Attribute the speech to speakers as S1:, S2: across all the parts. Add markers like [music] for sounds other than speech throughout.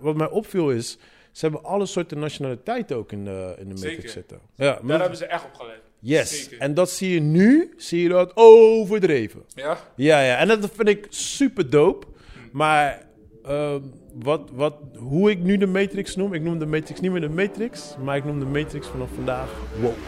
S1: wat mij opviel is, ze hebben alle soorten nationaliteiten ook in de, in de
S2: Zeker.
S1: matrix zitten. Ja,
S2: Daar
S1: maar-
S2: hebben ze echt op gelet.
S1: yes.
S2: Zeker.
S1: En dat zie je nu, zie je dat overdreven.
S2: Ja?
S1: Ja, ja, en dat vind ik super dope. Maar ehm, wat, wat, hoe ik nu de Matrix noem, ik noem de Matrix niet meer de Matrix, maar ik noem de Matrix vanaf vandaag woke.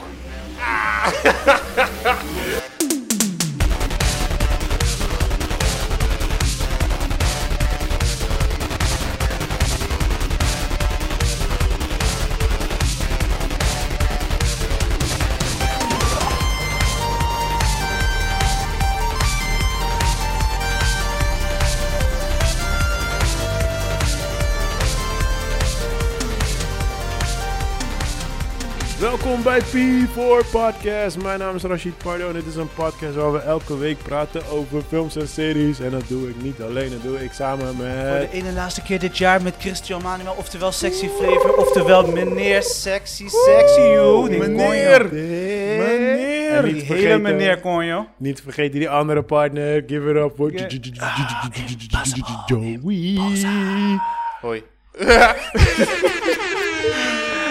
S1: Welkom bij P4 Podcast. Mijn naam is Rashid Pardo en dit is een podcast waar we elke week praten over films en series. En dat doe ik niet alleen, dat doe ik samen
S3: Voor de
S1: met...
S3: ene laatste keer dit jaar met Christian Manuel, oftewel Sexy Flavor, oftewel meneer Sexy Sexy You. die
S1: Meneer!
S3: Conjo.
S1: Meneer!
S3: En die
S1: Niet
S3: hele
S1: vergeten.
S3: meneer Conjo.
S1: Niet vergeten die andere partner. Give it up voor
S3: Yeah.
S1: Joey.
S2: [laughs] Hoi.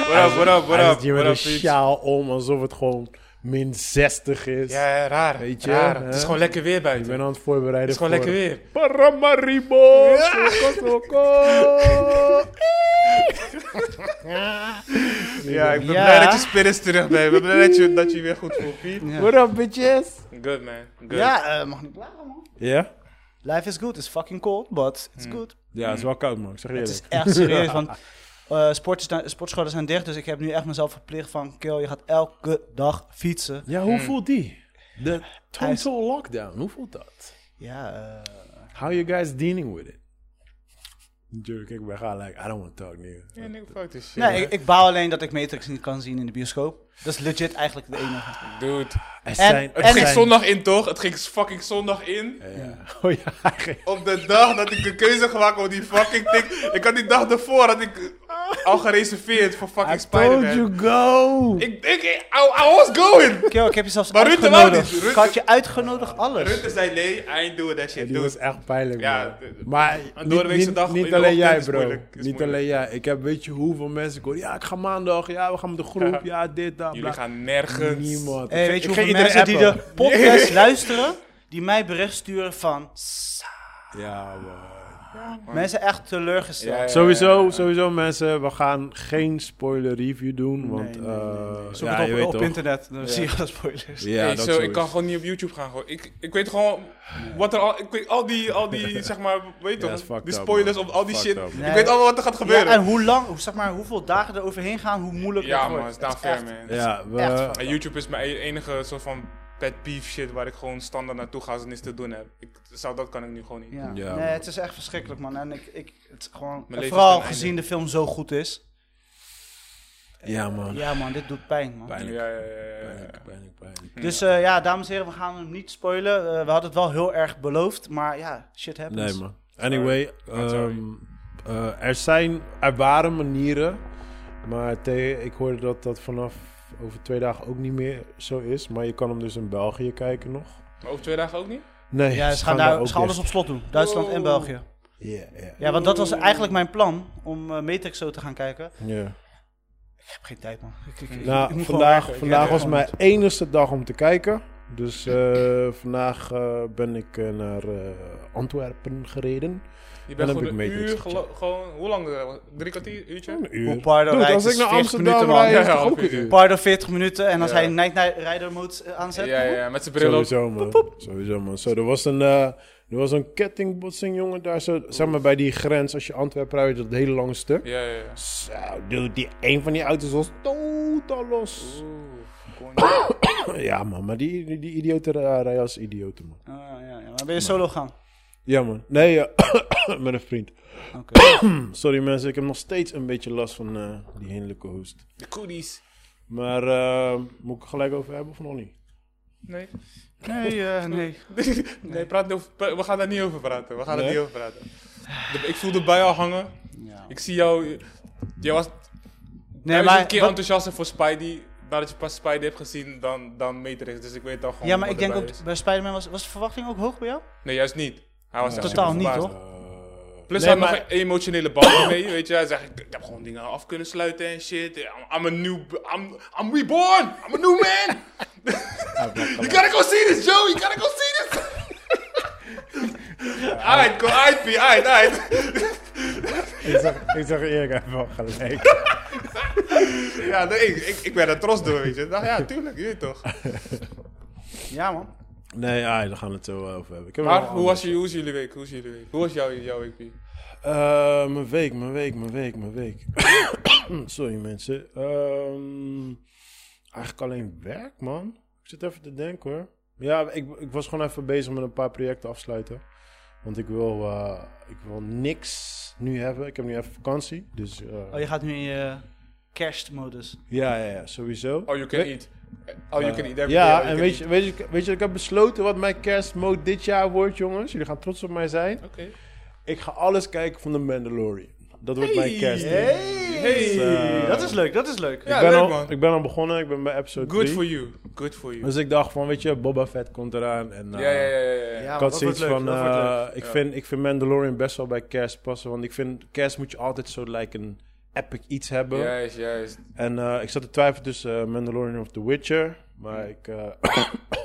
S2: what up, what up,
S1: Hij zit
S2: what up?
S1: hier met
S2: What
S1: een
S2: up, peeps?
S1: sjaal om, alsof het gewoon min 60 is.
S2: Ja, ja, raar.
S1: Weet je,
S2: raar.
S1: hè?
S2: Het is gewoon lekker weer
S1: Ik
S2: buiten.
S1: ben
S2: Het
S1: aan het voorbereiden
S2: is gewoon
S1: voor...
S2: lekker weer.
S1: Paramaribo! Soko, soko.
S2: Ja, ik ben
S3: Ja.
S2: blij dat je spirits terug bent. Ik ben blij dat je, dat je weer goed voelt, Piet.
S3: Ja,
S1: What up, bitches?
S2: Good, man. Good.
S3: ja eh, mag niet klagen man.
S1: Ja?
S3: Life is good, it's fucking cold, but it's good.
S1: Ja, het is wel koud, man. Ik zeg
S3: Het is
S1: eerlijk.
S3: echt [laughs] serieus, want eh, sport is na- sportscholen zijn dicht, dus ik heb nu echt mezelf verplicht van, kill, je gaat elke dag fietsen.
S1: Ja, hoe voelt die? De
S3: Hij is-
S1: total lockdown, hoe voelt dat?
S3: Ja, eh,
S1: How you guys dealing with it? Jerk, ik ben gaan like, I don't want to talk, nigga.
S2: Ja, nigga, fuck this shit.
S3: nee, ik, ik baal alleen dat ik Matrix niet kan zien in de bioscoop. Dat is legit eigenlijk de enige.
S2: Dude.
S1: Er
S3: en
S2: Het ging
S3: zijn-
S2: zondag in, toch? Het ging fucking zondag in.
S1: Ja. [laughs] Oh ja, hij ging-
S2: Op de dag dat ik de keuze gemaakt om die fucking tik. Ik had die dag ervoor had ik al gereserveerd voor
S1: I told
S2: fucking Spider-Man.
S1: you go!
S2: Ik denk, I, I was going.
S3: Kill, ik heb je zelfs
S2: Maar Rutte wou
S3: uitgenodigd.
S2: niet, Rutte-
S3: Ik had je uitgenodigd, alles.
S2: Rutte zei nee, I ain't doing that shit.
S1: Die
S2: dude.
S1: was echt pijnlijk,
S2: Ja,
S1: man.
S2: de-
S1: Maar
S2: een
S1: niet,
S2: doordeweekse
S1: niet,
S2: dag
S1: niet
S2: in de
S1: alleen
S2: ochtend
S1: jij,
S2: is
S1: bro.
S2: moeilijk, is
S1: niet
S2: moeilijk.
S1: alleen jij. Ik heb weet je hoeveel mensen ik hoor. Ja, ik ga maandag. Ja, we gaan met de groep. Ja, dit, dat,
S2: Jullie
S1: bla.
S2: gaan nergens.
S1: Niemand.
S3: Hey,
S1: Ik-
S3: weet je
S1: ik
S3: hoeveel
S1: ga
S3: mensen die
S1: iedereen
S3: de [laughs] podcast luisteren, die mij bericht sturen van...
S1: appen. Ja, man.
S3: Mensen echt teleurgesteld.
S2: Ja, ja.
S1: Sowieso, sowieso mensen, we gaan geen spoiler review doen, want
S3: nee, nee, nee.
S1: eh,
S3: Zoek
S1: ja,
S3: het
S1: je
S3: op,
S1: weet
S3: op
S1: toch.
S3: internet, dan zie je alle spoilers.
S1: Ja,
S2: Nee,
S1: dat
S2: zo,
S1: sowieso.
S2: ik kan gewoon niet op YouTube gaan. Gewoon. Ik, ik weet gewoon wat er al. Ik weet al die, al
S1: [laughs]
S2: die zeg maar, weet
S1: Ja,
S2: je
S1: is
S2: toch?
S1: fucked
S2: Die
S1: up,
S2: spoilers
S1: man.
S2: of al die
S1: Fucked
S2: shit.
S1: up.
S3: Nee.
S2: Ik weet allemaal wat er gaat
S3: Ja,
S2: gebeuren.
S3: en hoe lang, zeg maar, hoeveel dagen er overheen gaan, hoe moeilijk
S2: Ja,
S3: het
S2: man, het
S3: wordt.
S2: is daar
S3: Het is echt-
S2: ver, man.
S1: Ja, we,
S3: echt fucked
S2: En YouTube is mijn e- enige soort van pet peeve shit waar ik gewoon standaard naartoe ga als er niks te doen heb. Ik, zou, dat kan ik nu gewoon niet.
S3: Ja.
S1: Ja,
S3: nee,
S1: man.
S3: het is echt verschrikkelijk, man. En ik, ik het is gewoon,
S2: leven
S3: en
S2: is
S3: vooral
S2: ten
S3: gezien
S2: einde.
S3: de film zo goed is.
S1: ja man,
S3: Ja, man, dit doet pijn, man.
S1: pijnlijk,
S2: Ja, ja, ja, ja, ja.
S1: pijnlijk, pijnlijk, pijnlijk.
S3: Dus eh, ja, dames en heren, we gaan hem niet spoilen. Eh, we hadden het wel heel erg beloofd, maar ja, shit happens.
S1: Nee man. dus- Anyway,
S2: I'm sorry.
S1: ehm, eh, er zijn, er waren manieren, maar te- ik hoorde dat dat vanaf over twee dagen ook niet meer zo is, maar je kan hem dus in België kijken nog.
S2: Maar over twee dagen ook niet?
S1: Nee,
S3: Ja, ze gaan, daar, ze gaan alles op slot doen. Duitsland en
S2: Wow.
S3: België.
S1: Ja, ja,
S3: Ja, want dat was eigenlijk mijn plan, om eh, Matrix zo te gaan kijken.
S1: ja.
S3: Ik heb geen tijd, man. Ik, ik, ik- ik
S1: Nou,
S3: moet gewoon werken.
S1: vandaag,
S3: Ik
S1: vandaag
S3: heb
S1: was
S3: gewoon
S1: mijn
S3: niet.
S1: enigste dag om te kijken. Dus eh, vandaag eh, ben ik eh, naar eh, Antwerpen gereden. Dan
S2: Je bent
S1: heb
S2: gewoon
S1: ik
S2: een
S1: Matrix
S2: uur,
S1: gecheckt.
S2: gelo- gewoon, hoe lang? eh, Drie kwartier, uurtje?
S1: Een uur.
S3: Hoe Pardo
S1: Dude,
S3: rijdt
S1: als
S3: is
S1: ik naar
S3: 40
S1: Amsterdam
S3: minuten, man.
S1: rijd, is het
S2: Ja,
S1: toch ook
S2: half
S1: een uur.
S3: Pardo 40 minuten en als
S2: Ja.
S3: hij Night Night Rider mode eh, aanzet...
S2: Ja, ja, ja, met zijn bril op.
S1: Sowieso man. Sowieso man. Zo, er was een, eh, er was een kettingbotsing jongen daar zo, zeg maar bij die grens als je Antwerpen rijdt, dat hele lange stuk.
S2: Ja, ja, ja.
S1: Zo, dude, die, een van die auto's was totaal los. ja man, maar die, die, die idioten eh, rijden als idioten man.
S3: Ah, ja, ja. Maar ben je solo gaan?
S1: Ja [coughs] man. Nee, eh, met een vriend.
S3: Oké.
S1: [coughs] Sorry mensen, ik heb nog steeds een beetje last van eh, die hinderlijke hoest.
S2: De koedies.
S1: Maar eh, moet ik er gelijk over hebben of nog niet?
S2: Nee.
S3: Nee,
S1: [laughs]
S3: eh, nee.
S2: [laughs] nee, praat niet over, pra- we gaan daar niet over praten. We gaan
S1: Nee?
S2: daar niet over praten. De- ik voel de bui al hangen.
S3: Ja.
S2: Ik zie jou. Jij was
S3: Nee,
S2: maar, een
S3: maar...
S2: keer
S3: wat-
S2: enthousiaster voor Spidey. Nadat je pas Spidey hebt gezien dan, dan Matrix. Dus ik weet dan gewoon.
S3: Ja, maar
S2: wat
S3: ik denk
S2: erbij
S3: ook
S2: is.
S3: bij Spider-Man was, was de verwachting ook hoog bij jou?
S2: Nee, juist niet. Hij was echt
S3: Totaal
S2: super
S3: niet,
S2: verbaasd.
S3: toch?
S1: Eh,
S2: Plus
S1: Nee,
S2: hij had
S1: maar-
S2: nog een emotionele band [coughs] mee, weet je. Hij zegt, ik, ik heb gewoon dingen af kunnen sluiten en shit. I'm, I'm a new, I'm, I'm reborn. I'm a new
S1: [laughs]
S2: man. you gotta go see this, Joe. You gotta go see this.
S1: [laughs]
S2: Alright, go, alright, P, alright, alright.
S4: Ik zag, ik zag Erik even wel gelijk.
S2: Ja, nee, ik, ik, ik ben er trots door, weet je. Ik dacht, ja, tuurlijk, je weet toch.
S3: Ja, man.
S1: Nee, ah, daar gaan we het zo over hebben. Ik heb
S2: Maar
S1: wel
S2: hoe was, je, hoe was jullie week? Hoe was jullie week? Hoe was jouw, jouw week, P?
S1: Eh, mijn week, mijn week, mijn week, mijn week. [coughs] Sorry mensen. Ehm, eigenlijk alleen werk, man. Ik zit even te denken hoor. Ja, ik, ik was gewoon even bezig met een paar projecten afsluiten. Want ik wil, eh, ik wil niks nu hebben. Ik heb nu even vakantie. Dus eh,
S3: Oh, je gaat nu in je kerstmodus.
S1: ja, ja, ja, sowieso.
S2: Oh, you can eat. Oh, you can eat. Every day, oh,
S1: ja,
S2: you
S1: en
S2: can
S1: weet je,
S2: eat.
S1: weet, je, weet je, ik heb besloten wat mijn kerstmode dit jaar wordt, jongens. Jullie gaan trots op mij zijn.
S2: Oké.
S1: Ik ga alles kijken van The Mandalorian. Dat wordt mijn kerst.
S2: Hey.
S1: eh,
S3: dat is leuk, dat is leuk.
S2: Ja,
S1: ik, ben
S2: leuk,
S1: al,
S2: man.
S1: ik ben al begonnen, ik ben bij episode
S2: Good
S1: 3.
S2: for you. Good for you.
S1: Dus ik dacht van, weet je, Boba Fett komt eraan. En, eh,
S2: Ja, ja, ja, ja, ja.
S3: Ja,
S1: Ik
S3: man,
S1: had
S3: dat
S1: zoiets
S3: wordt leuk,
S1: van,
S3: dat wordt leuk.
S1: eh, ik, vind, ik vind Mandalorian best wel bij kerst passen. Want ik vind, kerst moet je altijd zo like een epic iets hebben.
S2: Juist, juist.
S1: En eh, ik zat te twijfelen tussen eh, Mandalorian of The Witcher. Maar ik eh,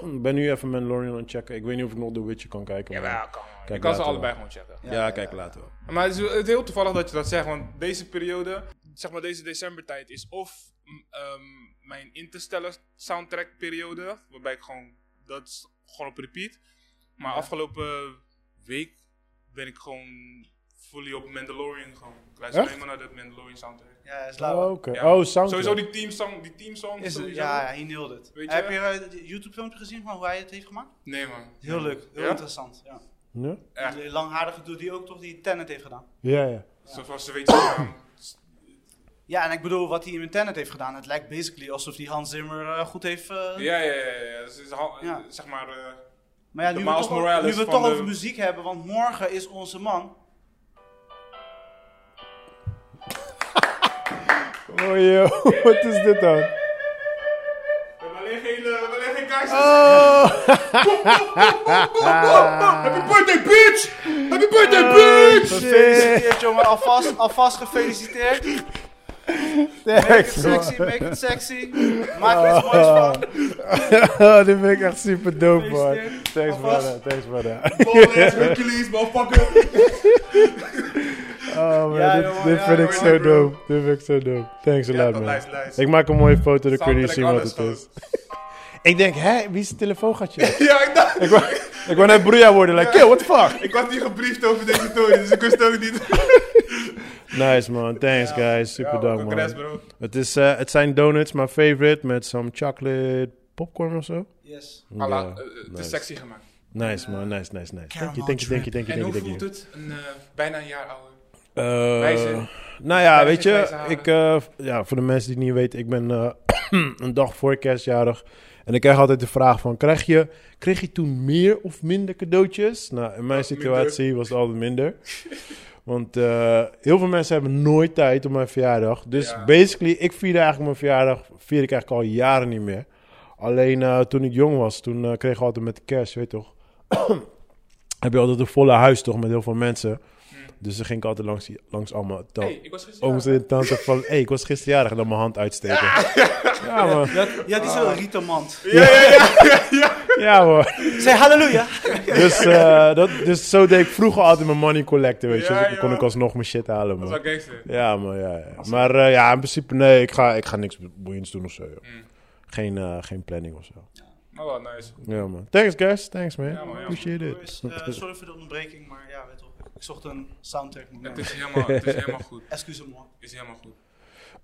S1: [coughs] ben nu even Mandalorian aan het checken. Ik weet niet of ik nog The Witcher kan kijken. maar-
S2: Jawel, kom maar. Je
S1: Kijk,
S2: kan ze
S1: later
S2: allebei
S1: wel.
S2: gewoon checken.
S1: ja, kijk, later wel.
S2: Maar het is, het is heel toevallig dat je dat zegt, want deze periode, zeg maar deze decembertijd, is of m, ehm, mijn Interstellar soundtrack periode, waarbij ik gewoon, dat is gewoon op repeat. Maar afgelopen week ben ik gewoon fully op Mandalorian gewoon. Ik luister
S1: Echt?
S2: alleen maar naar de Mandalorian soundtrack.
S3: Ja, is
S1: Oh,
S3: lauw.
S1: oké.
S2: Ja.
S1: Oh, soundtrack.
S2: Sowieso die teamsong, die teamsong.
S3: Is het,
S2: sowieso.
S3: ja, ja, he nailed it.
S2: Weet je-
S3: Heb je eh, de YouTube-filmpje gezien van hoe hij het heeft gemaakt?
S2: Nee man.
S3: Heel leuk, heel
S2: Ja?
S3: interessant. Ja.
S1: Ja?
S2: Echt.
S3: Die langharige doet die ook toch die Tenet heeft gedaan.
S1: Ja, ja.
S2: Zoals ze
S3: [coughs]
S2: weten. ja.
S3: Ja, en ik bedoel, wat hij in Tenet heeft gedaan, het lijkt basically alsof die Hans Zimmer eh, goed heeft... eh,
S2: Ja, ja, ja, ja. ja. Dus het is al-
S3: Ja.
S2: Zeg maar. eh,
S3: Maar ja,
S2: De
S3: nu we
S2: Miles
S3: het toch,
S2: Morales
S3: nu we het
S2: van
S3: toch
S2: de-
S3: over muziek hebben, want morgen is onze man...
S1: Oh, joh. [laughs] Wat is dit dan?
S2: we hebben alleen geen, eh, we hebben alleen geen kaarsjes.
S1: Oh.
S2: [laughs] Happy birthday, bitch! Happy birthday,
S1: Ah.
S2: bitch!
S3: Gefeliciteerd, jongen. Alvast, alvast gefeliciteerd. Make it sexy, make it sexy. Maak er iets moois van.
S2: [laughs]
S1: [laughs] Oh, dit vind ik echt super dope, man.
S3: Gefeliciteerd.
S1: Thanks, brother.
S3: Alvast.
S1: Thanks, [laughs] brother.
S2: Ball-ass Hercules, motherfucker!
S1: Oh, man.
S3: Ja,
S1: dit
S3: jongen,
S1: dit
S3: ja,
S1: vind ik
S2: jongen,
S1: zo
S2: bro.
S1: dope. Dit vind ik zo dope. Thanks a lot,
S2: dat
S1: man.
S2: lijst, lijst.
S1: Ik maak een mooie foto, dan kun je
S2: Soundtrack,
S1: zien wat
S2: alles
S1: het is.
S2: gewoon.
S1: Ik denk, hè? Wie is het telefoongatje?
S2: Ja, ik dacht...
S1: ik, wou, [laughs] ik wou net broeia worden. Like, yo, what the
S2: [laughs]
S1: fuck?
S2: Ik was niet gebriefd over deze toren, dus ik wist het ook
S1: [laughs]
S2: niet.
S1: Nice, man. Thanks, guys. Super
S2: Ja,
S1: dope,
S2: congres,
S1: man.
S2: bro.
S1: Het, is, eh, het zijn donuts, my favorite, met some chocolate popcorn of zo.
S3: Yes.
S2: Alla,
S1: Ja,
S2: eh, eh, het
S1: nice.
S2: is sexy gemaakt.
S1: Nice, man. Nice, nice, nice. Thank you,
S3: Caramel
S1: thank you, thank you, thank you,
S2: En hoe
S1: thank you,
S2: voelt
S1: thank you.
S2: het? Een, eh, bijna een jaar ouder.
S1: Eh,
S2: Wijze.
S1: Nou ja,
S2: Wijze
S1: weet je,
S2: grijze haren.
S1: ik, eh, v- ja, voor de mensen die het niet weten, ik ben eh, [clears throat] een dag voor kerstjarig. En ik krijg altijd de vraag van, krijg je, kreeg je toen meer of minder cadeautjes? Nou, in mijn situatie was het altijd minder. [laughs] Want eh, heel veel mensen hebben nooit tijd op mijn verjaardag. Dus
S2: Ja.
S1: basically, ik vierde eigenlijk mijn verjaardag, vier ik eigenlijk al jaren niet meer. Alleen eh, toen ik jong was, toen eh, kreeg ik altijd met de kerst, weet je toch, heb je altijd een volle huis toch met heel veel mensen. Dus dan ging ik altijd langs, die- langs allemaal ta-
S2: Hmm. Hey, ik was gisteren...
S1: ooms en tante van... Hé, hey, ik was gisteren jarig en dan mijn hand uitsteken. Ja, man.
S3: Ja,
S2: Ah.
S3: die is wel rietenmand.
S1: Ja, man.
S3: Zeg halleluja.
S1: Dus, eh, dat, dus zo deed ik vroeger altijd mijn money collecten, weet je.
S2: Ja,
S1: Dus dan kon
S2: joh.
S1: ik alsnog mijn shit halen,
S2: Dat is
S1: man.
S2: wel gangster.
S1: Ja, man, ja. ja. Maar eh, ja, in principe, nee, ik ga, ik ga niks boeiends doen of zo, joh.
S2: Mm.
S1: Geen, eh, geen planning of zo.
S2: Maar wel nice.
S1: Ja, man. Thanks, guys. Thanks, man.
S2: Ja, man, ja.
S1: Appreciate it.
S3: Boys, eh, sorry voor de onderbreking, maar ja, weet toch. Ik zocht een soundtrack
S2: Het
S3: moment.
S2: is helemaal, het is helemaal goed.
S3: Excuse me.
S2: Het is helemaal
S1: [coughs]
S2: goed.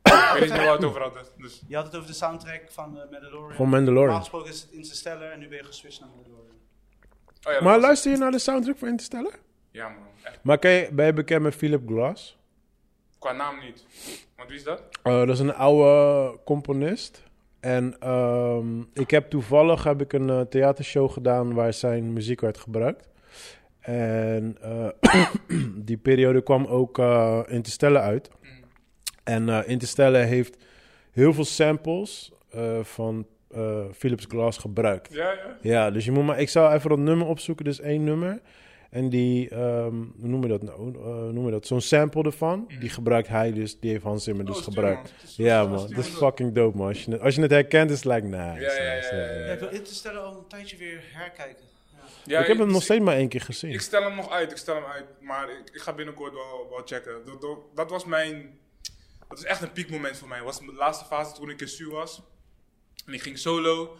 S2: ik weet niet meer waar het over had, dus...
S3: Je had het over de soundtrack van eh Mandalorian.
S1: Gewoon
S3: Normaal
S2: Ah,
S1: Mandalorian.
S3: gesproken is het Interstellar en nu ben je geswitcht naar Mandalorian.
S2: Oh, ja, dat
S1: Maar
S2: was-
S1: luister je naar de soundtrack voor Interstellar?
S2: Ja man, echt.
S1: Maar ken je- ben je bekend met Philip Glass?
S2: Qua naam niet. Want wie is dat?
S1: Eh, dat is een oude componist. En ehm, ik heb toevallig heb ik een eh, theatershow gedaan waar zijn muziek werd gebruikt. En eh, [clears throat] die periode kwam ook eh Interstellar uit. En eh Interstellar heeft heel veel samples eh, van eh, Philips Glass gebruikt.
S2: Ja, ja.
S1: Ja, dus je moet maar. Ik zou even dat nummer opzoeken, dus één nummer. En die, ehm, hoe noem je dat nou? Eh, hoe noem je dat? Zo'n sample ervan, die gebruikt hij dus, die heeft Hans Zimmer dus
S2: Mm. Oh, stuur
S1: gebruikt.
S2: maar. Stuur-
S1: Ja
S2: stuur-
S1: man,
S2: stuur
S1: dat is
S2: maar.
S1: fucking dope man. Als je, het- als je het herkent is het like, nah.
S2: Ja, ja, ja, ja, ja.
S3: ik wil Interstellar al een tijdje weer herkijken.
S2: Ja,
S1: Ik heb hem
S2: dus
S1: nog steeds maar één keer
S2: Ik,
S1: gezien.
S2: ik stel hem nog uit, ik stel hem uit. Maar ik, ik ga binnenkort wel, wel checken. Dat, dat, dat was mijn... Dat is echt een piekmoment voor mij. was de laatste fase toen ik in SU was. En ik ging solo.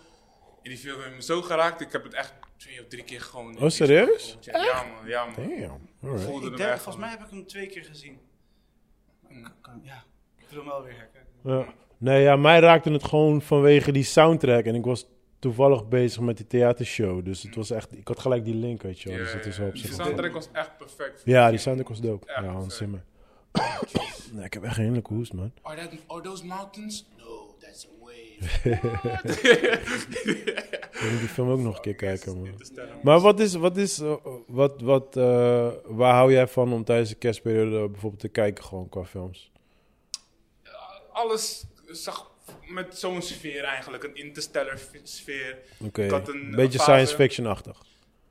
S2: En die film heeft me zo geraakt. Ik heb het echt twee of drie keer gewoon...
S1: Oh, serieus?
S2: Ja man, ja man. Ik
S1: Damn, alright.
S2: voelde
S3: Ik
S2: hem
S3: denk,
S2: echt.
S3: volgens mij heb ik hem twee keer gezien.
S2: Mm.
S3: Kan- kan- Ja, ik wil hem wel weer herkijken.
S1: Ja. Nee, ja, mij raakte het gewoon vanwege die soundtrack. En ik was toevallig bezig met die theatershow. Dus het was echt, ik had gelijk die link, weet je wel.
S2: Mm. Ja,
S1: dus dat
S2: ja,
S1: is wel
S2: ja.
S1: op
S2: Die
S1: zich wel
S2: soundtrack was echt perfect.
S1: cool. Ja, die soundtrack was dope.
S2: Ja,
S1: Ja, Hans
S2: sorry.
S1: Zimmer. [coughs] nee, ik heb echt een heerlijke hoest, man.
S2: Are, that, are those mountains? No, that's a wave.
S1: Ik moet die film ook nog een keer kijken, man.
S2: Te stellen.
S1: Maar wat is, wat is, eh, wat, wat, eh, waar hou jij van om tijdens de kerstperiode bijvoorbeeld te kijken gewoon qua films?
S2: Alles zag met zo'n sfeer eigenlijk. Een interstellar f- sfeer.
S1: Oké,
S2: Ik had
S1: een
S2: een-
S1: beetje
S2: een fase-
S1: science fiction-achtig.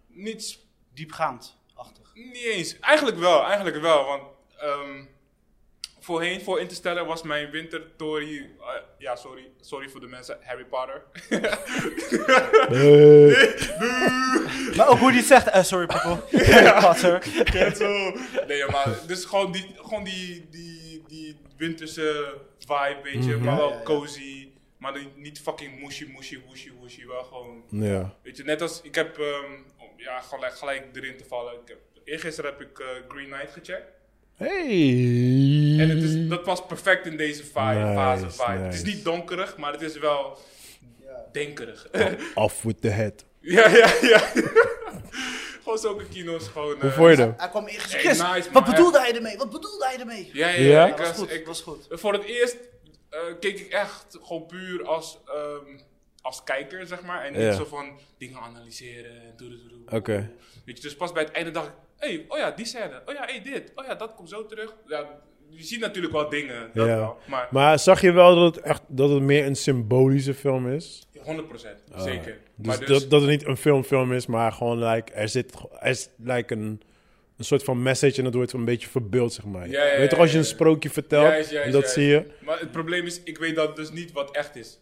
S2: Niets
S3: Diepgaand, achtig.
S2: Niet eens. Eigenlijk wel, eigenlijk wel. Want ehm, voorheen, voor Interstellar, was mijn wintertory... eh, ja, sorry. Sorry voor de mensen. Harry Potter. [laughs]
S3: Maar ook hoe die het zegt, eh, sorry
S2: [laughs]
S3: Poppel. Potter.
S2: Cancel. nee, maar... Dus gewoon die, gewoon die, die, die winterse vibe, weet je.
S1: Mhm.
S2: Maar wel
S3: Ja, ja, ja.
S2: cozy. Maar dan niet fucking mushy, mushy, wushy, wushy. Wel gewoon...
S1: Ja.
S2: Weet je, net als... Ik heb... ehm, om- ja, gelijk, gelijk erin te vallen. Ik heb, eergisteren heb ik eh, Green Knight gecheckt.
S1: Hey!
S2: En het is, dat past perfect in deze vibe,
S1: Mm. Nice,
S2: fase vibe. Het is
S1: nice.
S2: niet donkerig, maar het is wel denkerig.
S1: Off with the head.
S2: [laughs] ja, ja, ja. [laughs] gewoon zulke kino's, gewoon... eh,
S1: Hoe vond je dat?
S3: Hij kwam ingezet.
S2: Hey,
S3: Chris,
S2: nice, man,
S3: wat
S2: echt.
S3: bedoelde hij ermee? Wat bedoelde hij ermee?
S2: Ja, ja,
S1: Ja?
S2: ja. Ik
S3: Dat was
S2: was,
S3: goed,
S2: ik,
S3: was goed.
S2: voor het eerst eh, keek ik echt gewoon puur als, ehm, als kijker, zeg maar. En niet
S1: Ja.
S2: zo van dingen analyseren en doe, doe, doe.
S1: Oké.
S2: Weet je, dus pas bij het einde dacht ik, hey, oh ja, die scène. Oh ja, hey, dit. Oh ja, dat komt zo terug. Ja, je ziet natuurlijk wel dingen, dat
S1: Ja.
S2: wel. Maar
S1: Maar zag je wel dat het, echt, dat het meer een symbolische film is?
S2: 100 zeker.
S1: Dus,
S2: maar dus,
S1: Dat, dat het niet een filmfilm is, maar gewoon like, er zit er is, like een, een soort van message en dat wordt een beetje verbeeld, zeg maar.
S2: Ja, ja,
S1: Weet je toch,
S2: ja,
S1: als je een
S2: ja.
S1: sprookje vertelt
S2: Juist, juist,
S1: en dat
S2: juist.
S1: zie je.
S2: Maar het probleem is, ik weet dat dus niet wat echt is.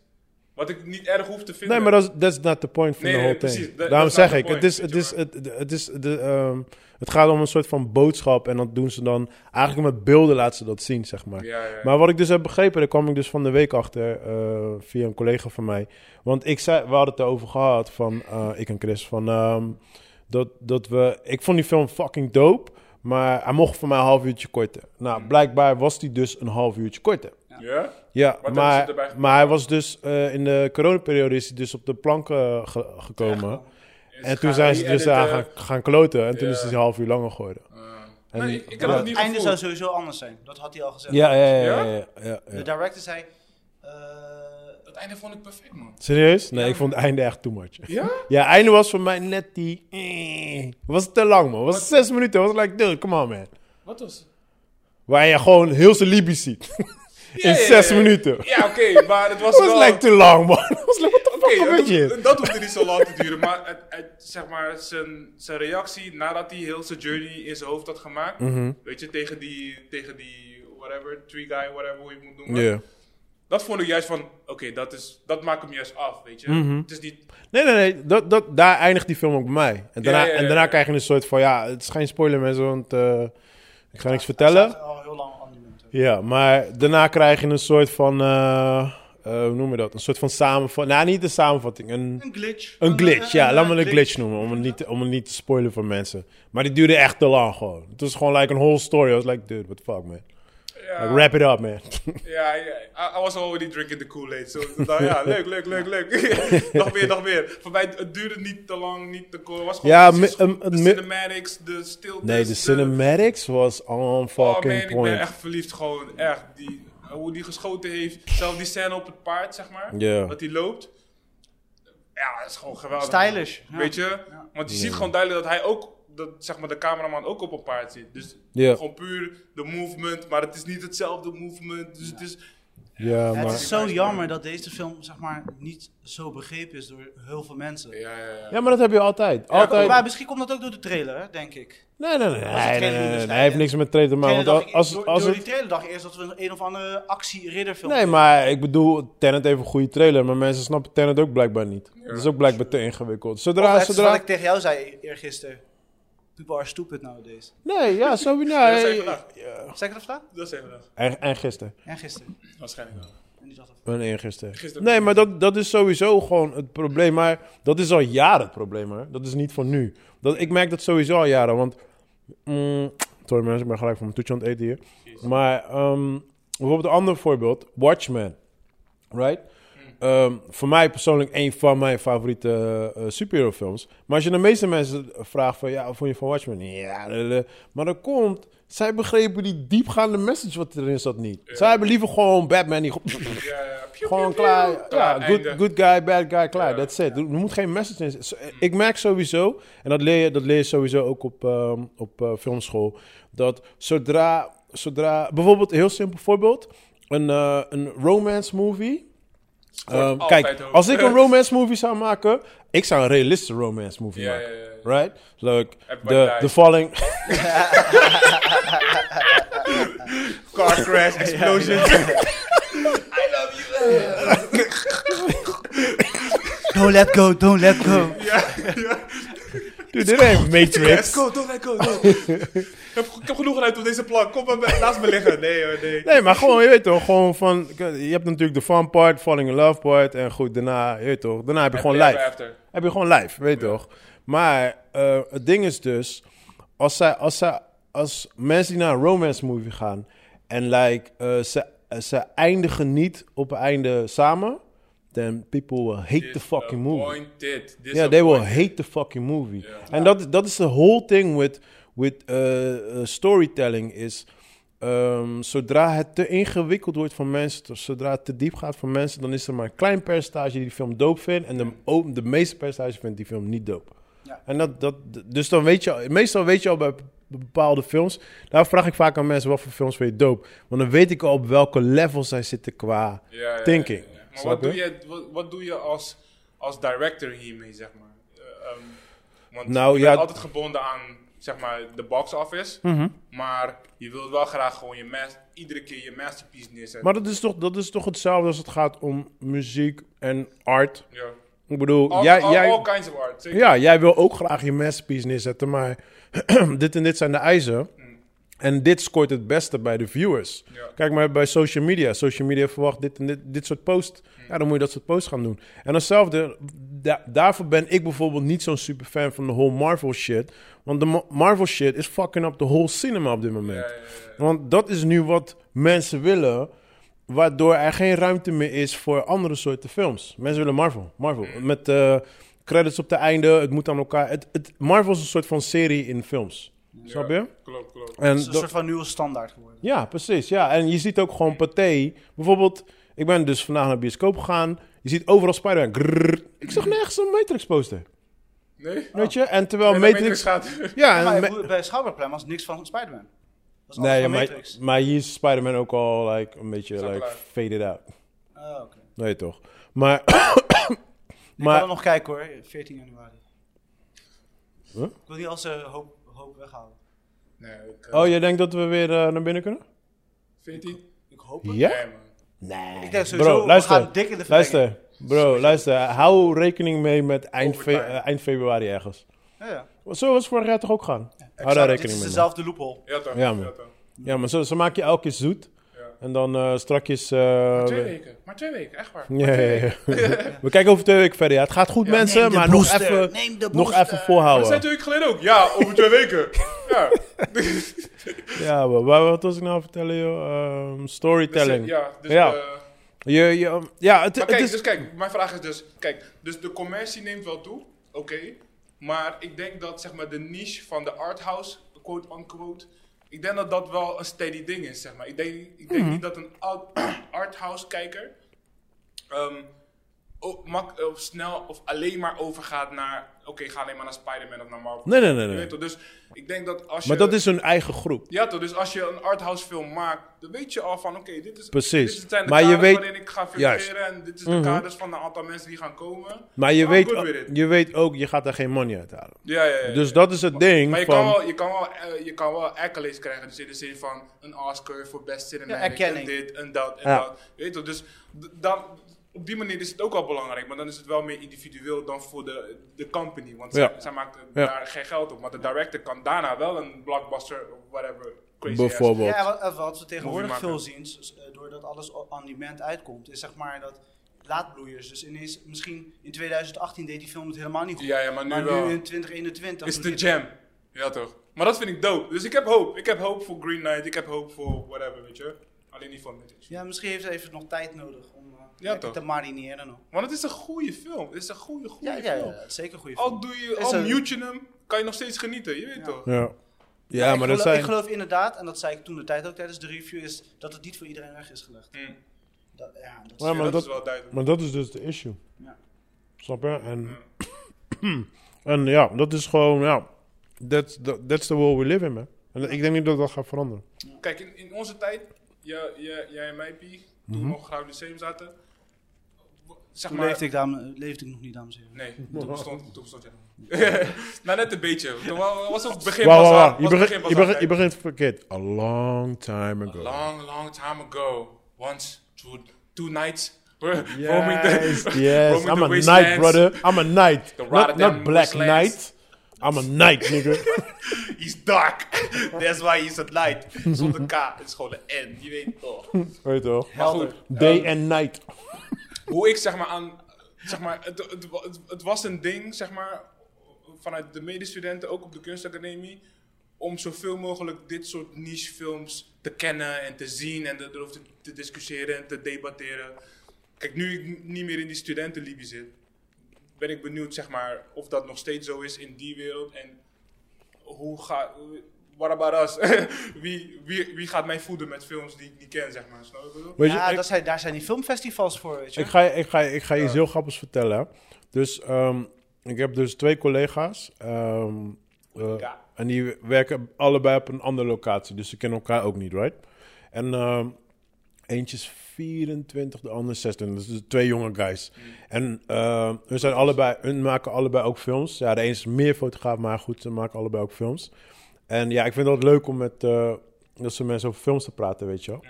S2: Wat ik niet erg hoef te vinden.
S1: Nee, maar dat is that's not the point van
S2: Nee,
S1: de
S2: nee,
S1: whole
S2: precies.
S1: thing.
S2: Dat-
S1: Daarom
S2: that's not
S1: zeg ik,
S2: the
S1: het
S2: point,
S1: is,
S2: weet
S1: het
S2: je
S1: is, het, het is de, ehm, het gaat om een soort van boodschap en dat doen ze dan eigenlijk met beelden laten ze dat zien, zeg maar.
S2: Ja, ja.
S1: Maar wat ik dus heb begrepen, daar kwam ik dus van de week achter eh, via een collega van mij. Want ik zei, we hadden het erover gehad van eh, ik en Chris van ehm, dat dat we, ik vond die film fucking dope. Maar hij mocht voor mij een half uurtje korter. Nou, blijkbaar was die dus een half uurtje korter.
S2: Hmm. Ja?
S1: Ja,
S2: hebben ze
S1: maar,
S2: erbij gekomen?
S1: maar hij was dus eh, in de coronaperiode is hij dus op de planken ge- gekomen. En toen zijn ze dus aan gaan, gaan kloten. En toen
S2: Ja.
S1: is hij een half uur langer geworden. En-
S2: nee, ik heb
S1: ja.
S2: het niet
S3: Het einde zou
S2: gevoeld.
S3: sowieso anders zijn. Dat had hij al gezegd.
S1: Ja, ja, ja. ja,
S2: Ja?
S1: ja, ja, ja.
S3: De director zei... eh,
S2: Het einde vond ik perfect, man.
S1: Serieus? Nee, ik vond het einde echt too much.
S2: Ja?
S1: Ja, einde was voor mij net die... eh, Was te lang, man. Was zes minuten. Was like, dude, come on, man.
S2: Wat was het?
S1: Waar je gewoon heel zijn Libië ziet. [laughs]
S2: Ja,
S1: in
S2: ja, ja,
S1: zes
S2: ja.
S1: minuten. Dat
S2: Ja, oké, maar het
S1: [laughs]
S2: was
S1: was
S2: wel...
S1: like te lang, man. Dat was like, what the
S2: Oké,
S1: fuck gebeurt
S2: dat,
S1: hier?
S2: hoeft- dat hoeft niet zo lang te duren, maar het, het- zeg maar zijn, zijn reactie nadat hij heel zijn journey in zijn hoofd had gemaakt,
S1: Mhm.
S2: weet je, tegen die, tegen die, whatever, tree guy, whatever, hoe je het moet noemen,
S1: Ja.
S2: dat vond ik juist van, oké, dat is, dat maakt hem juist af, weet je.
S1: Mhm.
S2: Het is niet,
S1: Nee, nee, nee. Dat, dat, daar eindigt die film ook bij mij. En daarna,
S2: Ja, ja, ja,
S1: en daarna
S2: ja.
S1: krijg je een soort van... Ja, het is geen spoiler, mensen, want eh, ik ga niks
S3: Hij
S1: vertellen.
S3: staat al heel lang aan die munt.
S1: Ja, maar daarna krijg je een soort van... eh, eh, hoe noem je dat? Een soort van samenvatting. Nou, niet een samenvatting. Een,
S3: Een glitch.
S1: een glitch, ja. Laat me
S3: eh,
S1: een glitch noemen, om het, niet, te- om het niet te spoilen voor mensen. Maar die duurde echt te lang gewoon. Het was gewoon like een whole story. I was like, dude, what the fuck, man.
S2: ja,
S1: Like, wrap it up,
S2: [laughs]
S1: man.
S2: ja, ja, I, I was already drinking the Kool-Aid, so, nou ja, leuk, leuk, leuk, [laughs] leuk. nog meer, nog meer. Voor mij, het duurde niet te lang, niet te kort, het was gewoon
S1: Ja,
S2: precies
S1: mi-
S2: goed.
S1: um,
S2: de
S1: mi-
S2: cinematics, de stilte.
S1: Nee, de cinematics was on fucking
S2: oh man, ik
S1: point.
S2: ben echt verliefd gewoon, echt. Die, hoe die geschoten heeft, zelfs die scène op het paard, zeg maar,
S1: Ja.
S2: dat hij loopt. Ja, dat is gewoon geweldig.
S3: Stylish, ja.
S2: Weet je? Want je ziet gewoon duidelijk dat hij ook, dat, zeg maar, de cameraman ook op een paard zit. Dus
S1: Ja.
S2: gewoon puur de movement, maar het is niet hetzelfde movement. Dus het is
S1: Ja,
S3: het
S1: maar...
S3: is zo jammer dat deze film zeg maar, niet zo begrepen is door heel veel mensen.
S2: Ja, ja, ja.
S1: Ja, maar dat heb je altijd. altijd...
S3: Maar misschien komt dat ook door de trailer, hè, denk ik.
S1: Nee, nee, nee. nee, nee,
S3: trailer
S1: nee,
S3: niet
S1: nee,
S3: bestaat,
S1: Hij heeft
S3: hè?
S1: niks met trailer te maken.
S3: Trailer dacht
S1: Want
S3: ik-
S1: als,
S3: door
S1: als
S3: door
S1: het...
S3: die trailer dacht ik eerst dat we een, een of andere actie-ridderfilm
S1: Nee, maar ik bedoel, Tenet heeft een goede trailer, maar mensen snappen Tenet ook blijkbaar niet. Dat is ook blijkbaar te ingewikkeld. Zodra,
S3: Of,
S1: zodra...
S3: Wat ik tegen jou zei eergisteren. People are stupid nowadays.
S1: Nee, ja,
S2: [laughs]
S1: sowieso.
S2: dat zei je
S1: Nee.
S2: vandaag.
S3: Zeg ik dat vandaag?
S2: Dat zei je vandaag.
S1: En, en gisteren.
S3: Ja, gisteren.
S2: Waarschijnlijk wel.
S3: En die dacht dat-
S1: En eergisteren.
S2: Gisteren.
S1: Nee, maar dat, dat is sowieso gewoon het probleem. Maar dat is al jaren het probleem, hè. Dat is niet van nu. Dat, ik merk dat sowieso al jaren, want... mm, sorry mensen, ik ben gelijk van mijn toetje aan het eten hier. Maar ehm, bijvoorbeeld een ander voorbeeld. Watchmen. Right? Ehm, voor mij persoonlijk een van mijn favoriete eh, eh, superhero films. Maar als je de meeste mensen vraagt van... Ja, wat vond je van Watchmen? Ja, lele. maar dat komt... Zij begrepen die diepgaande message wat erin zat niet. Zij hebben liever gewoon Batman die... [laughs] gewoon-
S2: Ja, ja. Piu,
S1: Gewoon
S2: piu, piu.
S1: klaar. Ja, good,
S2: einde.
S1: good guy, bad guy, klaar. That's it. Er moet geen message in zitten. Zo- Ik merk sowieso, en dat leer je, dat leer je sowieso ook op, ehm, op eh, filmschool, dat zodra, zodra, bijvoorbeeld, een heel simpel voorbeeld, een, eh, een romance movie.
S2: wordt
S1: Ehm,
S2: altijd
S1: kijk,
S2: over.
S1: als ik een romance movie zou maken, ik zou een realistische romance movie
S2: Ja, ja,
S1: maken.
S2: ja, ja.
S1: Right? Like,
S2: Everybody
S1: the,
S2: dies.
S1: the Falling... [laughs]
S2: Car
S1: [laughs]
S2: crash, explosion.
S3: Don't let go, don't let [laughs] go.
S1: Dude, dit
S2: [laughs]
S1: ain't Matrix.
S2: Let's go, don't let
S1: [laughs]
S2: go, don't. ik, heb, ik heb genoeg uit op deze plank. Kom maar, bij- laat me liggen. Nee hoor, nee.
S1: Nee, maar gewoon, je weet toch, gewoon van... Je hebt natuurlijk de fun part, falling in love part... en goed, daarna, je weet toch, daarna heb je gewoon
S2: Happily ever
S1: live.
S2: after.
S1: Heb je gewoon live, weet je toch. Maar eh, het ding is dus... Als, zij, als, zij, als mensen die naar een romance movie gaan... en like, eh, ze, ze eindigen niet op het einde samen... then people will hate the fucking movie.
S2: Disappointed.
S1: Yeah, they will hate the fucking movie. En dat, dat is the whole thing with, with eh, eh, storytelling is... ehm, zodra het te ingewikkeld wordt voor mensen, to- zodra het te diep gaat voor mensen... dan is er maar een klein percentage die die film dope vindt... en de, o- de meeste percentage vindt die film niet dope.
S3: Ja.
S1: En dat, dat, dus dan weet je al, meestal weet je al bij bepaalde films... daar vraag ik vaak aan mensen wat voor films vind je dope. Want dan weet ik al op welke level zij zitten qua thinking.
S2: Maar
S1: Snap
S2: wat
S1: je?
S2: doe, je, wat, wat doe je als, als director hiermee, zeg maar? Eh, ehm, want
S1: Nou,
S2: je
S1: ja, Mhm.
S2: bent altijd gebonden aan, zeg maar, de box office. Maar je wilt wel graag gewoon je mas- iedere keer je masterpiece neerzetten.
S1: Maar dat is, toch, dat is toch hetzelfde als het gaat om muziek en art.
S2: ja.
S1: Ik bedoel,
S2: all,
S1: jij,
S2: all-
S1: jij,
S2: all kinds of art, zeker.
S1: ja, jij wil ook graag je masterpiece neerzetten, maar [clears throat] dit en dit zijn de eisen. En dit scoort het beste bij de viewers.
S2: Ja.
S1: Kijk maar bij social media. Social media verwacht dit en dit, dit soort posts.
S3: Hmm.
S1: Ja, dan moet je dat soort posts gaan doen. En datzelfde, da- daarvoor ben ik bijvoorbeeld niet zo'n super fan van de whole Marvel shit. Want de Ma- Marvel shit is fucking up the whole cinema op dit moment. Want dat is nu wat mensen willen. Waardoor er geen ruimte meer is voor andere soorten films. Mensen willen Marvel. Marvel.
S3: Hmm.
S1: Met eh, credits op het einde. Het moet aan elkaar. Het, het, Marvel is een soort van serie in films. Snap je?
S2: Klopt, klopt.
S1: En
S3: Het is een
S1: dat-
S3: soort van nieuwe standaard geworden.
S1: ja, precies. Ja. En je ziet ook gewoon Pathé. Bijvoorbeeld, ik ben dus vandaag naar de bioscoop gegaan. Je ziet overal Spider-Man. Grrrr. Ik zag nergens een Matrix poster.
S3: Oh.
S2: Nee?
S1: Weet je? En terwijl
S2: Nee,
S1: Matrix...
S2: gaat.
S1: Ja, en
S3: maar
S1: Ma-
S3: bij- bij Schouderplein was niks van Spider-Man. Dat was alles
S1: nee,
S3: van
S1: maar,
S3: Matrix.
S1: maar hier is Spider-Man ook al like, een beetje
S2: Satellite.
S1: like, faded out.
S3: Oh, oké.
S1: Nee, toch? Maar... [coughs]
S3: Ik kan
S1: maar
S3: er nog kijken hoor, 14 januari.
S1: Huh?
S3: Ik wil niet als eh, hoop, hoop weghalen.
S2: nee, ik, eh,
S1: Oh, jij denkt dat we weer eh, naar binnen kunnen?
S2: 14?
S3: Ik hoop het.
S1: Ja?
S2: Nee, man.
S1: Nee.
S3: Ik denk sowieso, we gaan dik in de verlenging.
S1: luister. Bro, luister. Hou rekening mee met eind, fe-
S2: Overtime.
S1: eh, eind februari ergens.
S3: Ja, ja.
S1: Zo was het vorig jaar toch ook gaan? Hou daar
S3: Exact, Dit
S1: rekening
S3: is
S1: mee.
S3: dezelfde loophole.
S2: Ja, toch?
S1: Ja, man.
S2: toch.
S1: Ja, maar zo, zo maak je elke keer zoet. En dan eh strakjes... eh,
S2: Twee
S1: we-
S2: weken. Maar twee weken, echt waar.
S1: Ja, ja, ja. [laughs] We kijken over twee weken verder. Ja, het gaat goed, mensen. Maar nog even, nog even
S2: Dat zei
S1: volhouden.
S2: twee weken geleden ook. Ja, over twee
S1: [laughs]
S2: weken. Ja.
S1: Ja, maar waar- wat was ik nou aan het vertellen, joh? Ehm, storytelling.
S2: Ja, dus...
S1: Ja.
S2: eh,
S1: Je, je, ja, het,
S2: Maar
S1: het
S2: kijk,
S1: is...
S2: dus kijk, mijn vraag is dus, kijk, dus de commercie neemt wel toe, oké, maar ik denk dat zeg maar de niche van de arthouse, quote unquote, ik denk dat dat wel een steady ding is, zeg maar.
S1: Hmm.
S2: [clears throat] Ik denk, ik denk niet dat een art- arthouse kijker ehm, o- mak, of snel of alleen maar overgaat naar... Oké, ga alleen maar naar Spider-Man of naar Marvel.
S1: Nee, nee, nee,
S2: Je
S1: nee.
S2: weet toch, Dus ik denk dat als je...
S1: Maar dat is hun eigen groep.
S2: Ja toch, dus als je een arthouse film maakt, dan weet je al van oké, dit is...
S1: Precies.
S2: Dit zijn de
S1: Maar je
S2: kaders
S1: weet-
S2: waarin ik ga
S1: Juist. Mhm.
S2: figureren en dit is de kaders van een aantal mensen die gaan komen.
S1: Maar je
S2: I'm
S1: weet,
S2: good
S1: ook-
S2: with it.
S1: je weet ook, je gaat daar geen money uit halen.
S2: Ja, ja, ja. ja.
S1: Dus dat is het ding
S2: Maar je
S1: van...
S2: kan, wel, je, kan wel, eh, je kan wel accolades krijgen. Dus in de zin van een Oscar voor best
S3: Ja,
S2: cinematic. en
S3: erkenning.
S2: dit en dat en
S1: Ja.
S2: dat. Je Weet toch? Dus d- dan, op die manier is het ook wel belangrijk. Maar dan is het wel meer individueel dan voor de, de company. Want
S1: Ja.
S2: zij, zij maken
S1: Ja.
S2: daar geen geld op. Maar de director kan daarna wel een blockbuster of whatever. Crazy ass.
S1: bijvoorbeeld.
S3: Ja, wat, eh, wat we tegenwoordig
S2: Movie
S3: veel
S2: maken.
S3: zien, s- eh, doordat alles o- on demand uitkomt, is zeg maar dat laadbloeiers. Dus ineens, misschien in 2018 deed die film het helemaal niet goed.
S2: Ja, ja, maar nu
S3: maar
S2: wel.
S3: nu in 2021
S2: Is
S3: doet
S2: de
S3: hij-
S2: jam. Ja toch? Maar dat vind ik dope. Dus ik heb hoop. Ik heb hoop voor Green Knight. Ik heb hoop voor whatever, weet je. Alleen niet voor Matrix.
S3: Ja, misschien heeft hij even nog tijd nodig om eh
S2: Ja,
S3: lekker
S2: toch.
S3: te marineren nog.
S2: Want het is een goede film. Het is een goede, goede
S3: Ja, ja, ja,
S2: film.
S3: het is zeker een
S1: Oh,
S3: goede film.
S2: Al doe je,
S3: Is
S2: al
S3: een-
S2: mute je hem, kan je nog steeds genieten, je weet toch?
S1: Ja,
S3: Ik
S1: ja maar dat
S3: geloof-
S1: zijn...
S3: Ik geloof inderdaad, en dat zei ik toen de tijd ook tijdens de review, is dat het niet voor iedereen weg is gelegd.
S2: Mm.
S3: Dat, ja, dat is-
S1: Ja, maar
S2: dat,
S1: dat-
S2: is wel duidelijk.
S1: Maar dat is dus de issue.
S3: Ja.
S1: Snap je? En, en [clears throat] ja, dat is gewoon, ja. That's, the- that's the world we live in, man. En ik denk niet dat dat gaat veranderen.
S2: Kijk, in, in onze tijd, jij, jij, jij en mij, Pie, toen
S1: Mhm.
S2: we nog graag lyceum zaten, w- zeg
S3: toen
S2: maar...
S3: leefde, ik dame- leefde ik nog niet, dames en heren.
S1: [laughs]
S2: Nee, toen bestond, toen bestond jij. [laughs] nou, net een beetje. Toen wa- was het begin
S1: Wauw,
S2: pas
S1: wauw,
S2: aan,
S1: wauw.
S2: was
S1: Je,
S2: het
S1: begint-
S2: pas
S1: je,
S2: aan,
S1: begint- je
S2: kijk.
S1: begint verkeerd. A long time ago.
S2: Long, long time ago, once, two, two nights, [laughs] we're roaming
S1: Yes,
S2: [laughs] the,
S1: yes.
S2: roaming
S1: I'm
S2: the
S1: a knight,
S2: wastelands.
S1: brother. I'm a knight. Not,
S2: Rotterdam
S1: not black
S2: wastelands.
S1: knight. I'm a knight, nigga.
S2: [laughs] He's dark, [laughs] that's why he's a light. Zonder K, het is gewoon een N, je weet
S1: [laughs]
S2: toch.
S1: Weet je wel?
S2: Maar goed,
S1: Day and night.
S2: hoe ik zeg maar aan. Zeg maar, het, het, wa- het, het was een ding, zeg maar, vanuit de medestudenten, ook op de kunstacademie, om zoveel mogelijk dit soort nichefilms te kennen en te zien en erover te, te discussiëren en te debatteren. Kijk, nu ik n- niet meer in die studentenlibie zit, ben ik benieuwd, zeg maar, of dat nog steeds zo is in die wereld en hoe gaat... What about us? [laughs] wie, wie, wie gaat mij voeden met films die ik niet ken, zeg maar, snap je wat ik bedoel?
S1: Weet je,
S3: Ja,
S1: ik-
S3: dat zijn, daar zijn die filmfestivals voor, weet je.
S1: Ik ga, je- ik ga, je- ik ga je iets heel grappigs vertellen. hè. Dus ehm, ik heb dus twee collega's. ehm, eh,
S2: Ja.
S1: En die werken allebei op een andere locatie. Dus ze kennen elkaar ook niet, right? En ehm, eentje is 24, de ander is 26. Dus twee jonge guys. En ehm hun, zijn allebei, hun maken allebei ook films. Ja, de een is meer fotograaf, maar goed, ze maken allebei ook films. En ja, ik vind het leuk om met eh dat soort mensen over films te praten, weet je wel.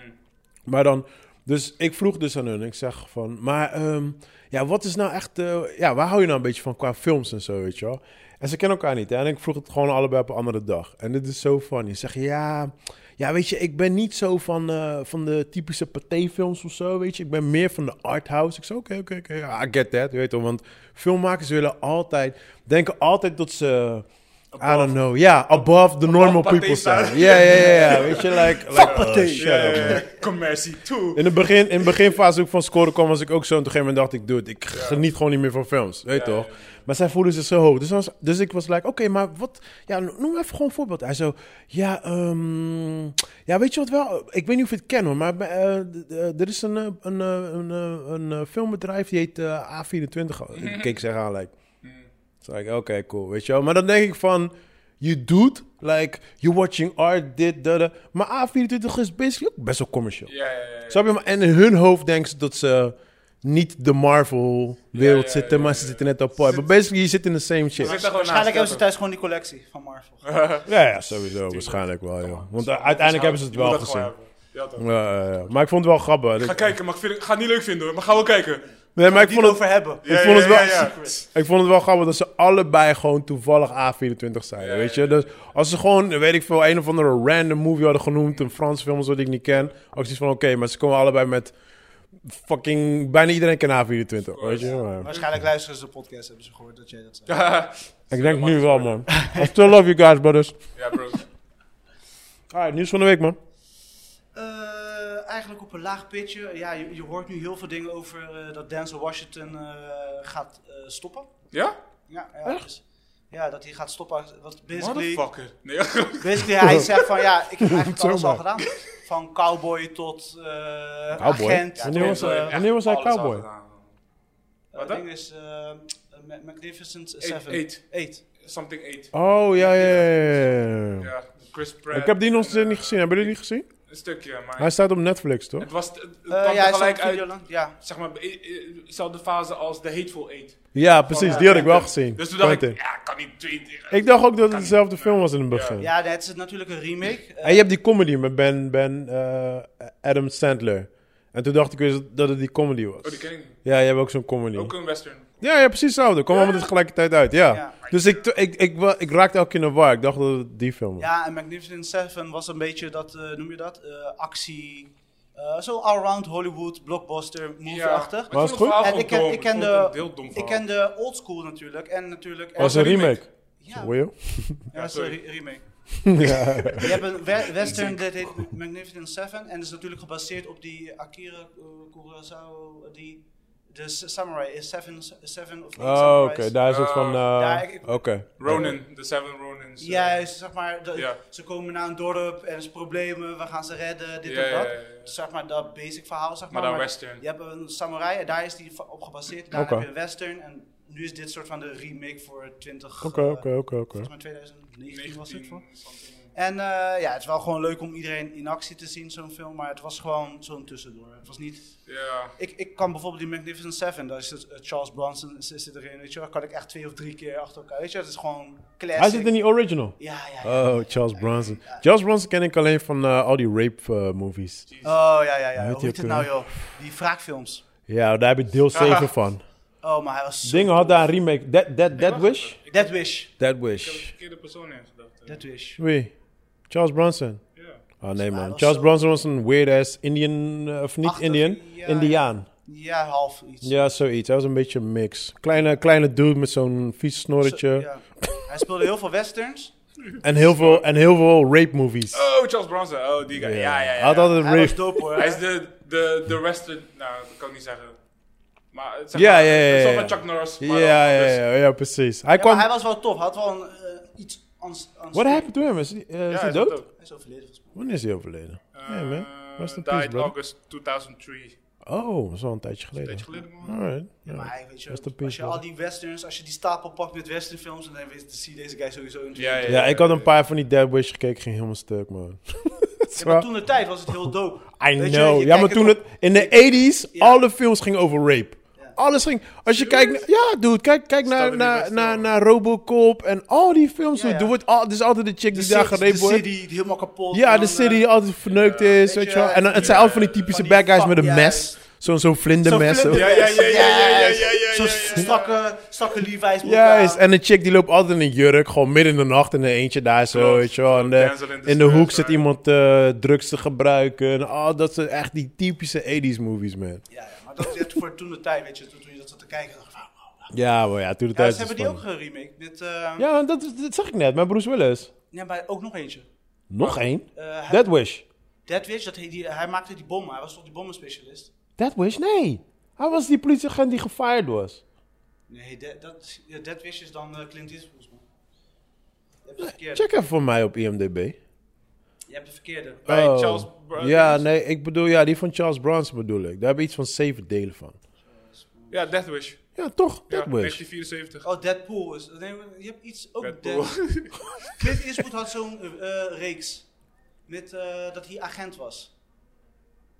S1: Maar dan, dus ik vroeg dus aan hun, ik zeg van, maar ehm, ja, wat is nou echt, eh, ja, waar hou je nou een beetje van qua films en zo, weet je wel? En ze kennen elkaar niet, hè? En ik vroeg het gewoon allebei op een andere dag. En dit is zo funny. Ze zeggen, ja, ja, weet je, ik ben niet zo van, eh, van de typische paté-films of zo, weet je. Ik ben meer van de arthouse. Ik zei, oké, oké, oké, ja, I get that, je weet toch. Want filmmakers willen altijd, denken altijd dat ze... I don't know. Ja, above the normal
S2: Pathé
S1: people
S2: staan.
S1: zijn. Ja, ja, ja, ja. Weet je, like... like oh, shut
S2: Ja,
S1: up,
S2: ja,
S1: man.
S2: ja. [laughs] Commercie, toe.
S1: In de, begin, in de beginfase ook van scoren kwam, was ik ook zo. En toen een gegeven moment dacht ik, dude, ik geniet gewoon niet meer van films. Weet je toch? Maar zij voelen zich zo hoog. Dus, was, dus ik was like, oké, maar wat... Ja, no- noem even gewoon een voorbeeld. Hij zo, ja, ehm, ja, weet je wat wel? Ik weet niet of je het kent, hoor, maar eh, d- d- er is een, eh, een, eh, een, eh, een, eh, filmbedrijf, die heet eh, A24. Ik keek ze aan, like... Toen zei ik, oké, cool, weet je wel. Maar dan denk ik van, je doet, like, you're watching art, dit, dat, dat. Maar A24 is basically ook best wel commercial.
S2: Ja, ja, ja, ja.
S1: Snap je? Maar- En in hun hoofd denken ze dat ze niet de Marvel-wereld
S2: Ja, ja,
S1: zitten, maar
S2: ja,
S1: ze
S2: ja.
S1: zitten net apart. Maar basically, je zit in the same
S2: Zit
S1: shit.
S2: daar gewoon
S3: Waarschijnlijk hebben
S2: naast,
S3: ze thuis gewoon die collectie van Marvel.
S1: Nou, Ja, ja sowieso. Waarschijnlijk wel, joh. [laughs] Want eh, uiteindelijk hebben ze het wel
S2: Je moet dat
S1: gezien.
S2: gewoon hebben. Ja, toch.
S1: Ja, ja, ja. Maar ik vond het wel grappig.
S2: Ga
S1: Ik-
S2: kijken, maar ik vind het, ga het niet leuk vinden hoor, maar gaan we kijken. [laughs]
S1: Nee, maar ik
S3: Die
S1: vond, het,
S3: over hebben.
S1: ik, vond het wel,
S2: Ja, ja,
S1: ik vond het wel grappig dat ze allebei gewoon toevallig A24 zijn.
S2: Ja,
S1: weet
S2: ja,
S1: je? Dus als ze gewoon, weet ik veel, een of andere random movie hadden genoemd, een Frans film of zo die ik niet ken. Ook zoiets van, oké, maar ze komen allebei met fucking... Bijna iedereen kent A24, weet je? Maar-
S3: Waarschijnlijk luisteren ze de podcast, hebben ze gehoord dat jij dat zei.
S2: ja.
S1: Ik denk nu wel, man. I still love you guys, brothers.
S2: Ja, bro.
S1: Alright, nieuws van de week, man.
S3: Eh, eigenlijk op een laag pitje. Ja, je, je hoort nu heel veel dingen over eh, dat Denzel Washington eh, gaat eh, stoppen.
S2: Ja?
S3: Ja, ja, dus- ja, dat hij gaat stoppen. Wat basically,
S2: Motherfucker. [laughs] Nee, ja,
S3: basically
S1: [laughs]
S3: hij zegt van ja, ik heb eigenlijk
S1: Zo
S3: alles al
S1: maar.
S3: gedaan. Van cowboy tot eh
S1: Cowboy?
S3: agent.
S1: Wanneer
S3: tot,
S1: was hij-
S3: eh,
S1: wanneer was hij
S2: alles al
S1: cowboy?
S2: gedaan. Wat
S3: Het
S2: dan?
S3: ding is eh, Ma- Magnificent
S2: Eight-
S3: 7.
S2: eight.
S3: 8.
S2: Something 8.
S1: Oh, ja, ja, ja, ja.
S2: Ja, Chris Pratt.
S1: Oh. Ik heb die nog
S2: en, eh,
S1: niet gezien. Hebben jullie die gezien?
S2: Een stukje, maar
S1: Hij staat op Netflix, toch?
S2: het was het, het kwam
S3: Eh, ja, hij is
S2: tegelijk
S3: een
S2: uit,
S3: video lang. Ja.
S2: zeg maar, eh, eh, dezelfde fase als The Hateful Eight.
S1: Ja, precies. Die had ik wel gezien.
S2: Dus toen dacht
S1: Quentin.
S2: ik, ja, kan niet twee tegen-
S1: Ik dacht ook dat
S2: Kan
S1: het
S2: niet.
S1: dezelfde film was in het begin.
S3: ja, nee, het is natuurlijk een remake. Eh,
S1: En je hebt die comedy met Ben, ben eh, Adam Sandler. En toen dacht ik dus dat het die comedy was.
S2: Oh, die ken ik niet.
S1: Ja, je hebt ook zo'n comedy.
S2: Ook een western.
S1: Ja, ja, precies hetzelfde. Kom allemaal tegelijkertijd uit, ja.
S3: Ja.
S1: Dus ik, ik, ik, wa- ik raakte elke keer in de war. Ik dacht dat het die film was.
S3: Ja, en Magnificent Seven was een beetje dat, eh, noem je dat? Eh, actie. eh Zo'n allround Hollywood blockbuster movie-achtig.
S1: was
S2: ik
S1: goed?
S2: vond
S3: En
S2: verhaal
S3: ik
S2: gewoon
S3: ken,
S2: dom.
S3: ik ken
S2: vond het
S3: de,
S2: een heel dom
S3: ik
S2: verhaal.
S3: ken de old school natuurlijk. En natuurlijk.
S1: was
S3: en-
S1: een
S2: een
S1: remake.
S3: Ja,
S1: Wil je?
S3: ja, dat is een re- remake.
S1: [laughs] ja.
S3: Je hebt
S2: [laughs]
S3: een we- western dat heet Magnificent Seven. En dat is natuurlijk gebaseerd op die Akira eh, Kurosawa. Die, de s- samurai is Seven, seven of Eight
S1: Oh, oké.
S3: Samurais.
S1: Daar is het van... eh,
S3: Ja, ik- ik-
S1: oké.
S2: Ronin, de Seven Ronins. eh,
S3: Juist, zeg maar, de-
S2: Ja.
S3: ze komen naar een dorp en er is problemen, we gaan ze redden, dit
S2: Ja,
S3: en dat.
S2: ja, ja, ja.
S3: Dus zeg maar dat basic verhaal, zeg
S2: Maar
S3: maar.
S2: dan western.
S3: Je hebt een samurai en daar is die va- op gebaseerd. Daar
S1: Oké.
S3: heb je een western en nu is dit soort van de remake voor 20...
S1: Oké,
S3: eh,
S1: oké, oké, oké.
S3: Volgens mij 2019 was het voor.
S2: 19 something.
S3: En eh, ja, het is wel gewoon leuk om iedereen in actie te zien, zo'n film. Maar het was gewoon zo'n tussendoor. Het was niet...
S2: Ja.
S3: Ik, ik kan bijvoorbeeld die Magnificent Seven, daar is het, eh, Charles Bronson is- zit erin, weet je wel. Kan ik echt twee of drie keer achter elkaar, weet je wel. Het is gewoon classic.
S1: Hij zit in die original.
S3: Ja, ja, ja.
S1: Oh, Charles Bronson. Charles Bronson ken ik alleen van eh, al die rape eh, movies.
S3: Oh ja, ja, ja.
S1: Hoe heet
S3: Hoe
S1: die
S3: heet het
S1: ook
S3: nou,
S1: weer?
S3: joh? Die wraakfilms.
S1: Ja, daar heb ik deel 7 van.
S3: Oh, maar hij was. Zo...
S1: Dingen had daar een remake. Dead, dead, dead Wish?
S3: Dead Wish.
S1: Dead
S2: Ik heb de
S1: Wish.
S2: verkeerde persoon in gedacht.
S3: Dead Wish.
S1: Wie? Charles Bronson.
S2: Ja.
S1: Oh nee man,
S3: was
S1: Charles
S3: zo-
S1: Bronson was een weird-ass Indian, eh, of niet
S3: Achtig,
S1: Indian,
S3: ja,
S1: Indiaan.
S3: Ja, half iets.
S1: Ja, zoiets. Hij was een beetje een mix. Kleine, kleine dude met zo'n vies
S3: Zo-
S1: snorretje.
S3: ja. Hij speelde heel veel westerns.
S1: En, heel veel, en heel veel rape movies.
S2: Oh, Charles Bronson. Oh, die guy. Ja, ja, ja.
S1: Hij had altijd
S3: Hij was
S1: rape.
S3: dope hoor.
S2: Hij is de, de, de western... Nou, dat kan ik niet zeggen. Maar het zeg
S1: Ja,
S2: maar,
S1: ja, ja,
S2: het is wel
S1: ja.
S2: van Chuck Norris. maar
S1: Ja,
S2: dan
S1: ja, ja,
S2: anders.
S1: ja, ja, precies. Hij
S3: Ja, maar
S1: kwam...
S3: hij was wel tof. Hij had wel een, eh, iets anders.
S1: What happened to him? Is, die- eh, is
S2: Ja,
S1: hij
S2: is dat
S1: dood?
S2: ook.
S3: Hij is overleden volgens mij.
S1: Wanneer is hij overleden? Nee man.
S2: Eh,
S1: Rest in
S2: died
S1: peace, brother.
S2: August 2003.
S1: Oh, dat is al een tijdje geleden.
S2: Tijdje geleden, man.
S1: Alright. ja.
S3: Maar hij, weet je,
S1: Rest in
S3: als
S1: peace,
S3: je
S1: brother.
S3: al die westerns, als je die stapel pakt met westernfilms, dan weet je, dan zie je deze guy sowieso in.
S2: Ja, ja,
S1: Ja, ik had een paar van die Dead Wish gekeken, ging helemaal stuk man. [laughs]
S3: Ja, maar toen de tijd was het heel dope.
S1: I
S3: Weet je,
S1: know.
S3: je
S1: ja, maar
S3: kijkt
S1: toen
S3: op-
S1: het... In de 80s,
S3: Ja.
S1: alle films gingen over rape. Alles ging... Als je kijkt... naar- Ja, dude. Kijk, kijk naar,
S2: er
S1: naar,
S2: best
S1: naar, naar Robocop en al die films.
S3: Ja,
S1: dude.
S3: ja.
S1: Er wordt al, het is altijd de chick
S3: De
S1: die daar
S3: city, de
S1: gerepen wordt.
S3: city, die helemaal kapot.
S1: Ja,
S3: en
S1: de
S3: dan,
S1: city die
S3: eh,
S1: altijd verneukt is, weet je wel. En dan- het zijn
S3: ja,
S1: altijd van die typische
S3: van
S1: bad
S3: die
S1: guys
S3: fuck-
S1: met een
S3: ja,
S1: mes. Zo'n zo'n
S3: Zo'n
S1: vlindermes.
S3: vlinder-
S1: zo.
S2: Ja, ja, ja, ja, ja, ja, ja,
S3: Juist.
S2: ja, ja,
S3: Zo'n
S2: ja, ja.
S3: [laughs] strakke, strakke Levi's broek
S1: Juist,
S3: aan.
S1: en een chick die loopt altijd in een jurk, gewoon midden in de nacht in een eentje daar zo,
S2: Klopt.
S1: weet je wel. En de-
S2: Denzel in
S1: in de hoek
S2: distress,
S1: zit
S2: hè.
S1: iemand eh, drugs te gebruiken. En, ah, dat zijn echt die typische 80s movies, man.
S3: Ja, ja, maar dat is voor toen de tijd, weet je, toen toen je dat zat te kijken. dacht ik, wauw, wauw, wauw.
S1: Ja, maar ja, toen de
S3: Ja,
S1: tijd
S3: ze
S1: is
S3: hebben
S1: het
S3: die ook
S1: van-
S3: geremake met, eh ja.
S1: Ja, dat, is- dat zag ik net, met Bruce Willis.
S3: maar ook nog eentje.
S1: Nog één?
S3: Eh, hij,
S1: Dead Wish.
S3: Dead Witch, dat hij, die, hij maakte die bommen, hij was toch die bommenspecialist?
S1: Dead Wish? Nee. Hij was die politieagent die gefired was.
S3: Nee, Dead- dat, ja, Dead Witch is dan eh, Clint Eastwood, volgens mij. Je hebt de verkeerde.
S1: Check even voor mij op IMDb.
S3: Je hebt de verkeerde.
S2: Bij
S1: Oh.
S2: Charles Bronson.
S1: Ja, nee, ik bedoel, ja, die van Charles Bronson bedoel ik. Daar heb ik iets van zeven delen van.
S2: Ja, Death Wish.
S1: Ja, toch?
S2: Ja,
S1: Dead Wish.
S2: 1974.
S3: Oh, Deadpool is. Nee, je hebt iets ook.
S2: Deadpool.
S3: Dead- [laughs] Clint Eastwood had zo'n eh, eh, reeks. Met eh, dat hij agent was.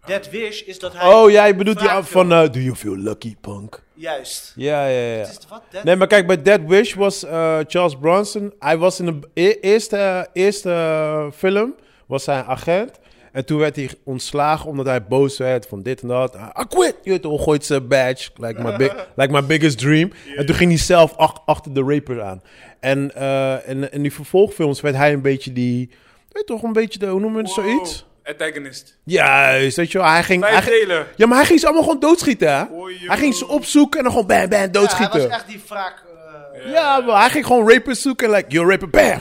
S2: Ah.
S3: Dead Wish is dat hij.
S1: Oh, jij bedoelt die
S3: Vraag
S1: af van eh, Do You Feel Lucky, punk?
S3: Juist.
S1: Ja, ja, ja.
S3: Het is wat? Dead...
S1: Nee, maar kijk, bij Dead Wish was eh, Charles Bronson. Hij was in de b- e- eerste, eerste eh, film, was hij een agent. En toen werd hij ontslagen omdat hij boos werd van dit en dat. Ah, I quit! Je weet toch, gooit zijn badge, like my,
S2: [laughs]
S1: big, like my biggest dream. En toen ging hij zelf ach- achter de raper aan. En eh, in, in die vervolgfilms werd hij een beetje die... Weet toch, een beetje de... Hoe noem je het, zoiets?
S2: Wow. Oh, Antagonist.
S1: Juist, weet je wel. Hij ging... hij
S2: Vijf
S1: ging-
S2: delen.
S1: ja, maar hij ging ze allemaal gewoon doodschieten, hè?
S2: Oei, joh.
S1: hij ging ze opzoeken en dan gewoon bam, bam,
S3: ja, hij
S1: doodschieten.
S3: was
S1: Ja,
S3: echt die wraak. eh,
S1: maar hij ging gewoon rapers zoeken, like, you're rapper, bam.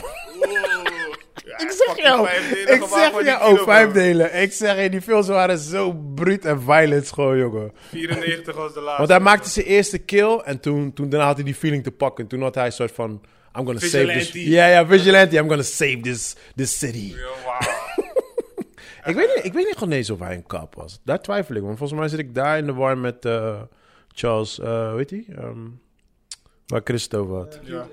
S2: Ja,
S1: [laughs] ik zeg
S2: fucking
S1: jou,
S2: vijf delen
S1: ik
S2: gemaakt
S1: zeg
S2: voor
S1: jou,
S2: die
S1: oh,
S2: kilo,
S1: vijf
S2: bro.
S1: delen. Ik zeg je, die films waren zo bruut en violent gewoon, jongen.
S2: 94 was de laatste.
S1: Want hij maakte zijn eerste kill en toen, toen daarna had hij die feeling te pakken. Toen had hij een soort van, I'm gonna save this.
S2: Vigilante.
S1: Ja, ja, vigilante, I'm gonna save this, this city.
S2: Ja, wauw.
S1: Ik weet, niet, ik weet niet gewoon eens of hij een kap was. Daar twijfel ik, want volgens mij zit ik daar in de war met eh, Charles, eh hoe heet die? Ehm, waar Christo had.
S2: Ja.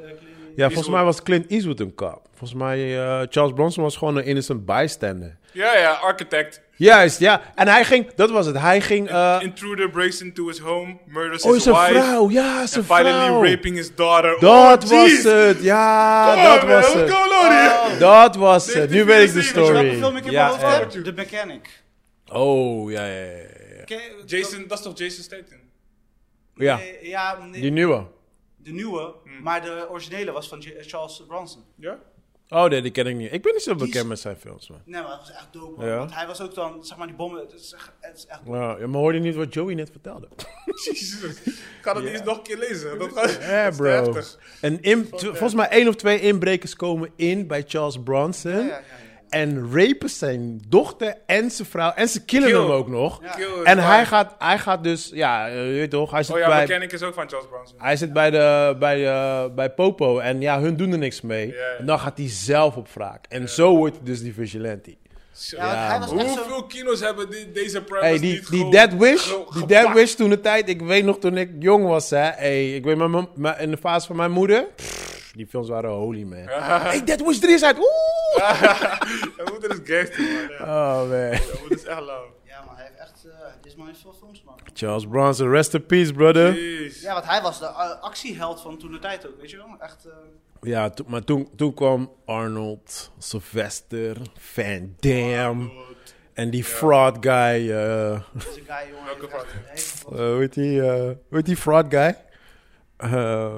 S1: Ja, volgens mij was Clint Eastwood een kap. Volgens mij, eh, Charles Bronson was gewoon een innocent bystander.
S2: Ja, ja, architect.
S1: Juist, ja. En hij ging, dat was het, hij ging... eh,
S2: Intruder breaks into his home, murders
S1: oh,
S2: his
S1: zijn
S2: wife.
S1: vrouw, ja,
S2: And
S1: zijn vrouw.
S2: finally raping his daughter.
S1: Dat
S2: oh,
S1: was
S2: jeez.
S1: het, ja,
S2: Come
S1: dat
S2: on,
S1: was
S2: man,
S1: het.
S2: what's
S1: Ah.
S2: going on here?
S1: Dat was het,
S2: Dit
S1: nu
S2: is
S1: weet ik de
S2: niet gezien,
S3: Welke film
S1: story.
S3: ik in
S1: Ja,
S3: mijn hoofd
S1: ja.
S3: heb? The Mechanic.
S1: Oh, ja, ja, ja, ja.
S3: Ken-
S2: Jason, dat is toch Jason Statham?
S1: ja. Ja,
S3: Eh, ja, nee,
S1: die nieuwe.
S3: de nieuwe,
S2: Hmm.
S3: maar de originele was van J- Charles Bronson.
S2: Ja? [laughs]
S1: Oh, nee, die ken ik niet. Ik ben niet zo
S3: is-
S1: bekend met zijn films, man.
S3: Nee, maar dat was echt dope. man.
S1: Ja?
S3: Want hij was ook dan, zeg maar, die bommen. Het is echt, het is echt
S1: Ja, ja, maar hoorde je niet wat Joey net vertelde?
S2: Jezus. Ik kan het eens nog een keer lezen. Dat gaat
S1: Ja,
S2: dat is te
S1: bro.
S2: heftig.
S1: En in, tw- volgens mij één of twee inbrekers komen in bij Charles Bronson.
S3: ja, ja.
S1: En rapen zijn dochter en zijn vrouw. En ze killen
S2: Kill.
S1: hem ook nog.
S3: Ja.
S2: Kill is
S1: En hij
S2: fijn.
S1: gaat, hij gaat dus, ja, eh, je weet toch, hij zit,
S2: Oh ja,
S1: bij,
S2: Mechanic is ook van Charles Bronson.
S1: hij zit bij, de, bij, de, bij Popo. En ja, hun doen er niks mee.
S2: ja.
S1: En dan gaat hij zelf op wraak. En zo wordt hij dus die vigilante.
S2: Zo.
S3: Ja, want hij was echt zo...
S2: Hoeveel kino's hebben die, deze premise
S1: Hey, die,
S2: niet
S1: die
S2: gewoon
S1: Dead Wish,
S2: gro-
S1: die
S2: gepakt?
S1: Dead Wish toen de tijd, ik weet nog toen ik jong was, hè. Hey, ik weet mijn, mom- mijn- in de fase van mijn moeder, pff, die films waren holy,
S2: [laughs]
S1: man. Hey, Dead Wish 3 is uit, oeh!
S2: Mijn moeder is gangster, man. Ja,
S1: Oh, man.
S2: Mijn moeder is echt lauw.
S3: Ja, maar hij heeft echt... eh, dit is maar niet veel films, man.
S1: Charles Bronson, rest in peace, brother.
S2: Jeez.
S3: Ja, want hij was de eh, actieheld van toen de tijd ook, weet je wel? Echt... eh,
S1: Ja, to- maar toen, toen kwam Arnold, Sylvester, Van Damme.
S2: Goed.
S1: En die fraud guy, eh
S3: deze guy, jongen.
S2: Welke
S3: heeft echt
S2: vraag?
S3: een hele-
S1: eh, hoe heet die, eh, hoe heet die fraud guy? Eh,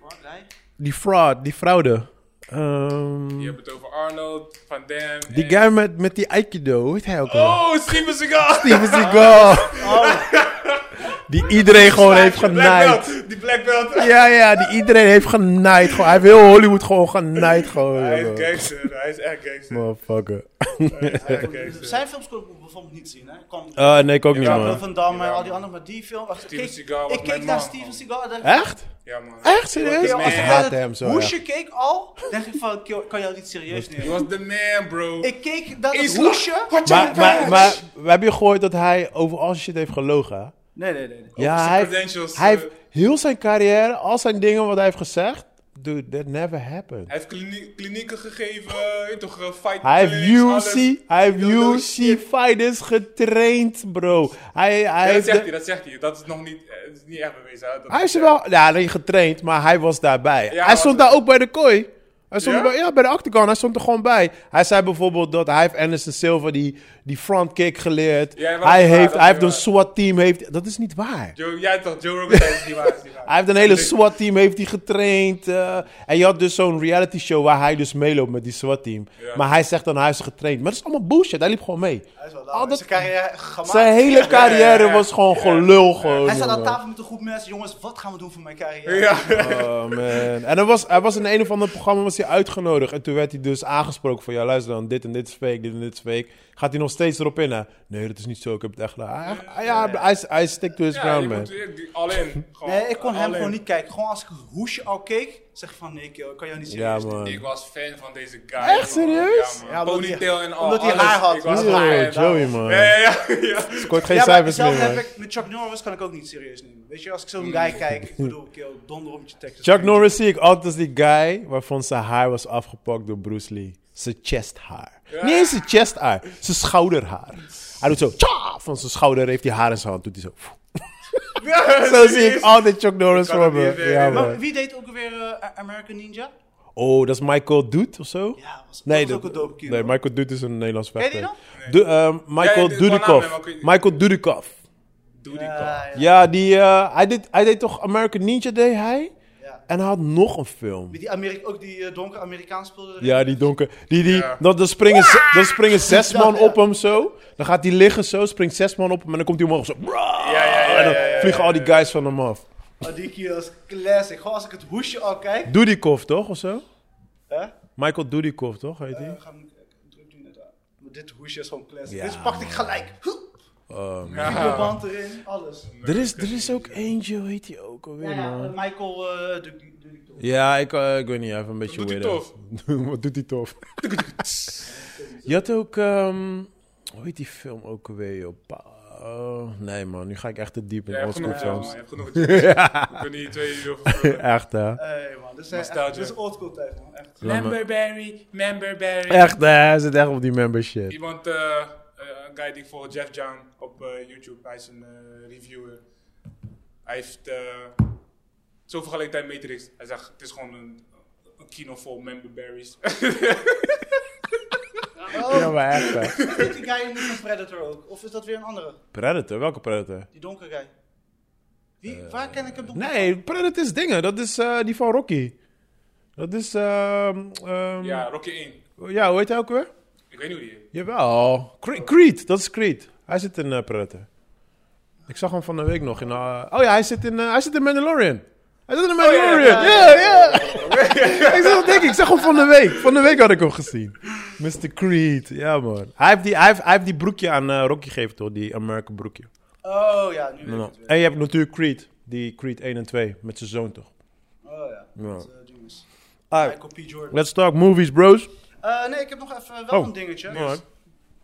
S3: Wat
S1: [laughs]
S3: guy?
S1: die fraud, die fraude. Ehm,
S2: Je hebt het over Arnold, Van Damme.
S1: die
S2: en-
S1: guy met, met die aikido, hoe heet hij ook al?
S2: Oh, Steven Seagal!
S1: Steven Seagal. Oh. Die
S2: [laughs]
S1: iedereen gewoon heeft
S2: Die Black
S1: genaaid.
S2: Belt, Die Black Belt.
S1: Ja, ja, die iedereen heeft genaaid. Gewoon. Hij heeft heel Hollywood gewoon genaaid. Gewoon,
S2: Hij
S1: jongen.
S2: is gangster. Hij is echt gangster.
S1: Motherfucker.
S2: Hij is echt gangster.
S3: dus Zijn films kon ik bijvoorbeeld niet zien, hè? Kom,
S1: Ah, nee, ik ook niet,
S2: Ja,
S1: man.
S3: Van Damme
S2: Ja,
S3: en al die
S2: man.
S3: anderen, maar die film... Ach,
S2: Steven
S3: keek-
S2: Seagal was
S3: Ik keek
S2: mijn
S3: naar
S2: man,
S3: Steven
S2: man.
S3: Seagal en dacht ik,
S1: Echt?
S2: Ja, man.
S1: Echt,
S3: Oké,
S1: serieus?
S2: man.
S1: Ik
S3: als ik
S2: haat
S3: naar
S1: hem
S3: het
S1: zo, ja.
S3: hoesje keek al, dacht ik van, "Kill, kan jou niet serieus
S2: He
S3: nemen.
S2: was the man, bro.
S3: Ik keek naar het
S2: Isla-
S3: hoesje.
S2: Had je
S1: Maar,
S2: een
S1: maar,
S2: badge?
S1: maar we hebben je gehoord dat hij over al zijn shit heeft gelogen, hè?
S3: Nee, nee, nee. nee.
S1: Ja,
S2: zijn
S1: hij, heeft-
S2: credentials,
S1: hij
S2: eh.
S1: heeft heel zijn carrière, al zijn dingen wat hij heeft gezegd... Dude, that never happened.
S2: Hij heeft klinie- klinieken gegeven, je weet toch, eh, fight
S1: Hij heeft
S2: clinics, alles.
S1: UFC, hij heeft
S2: Yo, yo, shit.
S1: UFC fighters getraind, bro. Hij, hij
S2: Ja, dat
S1: heeft de-
S2: zegt hij, dat zegt hij. Dat is nog niet, eh, is niet echt bewezen. hè. Dat
S1: Hij is er wel, ja, alleen getraind, maar hij was daarbij.
S2: Ja,
S1: hij stond
S2: maar-
S1: daar ook bij de kooi. Hij stond
S2: Ja?
S1: Bij, ja, bij de octagon, hij stond er gewoon bij. Hij zei bijvoorbeeld dat hij heeft Anderson Silva die, die frontkick geleerd.
S2: Ja, dat is
S1: hij
S2: waar,
S1: heeft,
S2: dat
S1: hij
S2: is
S1: heeft een
S2: waar.
S1: SWAT-team. Heeft, dat is niet waar.
S2: Joe, jij toch, Joe Rogan, dat is niet waar. dat is niet waar.
S1: Hij heeft een hele SWAT-team heeft hij getraind. eh, en je had dus zo'n reality show waar hij dus meeloopt met die SWAT-team.
S2: Ja.
S1: Maar hij zegt dan hij is getraind. Maar dat is allemaal bullshit, hij liep gewoon mee.
S3: Hij is wel
S1: Al
S3: laat.
S1: dat-
S3: Zijn carrière gemaakt.
S1: Zijn hele carrière
S2: ja.
S1: was gewoon gelul. Gewoon,
S3: Hij zat aan
S1: jongen.
S3: tafel met een groep mensen. Jongens, wat gaan we doen voor mijn carrière?
S2: Ja,
S1: Oh man. En er was, hij was in een of ander programma was hij uitgenodigd. En toen werd hij dus aangesproken van... Ja, luister dan, dit en dit is fake, dit en dit is fake. Gaat hij nog steeds erop in, hè? Nee, dat is niet zo, ik heb het echt gedaan. Hij- hij- Ja, hij, hij stick to his
S2: ja je
S1: ground, man.
S2: moet weer all in. Gewoon,
S3: Nee, ik kon
S2: all
S3: hem
S2: in.
S3: gewoon niet kijken. Gewoon als ik het hoesje al keek, zeg ik van nee, ik kan jou niet serieus
S1: Ja,
S3: nemen.
S2: Ik
S1: man.
S2: was fan van deze guy.
S1: Echt
S2: man.
S1: serieus?
S2: Ja, man.
S3: Ja, omdat hij-
S2: Ponytail en al.
S3: omdat hij
S2: alles.
S3: haar had.
S2: Ik was
S3: Ja,
S2: fan.
S1: Yo, Joey, man.
S2: Ja, ja, ja.
S1: Scoort geen
S3: Ja, maar
S1: cijfers meer,
S3: zelf heb
S1: man.
S3: ik, met Chuck Norris kan ik ook niet serieus nemen. Weet je, als ik zo'n guy kijk, ik bedoel, kill, donder op met je Texas.
S1: Chuck Norris zie ik altijd als die guy... waarvan zijn haar was afgepakt door Bruce Lee. Zijn chesthaar. Niet eens zijn chesthaar, zijn schouderhaar. Hij doet zo... Tja! Van zijn schouder heeft hij haar in zijn hand. Doet hij zo...
S2: [laughs] Ja,
S1: [laughs] Zo zie
S2: serieus.
S1: ik altijd Chuck Norris
S2: Ik kan het
S1: voor me.
S2: niet weten.
S1: Ja, man.
S3: Maar wie deed ook weer eh, American Ninja?
S1: Oh, dat is Michael Doet of zo?
S3: Ja, was,
S1: Nee,
S3: dat was ook
S1: dat-
S3: een dope kill.
S1: Nee, Michael Dudikoff is een Nederlands
S3: je
S1: vechter.
S3: die
S1: Du- ehm, Michael
S2: Ja, ik-
S1: Dudikoff.
S2: ik- ik- ik- ik-
S1: Michael Dudikoff.
S2: Doe die
S3: Ja,
S2: kant.
S3: ja.
S1: Ja, die, eh, hij, deed, hij deed toch American Ninja, deed hij?
S3: Ja.
S1: En hij had nog een film.
S3: Met die Ameri- ook die eh, donkere Amerikaan speelde erin.
S1: Ja, die donker. Die, die,
S2: Ja. Ah!
S1: dan, dan, springen, ze- dan springen
S2: [laughs]
S1: zes
S3: Ja,
S1: man
S3: ja.
S1: op hem zo. Dan gaat hij liggen zo, springt zes man op hem. En dan komt hij omhoog zo. brrrr,
S2: Ja, ja, ja,
S1: en dan
S2: ja, ja,
S1: vliegen
S2: ja,
S1: al die guys van hem af.
S3: Oh, die kill is classic. Gewoon als ik het hoesje al kijk.
S1: Dudikoff, toch? Of zo?
S3: Hè?
S1: Michael Dudikoff, toch? Heet die?
S3: We gaan druk doen net aan. Maar dit hoesje is gewoon classic.
S1: Ja,
S3: dit pakte ik gelijk. Hoep,
S1: Oh, man.
S3: Videoband erin, alles.
S1: er, is, er is ook Angel, heet die ook alweer,
S3: Ja,
S1: man.
S3: ja, Michael eh doe ik doe ik toch.
S1: Ja, ik, eh, ik weet niet, even een beetje
S2: doet hij
S1: weirdo. [laughs] Wat doet hij
S2: [laughs]
S1: tof? Je had ook, ehm, hoe heet die film ook alweer, joh? Pa- eh, nee man, nu ga ik echt te diep
S2: Je
S1: in
S2: hebt
S1: oldschool
S2: genoeg jazz, man.
S1: films.
S2: Je hebt genoeg jazz. We kunnen hier twee uur over vullen.
S1: [laughs] Echt hè?
S3: Hey man, dit is, echt,
S2: Nostalgia.
S3: dit is old school tijd man, echt.
S2: Member Barry, Member Barry.
S1: Echt hè, hij zit echt op die membership.
S2: Iemand, eh, eh, een guy die ik volg, Jeff Young op eh, YouTube. Hij is een eh, reviewer. Hij heeft eh, zo vergelijkt hij Matrix. Hij zegt, het is gewoon een, een kino vol member berries.
S1: Ja, maar echt hè.
S3: Is dit Oh, die guy niet van Predator ook? Of is dat weer een andere?
S1: Predator, welke Predator?
S3: Die donkere guy. Wie, waar ken ik hem nog?
S1: Eh, Nee, Predator is dingen. Dat is eh, die van Rocky. Dat is, ehm, ehm,
S2: [laughs] ja, Rocky 1.
S1: ja, hoe heet hij ook weer?
S2: Ik weet niet hoe die is.
S1: Jawel. Cre- Creed, dat is Creed. Hij zit in eh, Predator. Ik zag hem van de week nog in. eh, oh ja, hij zit in, eh, hij zit in Mandalorian. Hij zit in Mandalorian. Oh Ja, ja. [laughs] ik zag, denk, ik zag hem van de week. Van de week had ik hem gezien. Mr. Creed, ja man. Hij heeft die, hij heeft, hij heeft die broekje aan eh, Rocky gegeven, toch? Die American broekje.
S3: Oh ja, nu weet ik
S1: Ja.
S3: het weer.
S1: En je hebt natuurlijk Creed. Die Creed 1 en 2 met zijn zoon, toch?
S3: Oh ja,
S1: Ja.
S3: dat eh, ding is.
S1: Alright.
S3: Michael P. Jordan.
S1: Let's talk movies, bros.
S3: Eh, nee, ik heb nog even wel
S1: Oh,
S3: een dingetje.
S1: alright.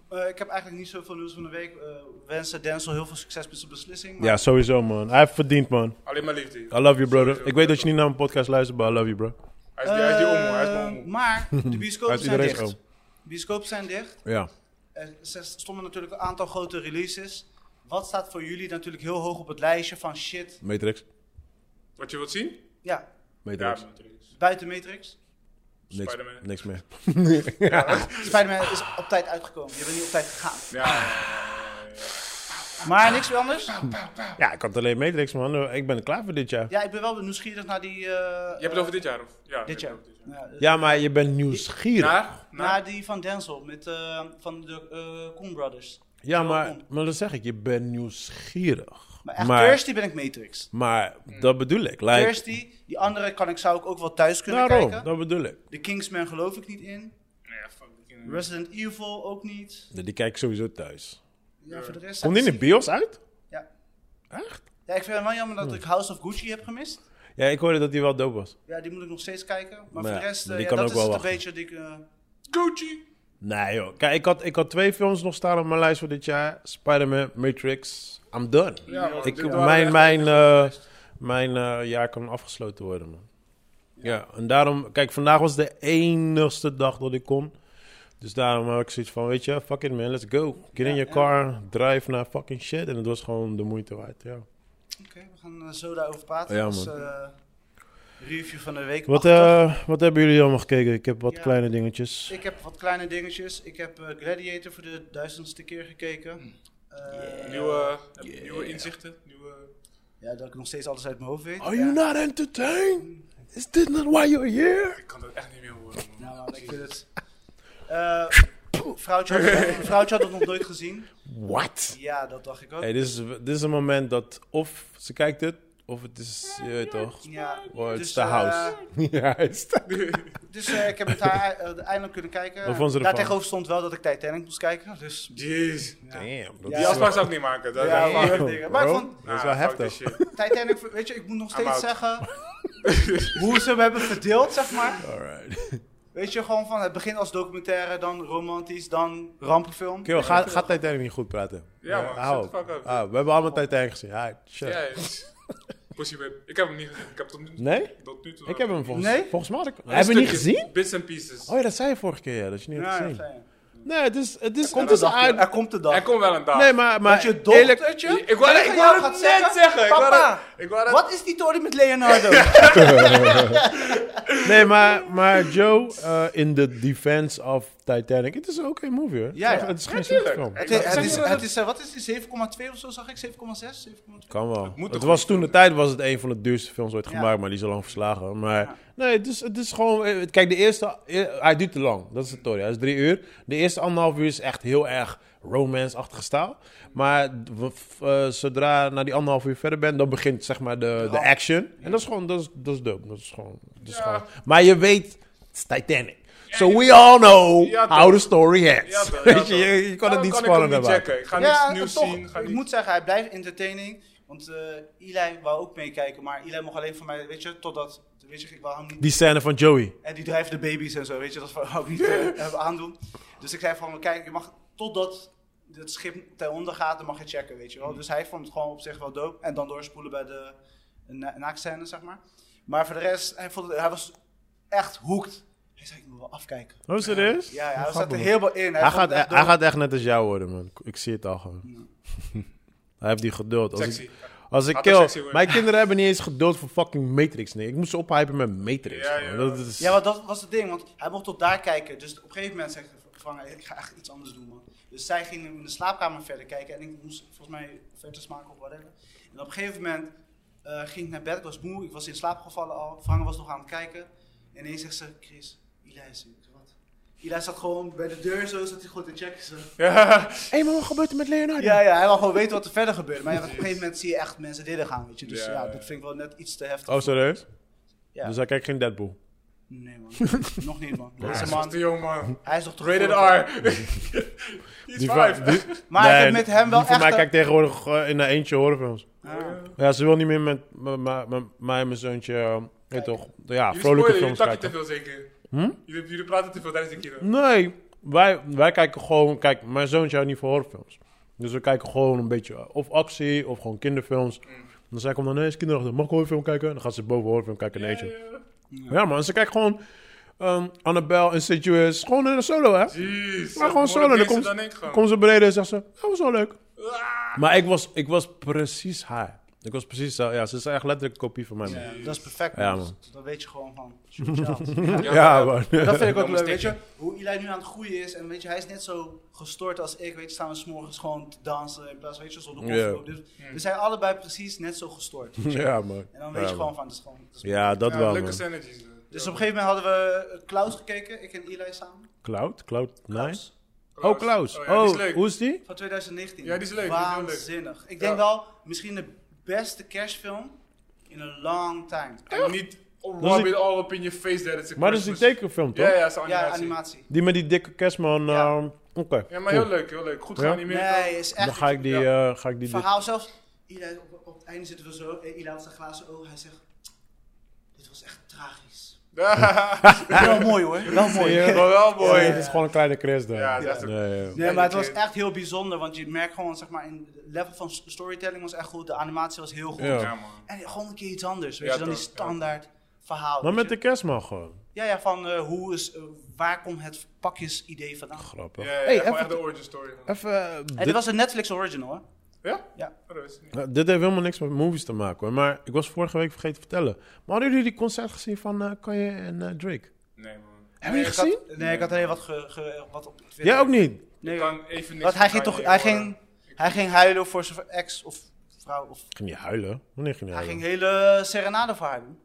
S3: Eh, ik heb eigenlijk niet zoveel nieuws van de week. Eh, we wensen Denzel heel veel succes met zijn beslissing. maar-
S1: Ja, sowieso, man. Hij heeft verdiend, man.
S2: Alleen maar liefde.
S1: I love you, brother. Ik weet dat je niet naar mijn podcast luistert, maar I love you, bro.
S2: Hij is die, hij is die oom, hoor. hij is
S3: Eh,
S2: mijn
S1: [laughs]
S2: oom.
S3: Maar de bioscopen
S1: Uit
S3: zijn
S1: iedereen's
S3: dicht.
S1: oom.
S3: bioscopen zijn dicht.
S1: Ja.
S3: Er z- stonden natuurlijk een aantal grote releases. Wat staat voor jullie natuurlijk heel hoog op het lijstje van shit?
S1: Matrix.
S2: Wat je wilt zien?
S3: Ja,
S2: Ja,
S1: Matrix.
S2: Matrix.
S3: buiten Matrix.
S1: niks,
S2: Spider-Man.
S1: niks meer. [laughs]
S3: Spider-Man is op tijd uitgekomen. Je bent niet op tijd gegaan.
S2: Ja, ja,
S3: Maar niks meer anders.
S1: Ja, ik had alleen Matrix, man. Ik ben klaar voor dit jaar. Ja,
S3: Ja, ik ben wel nieuwsgierig naar die... eh,
S2: je hebt het over dit jaar, of? Ja,
S3: dit
S2: ik heb
S3: jaar.
S2: het over
S3: Ja, eh,
S1: maar je bent nieuwsgierig.
S2: Naar? Naar?
S3: Naar die van Denzel, met, eh, van de eh Coen Brothers.
S1: ja, maar,
S3: Welkom.
S1: maar dat zeg ik. Je bent nieuwsgierig.
S3: Maar echt
S1: maar,
S3: thirsty ben ik Matrix.
S1: maar
S2: Hmm.
S1: dat bedoel ik. Like,
S3: Thirsty, die andere kan ik, zou ik ook wel thuis kunnen
S1: daarom,
S3: kijken.
S1: dat bedoel ik.
S3: De Kingsman geloof ik niet in.
S2: Nee, ja, fuck. die kinderen.
S3: Resident Evil ook niet.
S1: Die kijk ik sowieso thuis.
S3: Ja, voor de rest...
S1: Komt die in de bios uit?
S3: Ja.
S1: Echt?
S3: ja, ik vind het wel jammer dat ik House of Gucci heb gemist.
S1: Ja, ik hoorde dat die wel dope was.
S3: Ja, die moet ik nog steeds kijken. Maar,
S1: Maar
S3: voor de
S1: ja,
S3: rest, eh,
S1: die
S3: ja,
S1: kan
S3: dat
S1: ook
S3: is
S1: wel
S3: het een
S1: wachten.
S3: beetje die ik... eh,
S2: Gucci!
S1: Nee joh. Kijk, ik had, ik had twee films nog staan op mijn lijst voor dit jaar. Spider-Man, Matrix. I'm done.
S2: Ja, man,
S1: ik,
S2: dit waren echt-
S1: mijn mijn, eh, mijn eh, jaar kan afgesloten worden, man. Ja. en daarom... Kijk, vandaag was de enigste dag dat ik kon. Dus daarom had ik zoiets van, weet je, fuck it man, let's go. Get in your car, drive naar fucking shit. En het was gewoon de moeite waard, ja.
S3: Oké, we gaan eh, zo daarover praten.
S1: Ja,
S3: Dat is
S1: man.
S3: eh, review van de week.
S1: Wat,
S3: achter.
S1: eh, wat hebben jullie allemaal gekeken? Ik heb wat
S3: Ja.
S1: kleine dingetjes.
S3: Ik heb wat kleine dingetjes. Ik heb eh, Gladiator voor de duizendste keer
S1: Hmm.
S3: gekeken. Eh,
S2: Nieuwe, eh, nieuwe inzichten, nieuwe...
S3: Ja, dat ik nog steeds alles uit mijn hoofd weet.
S1: Are
S3: Ja.
S1: you not entertained? Is this not why you're here?
S2: Ik kan dat echt niet meer horen, man.
S3: Nou, man, ik vind het... Eh, vrouwtje, had, vrouwtje had het nog nooit gezien.
S1: What?
S3: Ja, dat dacht ik ook.
S1: Hey, dit, is, dit is een moment dat of ze kijkt het, of het is, je weet toch,
S3: Ja,
S1: oh, het is
S3: dus,
S1: de
S3: eh, [laughs]
S1: house. ja, het is de
S3: Dus eh, ik heb het haar eh, eindelijk kunnen kijken.
S1: Wat vond ze ervan?
S3: Daar tegenover stond wel dat ik Titanic moest kijken. Dus
S2: Jeez.
S1: Damn, dat
S2: Die
S3: Ja,
S1: is wel,
S2: afspraak zou ik niet maken. Dat
S3: Ja,
S2: dat-
S3: maar-
S2: Ah,
S3: afspraak- dingen. Maar ik
S1: Bro,
S3: vond-
S1: dat is wel
S2: fuck
S1: heftig.
S2: this shit.
S3: Titanic, weet je, ik moet nog
S2: I'm
S3: steeds
S2: out. [laughs]
S3: zeggen hoe ze hem hebben verdeeld, zeg maar.
S1: Alright.
S3: Weet je, gewoon van het begin als documentaire, dan romantisch, dan rampenfilm.
S1: Kerel, ga, ga Titanic niet goed praten.
S2: Ja, man,
S1: hou
S2: shut the
S1: op.
S2: fuck up.
S1: Ah, we hebben allemaal Titanic gezien. Hi, shut
S2: Ja,
S1: up.
S2: is- Pussy Whip. Ik heb hem niet gezien. Ik heb tot nu toe...
S1: Nee?
S2: Tot nu toe
S1: Ik heb hem volgens,
S3: Nee?
S1: volgens mij... had ik-
S2: Een
S1: Hebben we niet
S2: stukje,
S1: gezien?
S2: Bits and pieces.
S1: Oh ja, dat zei je vorige keer, ja, dat je niet
S3: Ja,
S1: had
S3: ja,
S1: gezien.
S3: fijn.
S1: Nee, het is... Het is,
S3: Komt
S1: het
S3: de
S1: is
S3: dag, joh.
S1: uit...
S3: er komt de dag.
S2: Er komt wel een dag.
S1: Nee, maar... maar
S3: dat je
S1: eerlijk-
S3: dochtertje
S2: Ik- ik wou
S3: tegen
S2: ik wou
S3: jou
S2: het
S3: gaat
S2: net zeggen, ik wou
S3: Papa,
S2: het- ik wou het-
S3: wat is die toren met
S2: [laughs]
S3: Leonardo?
S1: Nee, maar, maar Joe, eh, in the defense of Titanic, het is een oké movie, hoor.
S3: Ja, ja.
S1: Het is geen slechte
S2: tuurlijk.
S1: film.
S3: het, is-
S2: Zeg
S3: het
S2: je
S3: is,
S2: dat
S3: het is, eh, wat is die, 7,2 of zo zag ik? 7,6? 7,2?
S1: Kan wel.
S2: moet
S1: Het,
S2: een
S1: was
S2: goede
S1: toen de tijd was het een van de duurste films ooit
S3: Ja.
S1: gemaakt, maar die is al lang verslagen. Maar
S3: Ja.
S1: nee, het is, het is gewoon. eh, Kijk, de eerste. eh, Hij duurt te lang. Dat is het story. Hij is drie uur. De eerste anderhalf uur is echt heel erg romance-achtige stijl. Maar w- f- eh, zodra na die anderhalf uur verder bent, dan begint zeg maar de, de
S3: Ja.
S1: action. En dat is gewoon. Dat is, dat is dope. Dat is gewoon. Dat is
S2: Ja.
S1: gewoon. Maar je weet, het is Titanic. So we all know
S2: Ja, toch.
S1: how the story
S2: Ja,
S1: ends.
S2: toch, ja,
S1: [laughs] Weet je, je, je kan
S2: Daarom
S1: het niet
S2: ik hem
S1: spannender
S2: niet
S1: maken.
S2: checken. Ik ga
S3: Ja,
S2: niets nieuws
S3: toch,
S2: zien. Ga
S3: ik
S2: niet...
S3: moet zeggen, hij blijft entertaining. Want eh Eli wou ook meekijken, maar Eli mocht alleen voor mij, weet je, totdat, weet je, ik wou hem niet.
S1: Die scène van Joey.
S3: En die drijft de baby's en zo, weet je, dat wou ik niet eh, hebben aandoen. Dus ik zei van, kijk, je mag totdat het schip ten onder gaat, dan mag je checken, weet je
S1: Hmm.
S3: wel. Dus hij vond het gewoon op zich wel dope. En dan doorspoelen bij de eh, na- naaktscène, zeg maar. Maar voor de rest, hij, vond het, hij was echt hooked. Hij zei, ik moet wel afkijken.
S1: Oh, serieus?
S3: Ja, ja hij zat er
S1: Grappig.
S3: helemaal in.
S1: Hij,
S3: vond
S1: gaat,
S3: het
S1: hij,
S3: echt
S1: hij
S3: dope.
S1: gaat echt net als jou worden, man. Ik zie het al
S3: [laughs]
S1: gewoon. hij heeft die geduld. Als
S2: Sexy.
S1: ik, als ik
S2: Laat hem
S1: kill...
S2: sexy worden.
S1: Mijn kinderen hebben niet eens geduld voor fucking Matrix. Nee, ik moest ze ophypen met Matrix.
S2: Ja,
S1: man.
S2: ja.
S1: Dat is...
S3: Ja, want dat was het ding, want hij mocht tot daar kijken. Dus op een gegeven moment zegt van, ik ga echt iets anders doen, man. Dus zij ging in de slaapkamer verder kijken en ik moest volgens mij verder maken of whatever. En op een gegeven moment eh, ging ik naar bed, ik was moe, ik was in slaap gevallen al. Vangen was nog aan het kijken. En ineens zegt ze, Chris, Eli is er. Ik zeg, wat? Eli zat gewoon bij de deur zo, zat hij gewoon te checken. Zo.
S2: [laughs]
S1: Hé, maar wat gebeurt er met Leonardo?
S3: Ja, ja, hij wil gewoon weten wat er verder gebeurt. Maar ja, op een gegeven moment zie je echt mensen dit gaan, weet je. Dus
S2: Ja,
S3: ja,
S2: ja.
S3: dat vind ik wel net iets te heftig.
S1: Oh, serieus?
S3: Ja.
S1: Dus hij kijkt geen Deadpool.
S3: Nee man, nog niet man. Deze
S2: is nog te
S3: man,
S2: jong, man.
S3: hij is nog te
S2: Rated
S3: vorig, [laughs] man.
S2: R. He's
S1: va-
S2: five. [laughs]
S1: die-
S3: Maar ik heb met hem wel
S1: die Voor mij
S3: echt een-
S1: kijkt tegenwoordig eh, in haar eentje horrorfilms.
S3: Ah.
S1: Ja, ze wil niet meer met m- m- m- mij en mijn zoontje, eh, weet toch, ja,
S2: Jullie
S1: vrolijke
S2: spoilen,
S1: films
S2: jullie takken te
S1: kijken. Hm?
S2: veel zeker. Jullie, jullie praten te veel tijdens de kilo.
S1: Nee, wij, wij kijken gewoon, kijk, mijn zoontje houdt niet van horrorfilms. Dus we kijken gewoon een beetje eh, of actie of gewoon kinderfilms. En dan zei ik hem dan, nee, is kinderachtig, mag ik horrorfilm kijken? En dan gaat ze boven horrorfilm kijken in haar eentje. Ja man, ze kijkt gewoon ehm Annabelle, Insidious, gewoon in een solo hè.
S2: Jeez.
S1: Maar gewoon solo. Dan
S2: Dan
S1: komt,
S2: dan ik gewoon.
S1: komt ze beneden en zegt ze, dat was wel leuk. Maar ik was, ik was precies haar. Ik was precies, zo- ja, ze is echt letterlijk een kopie van mij. man.
S3: Ja, dat is perfect.
S1: Ja,
S3: Ja,
S1: man.
S3: Dat weet je gewoon van.
S2: [laughs]
S3: Super child. Ja,
S1: Ja, man.
S3: dat vind ik ook
S2: Dan
S3: leuk.
S2: moest
S3: Weet
S2: ik-
S3: je, hoe Eli nu aan het groeien is. En weet je, hij is net zo gestoord als ik. Weet je, staan we s'morgens gewoon te dansen. In plaats van, weet je, zonder
S1: Ja.
S3: koffer. op. Dus we zijn allebei precies net zo gestoord.
S1: Ja, man.
S3: En dan weet
S1: Ja, man.
S3: je gewoon van, dat is gewoon... dat is-
S1: Ja, dat
S2: Ja,
S1: wel,
S2: Leuke
S1: man.
S2: scènetjes. eh.
S3: Dus op een gegeven moment hadden we eh, Klaus gekeken. Ik en Eli samen.
S1: Cloud? Cloud? Nee.
S3: Klaus.
S1: Oh, Klaus.
S2: Oh,
S1: Oh,
S2: ja, die is leuk.
S1: hoe is die?
S3: Van 2019.
S2: Ja, die is leuk, die is heel leuk.
S3: Waanzinnig. Ik
S2: Ja.
S3: denk wel, misschien de beste kerstfilm in a long time.
S2: En niet
S1: Dat
S2: rub
S1: is
S2: it all up in your face that it's a
S1: Maar dat is die
S2: Christmas.
S1: tekenfilm, toch?
S2: Ja, ja, is een
S3: Ja,
S2: animatie.
S3: animatie.
S1: Die met die dikke kerstman.
S3: Ja.
S1: ehm, Oké.
S2: Ja, maar
S1: cool.
S2: heel leuk, heel leuk. Goed
S1: Ja?
S2: geanimeerd. [laughs]
S3: Nee, is echt
S1: Dan ga ik die... eh, ga ik die
S3: verhaal zelfs. Ila, op, op het einde zitten we zo. eh, Ila had zijn glazen ogen. Hij zegt: Dit was echt tragisch.
S1: [laughs]
S3: wel mooi hoor. Wel mooi.
S1: Ja,
S2: Maar wel mooi.
S1: Het is gewoon een kleine Chris daar.
S2: Ja, dat is ook-
S1: Nee, ja.
S3: Nee, maar het was echt heel bijzonder. Want je merkt gewoon, zeg maar, in het level van s- storytelling was echt goed. De animatie was heel goed.
S1: Ja.
S2: Ja, man.
S3: En gewoon een keer iets anders. Weet
S2: Ja,
S3: je dan die
S2: toch, ja.
S3: standaard verhaal.
S1: Maar
S3: weet
S1: met de
S3: je.
S1: kerstman gewoon.
S3: Ja, ja, van eh, hoe is, eh, waar komt het pakjes idee vandaan?
S2: Ja,
S1: Grappig.
S2: ja, ja,
S1: Hey,
S2: gewoon echt
S1: even-
S2: de origin story. Oh, man.
S1: Even... eh,
S3: En
S1: dit-
S3: dit was een Netflix original hoor.
S2: Ja?
S3: Ja.
S2: Oh, dat wist ik niet.
S1: Nou, dit heeft helemaal niks met movies te maken hoor. Maar ik was vorige week vergeten te vertellen. Maar hadden jullie die concert gezien van eh Kanye en eh, Drake?
S2: Nee, man.
S1: Hebben jullie
S3: ik had-
S1: gezien?
S3: nee, ik had alleen wat, ge, ge- wat op Twitter.
S1: Jij ook niet?
S3: Nee,
S2: Ik kan even niks
S3: Want hij
S2: van
S3: ging toch,
S2: Kanye
S3: hij
S2: horen.
S3: ging, hij ging huilen voor zijn ex of vrouw. Of,
S1: Ging je huilen? Wanneer ging je
S3: hij
S1: huilen?
S3: ging hele serenade voor haar doen.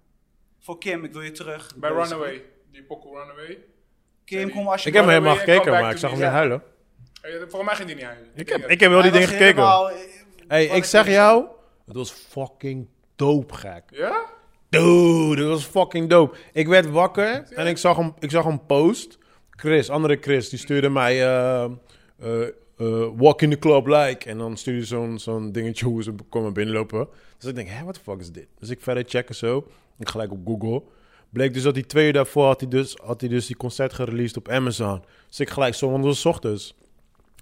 S3: Voor Kim, ik wil je terug.
S2: Bij
S3: Basically.
S2: Runaway. Die pokoe Runaway.
S3: Kim, kom alsjeblieft.
S1: Ik heb hem helemaal
S2: Runaway,
S1: gekeken,
S2: Come Back
S1: maar ik
S2: to
S1: zag
S2: Me,
S1: hem weer
S2: ja.
S1: huilen.
S2: Hey, Volgens mij ging die niet huilen.
S1: Ik heb, ik heb wel die dingen gekeken. Hey, ik zeg jou, het was fucking dope gek.
S2: Ja?
S1: Dude, dat was fucking dope. Ik werd wakker en ik zag een, ik zag een post. Chris, andere Chris, die stuurde mij... eh, eh, eh, walk in the club like. En dan stuurde zo'n zo'n dingetje hoe ze komen binnenlopen. Dus ik denk, hé, wat de fuck is dit? Dus ik verder checken zo. Ik gelijk op Google. Bleek dus dat die twee uur daarvoor had hij dus, had hij dus die concert gereleased op Amazon. Dus ik gelijk zo, want het was 's ochtends.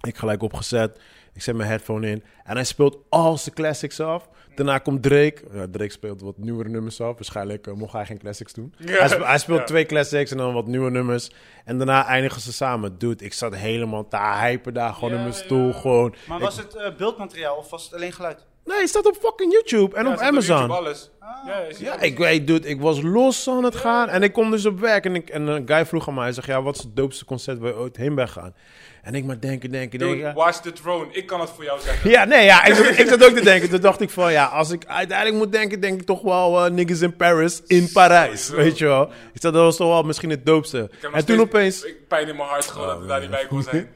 S1: Ik gelijk opgezet. Ik zet mijn headphone in. En hij speelt al zijn classics af. Daarna komt Drake. Ja, Drake speelt wat nieuwere nummers af. Waarschijnlijk eh, mocht hij geen classics doen. Hij, spe- hij speelt twee classics en dan wat nieuwe nummers. En daarna eindigen ze samen. Dude, ik zat helemaal te hypen daar. Gewoon in mijn stoel. Gewoon.
S3: Maar was het eh, beeldmateriaal of was het alleen geluid?
S1: Nee, het staat op fucking YouTube en
S2: Ja,
S1: op
S2: zit YouTube
S1: Amazon.
S2: alles.
S3: Ah.
S2: Ja, je ziet
S1: Ja,
S2: alles.
S1: ik weet, dude, ik was los aan het gaan. En ik kom dus op werk. En, ik, en een guy vroeg aan mij, hij zegt, ja, wat is het doopste concert waar je ooit heen bent gaan? En ik maar denken, denken, denken.
S2: Dude, watch the throne. Ik kan het voor jou zeggen.
S1: Ja, nee, ja, ik, zat- ik zat ook te denken. Toen dacht ik van, ja, als ik uiteindelijk moet denken, denk ik toch wel eh, niggas in Paris, in Parijs, weet je wel. Ik zat, dat was toch wel misschien het doopste.
S2: Ik heb nog
S1: En toen
S2: steeds-
S1: opeens,
S2: Ik pijn in mijn hart gewoon dat we daar niet bij
S1: [laughs]
S2: kon zijn.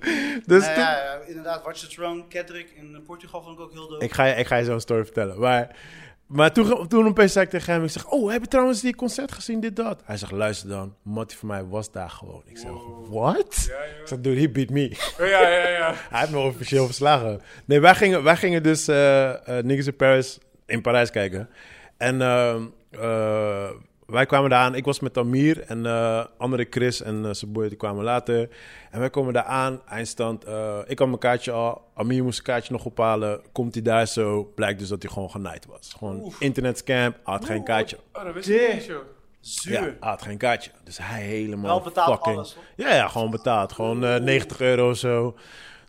S1: dus
S3: Nou
S1: toen...
S3: ja, ja, inderdaad. Watch the Throne, Kendrick in eh, Portugal vond ik ook heel dood.
S1: Ik ga, je- ik ga je zo'n story vertellen. Maar, maar toen, toen opeens zei ik tegen hem, ik zeg, oh, heb je trouwens die concert gezien, dit, dat? Hij zegt, luister dan, Mattie van mij was daar gewoon. Ik zeg, what?
S2: Ja, ja.
S1: Ik zeg, dude, he beat me.
S2: Ja, ja, ja. ja.
S1: Hij heeft me officieel verslagen. Nee, wij gingen, wij gingen dus eh eh, Niggas in Paris in Parijs kijken. En ehm, eh, Wij kwamen daar aan. Ik was met Tamir en eh, andere Chris en eh zijn boy, die kwamen later. En wij komen daar aan. Eindstand. eh, ik had mijn kaartje al. Amir moest zijn kaartje nog ophalen. Komt hij daar zo. Blijkt dus dat hij gewoon genaaid was. Gewoon internetscam. Had geen kaartje.
S2: Oh, dat wist ik niet, joh.
S3: Zuur.
S1: Ja, had geen kaartje. Dus hij helemaal
S3: Wel betaald
S1: fucking...
S3: alles, hoor.
S1: Ja, ja, gewoon betaald. Gewoon eh, 90 euro zo.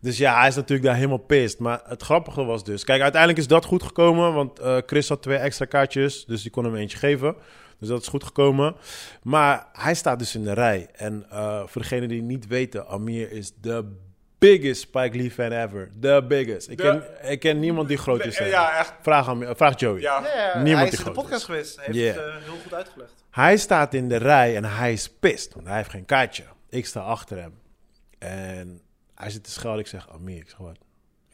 S1: Dus ja, hij is natuurlijk daar helemaal pissed. Maar het grappige was dus... Kijk, uiteindelijk is dat goed gekomen. Want eh, Chris had twee extra kaartjes. Dus die kon hem eentje geven. Dus dat is goed gekomen. Maar hij staat dus in de rij. En eh, voor degenen die niet weten... Amir is de biggest Spike Lee fan ever. The biggest. Ik,
S2: De-
S1: ken, ik ken niemand die groot is.
S2: Nee,
S1: dan
S2: ja,
S1: hem.
S2: echt.
S1: Vraag, Amir, eh, vraag Joey.
S2: Ja.
S3: Ja, ja,
S1: Niemand
S3: hij
S1: die
S3: is in de
S1: groot
S3: podcast
S1: is.
S3: geweest. Hij heeft
S1: Yeah.
S3: het eh, heel goed uitgelegd.
S1: Hij staat in de rij en hij is pist, want hij heeft geen kaartje. Ik sta achter hem. En hij zit te schelden. Ik zeg, Amir, ik zeg wat?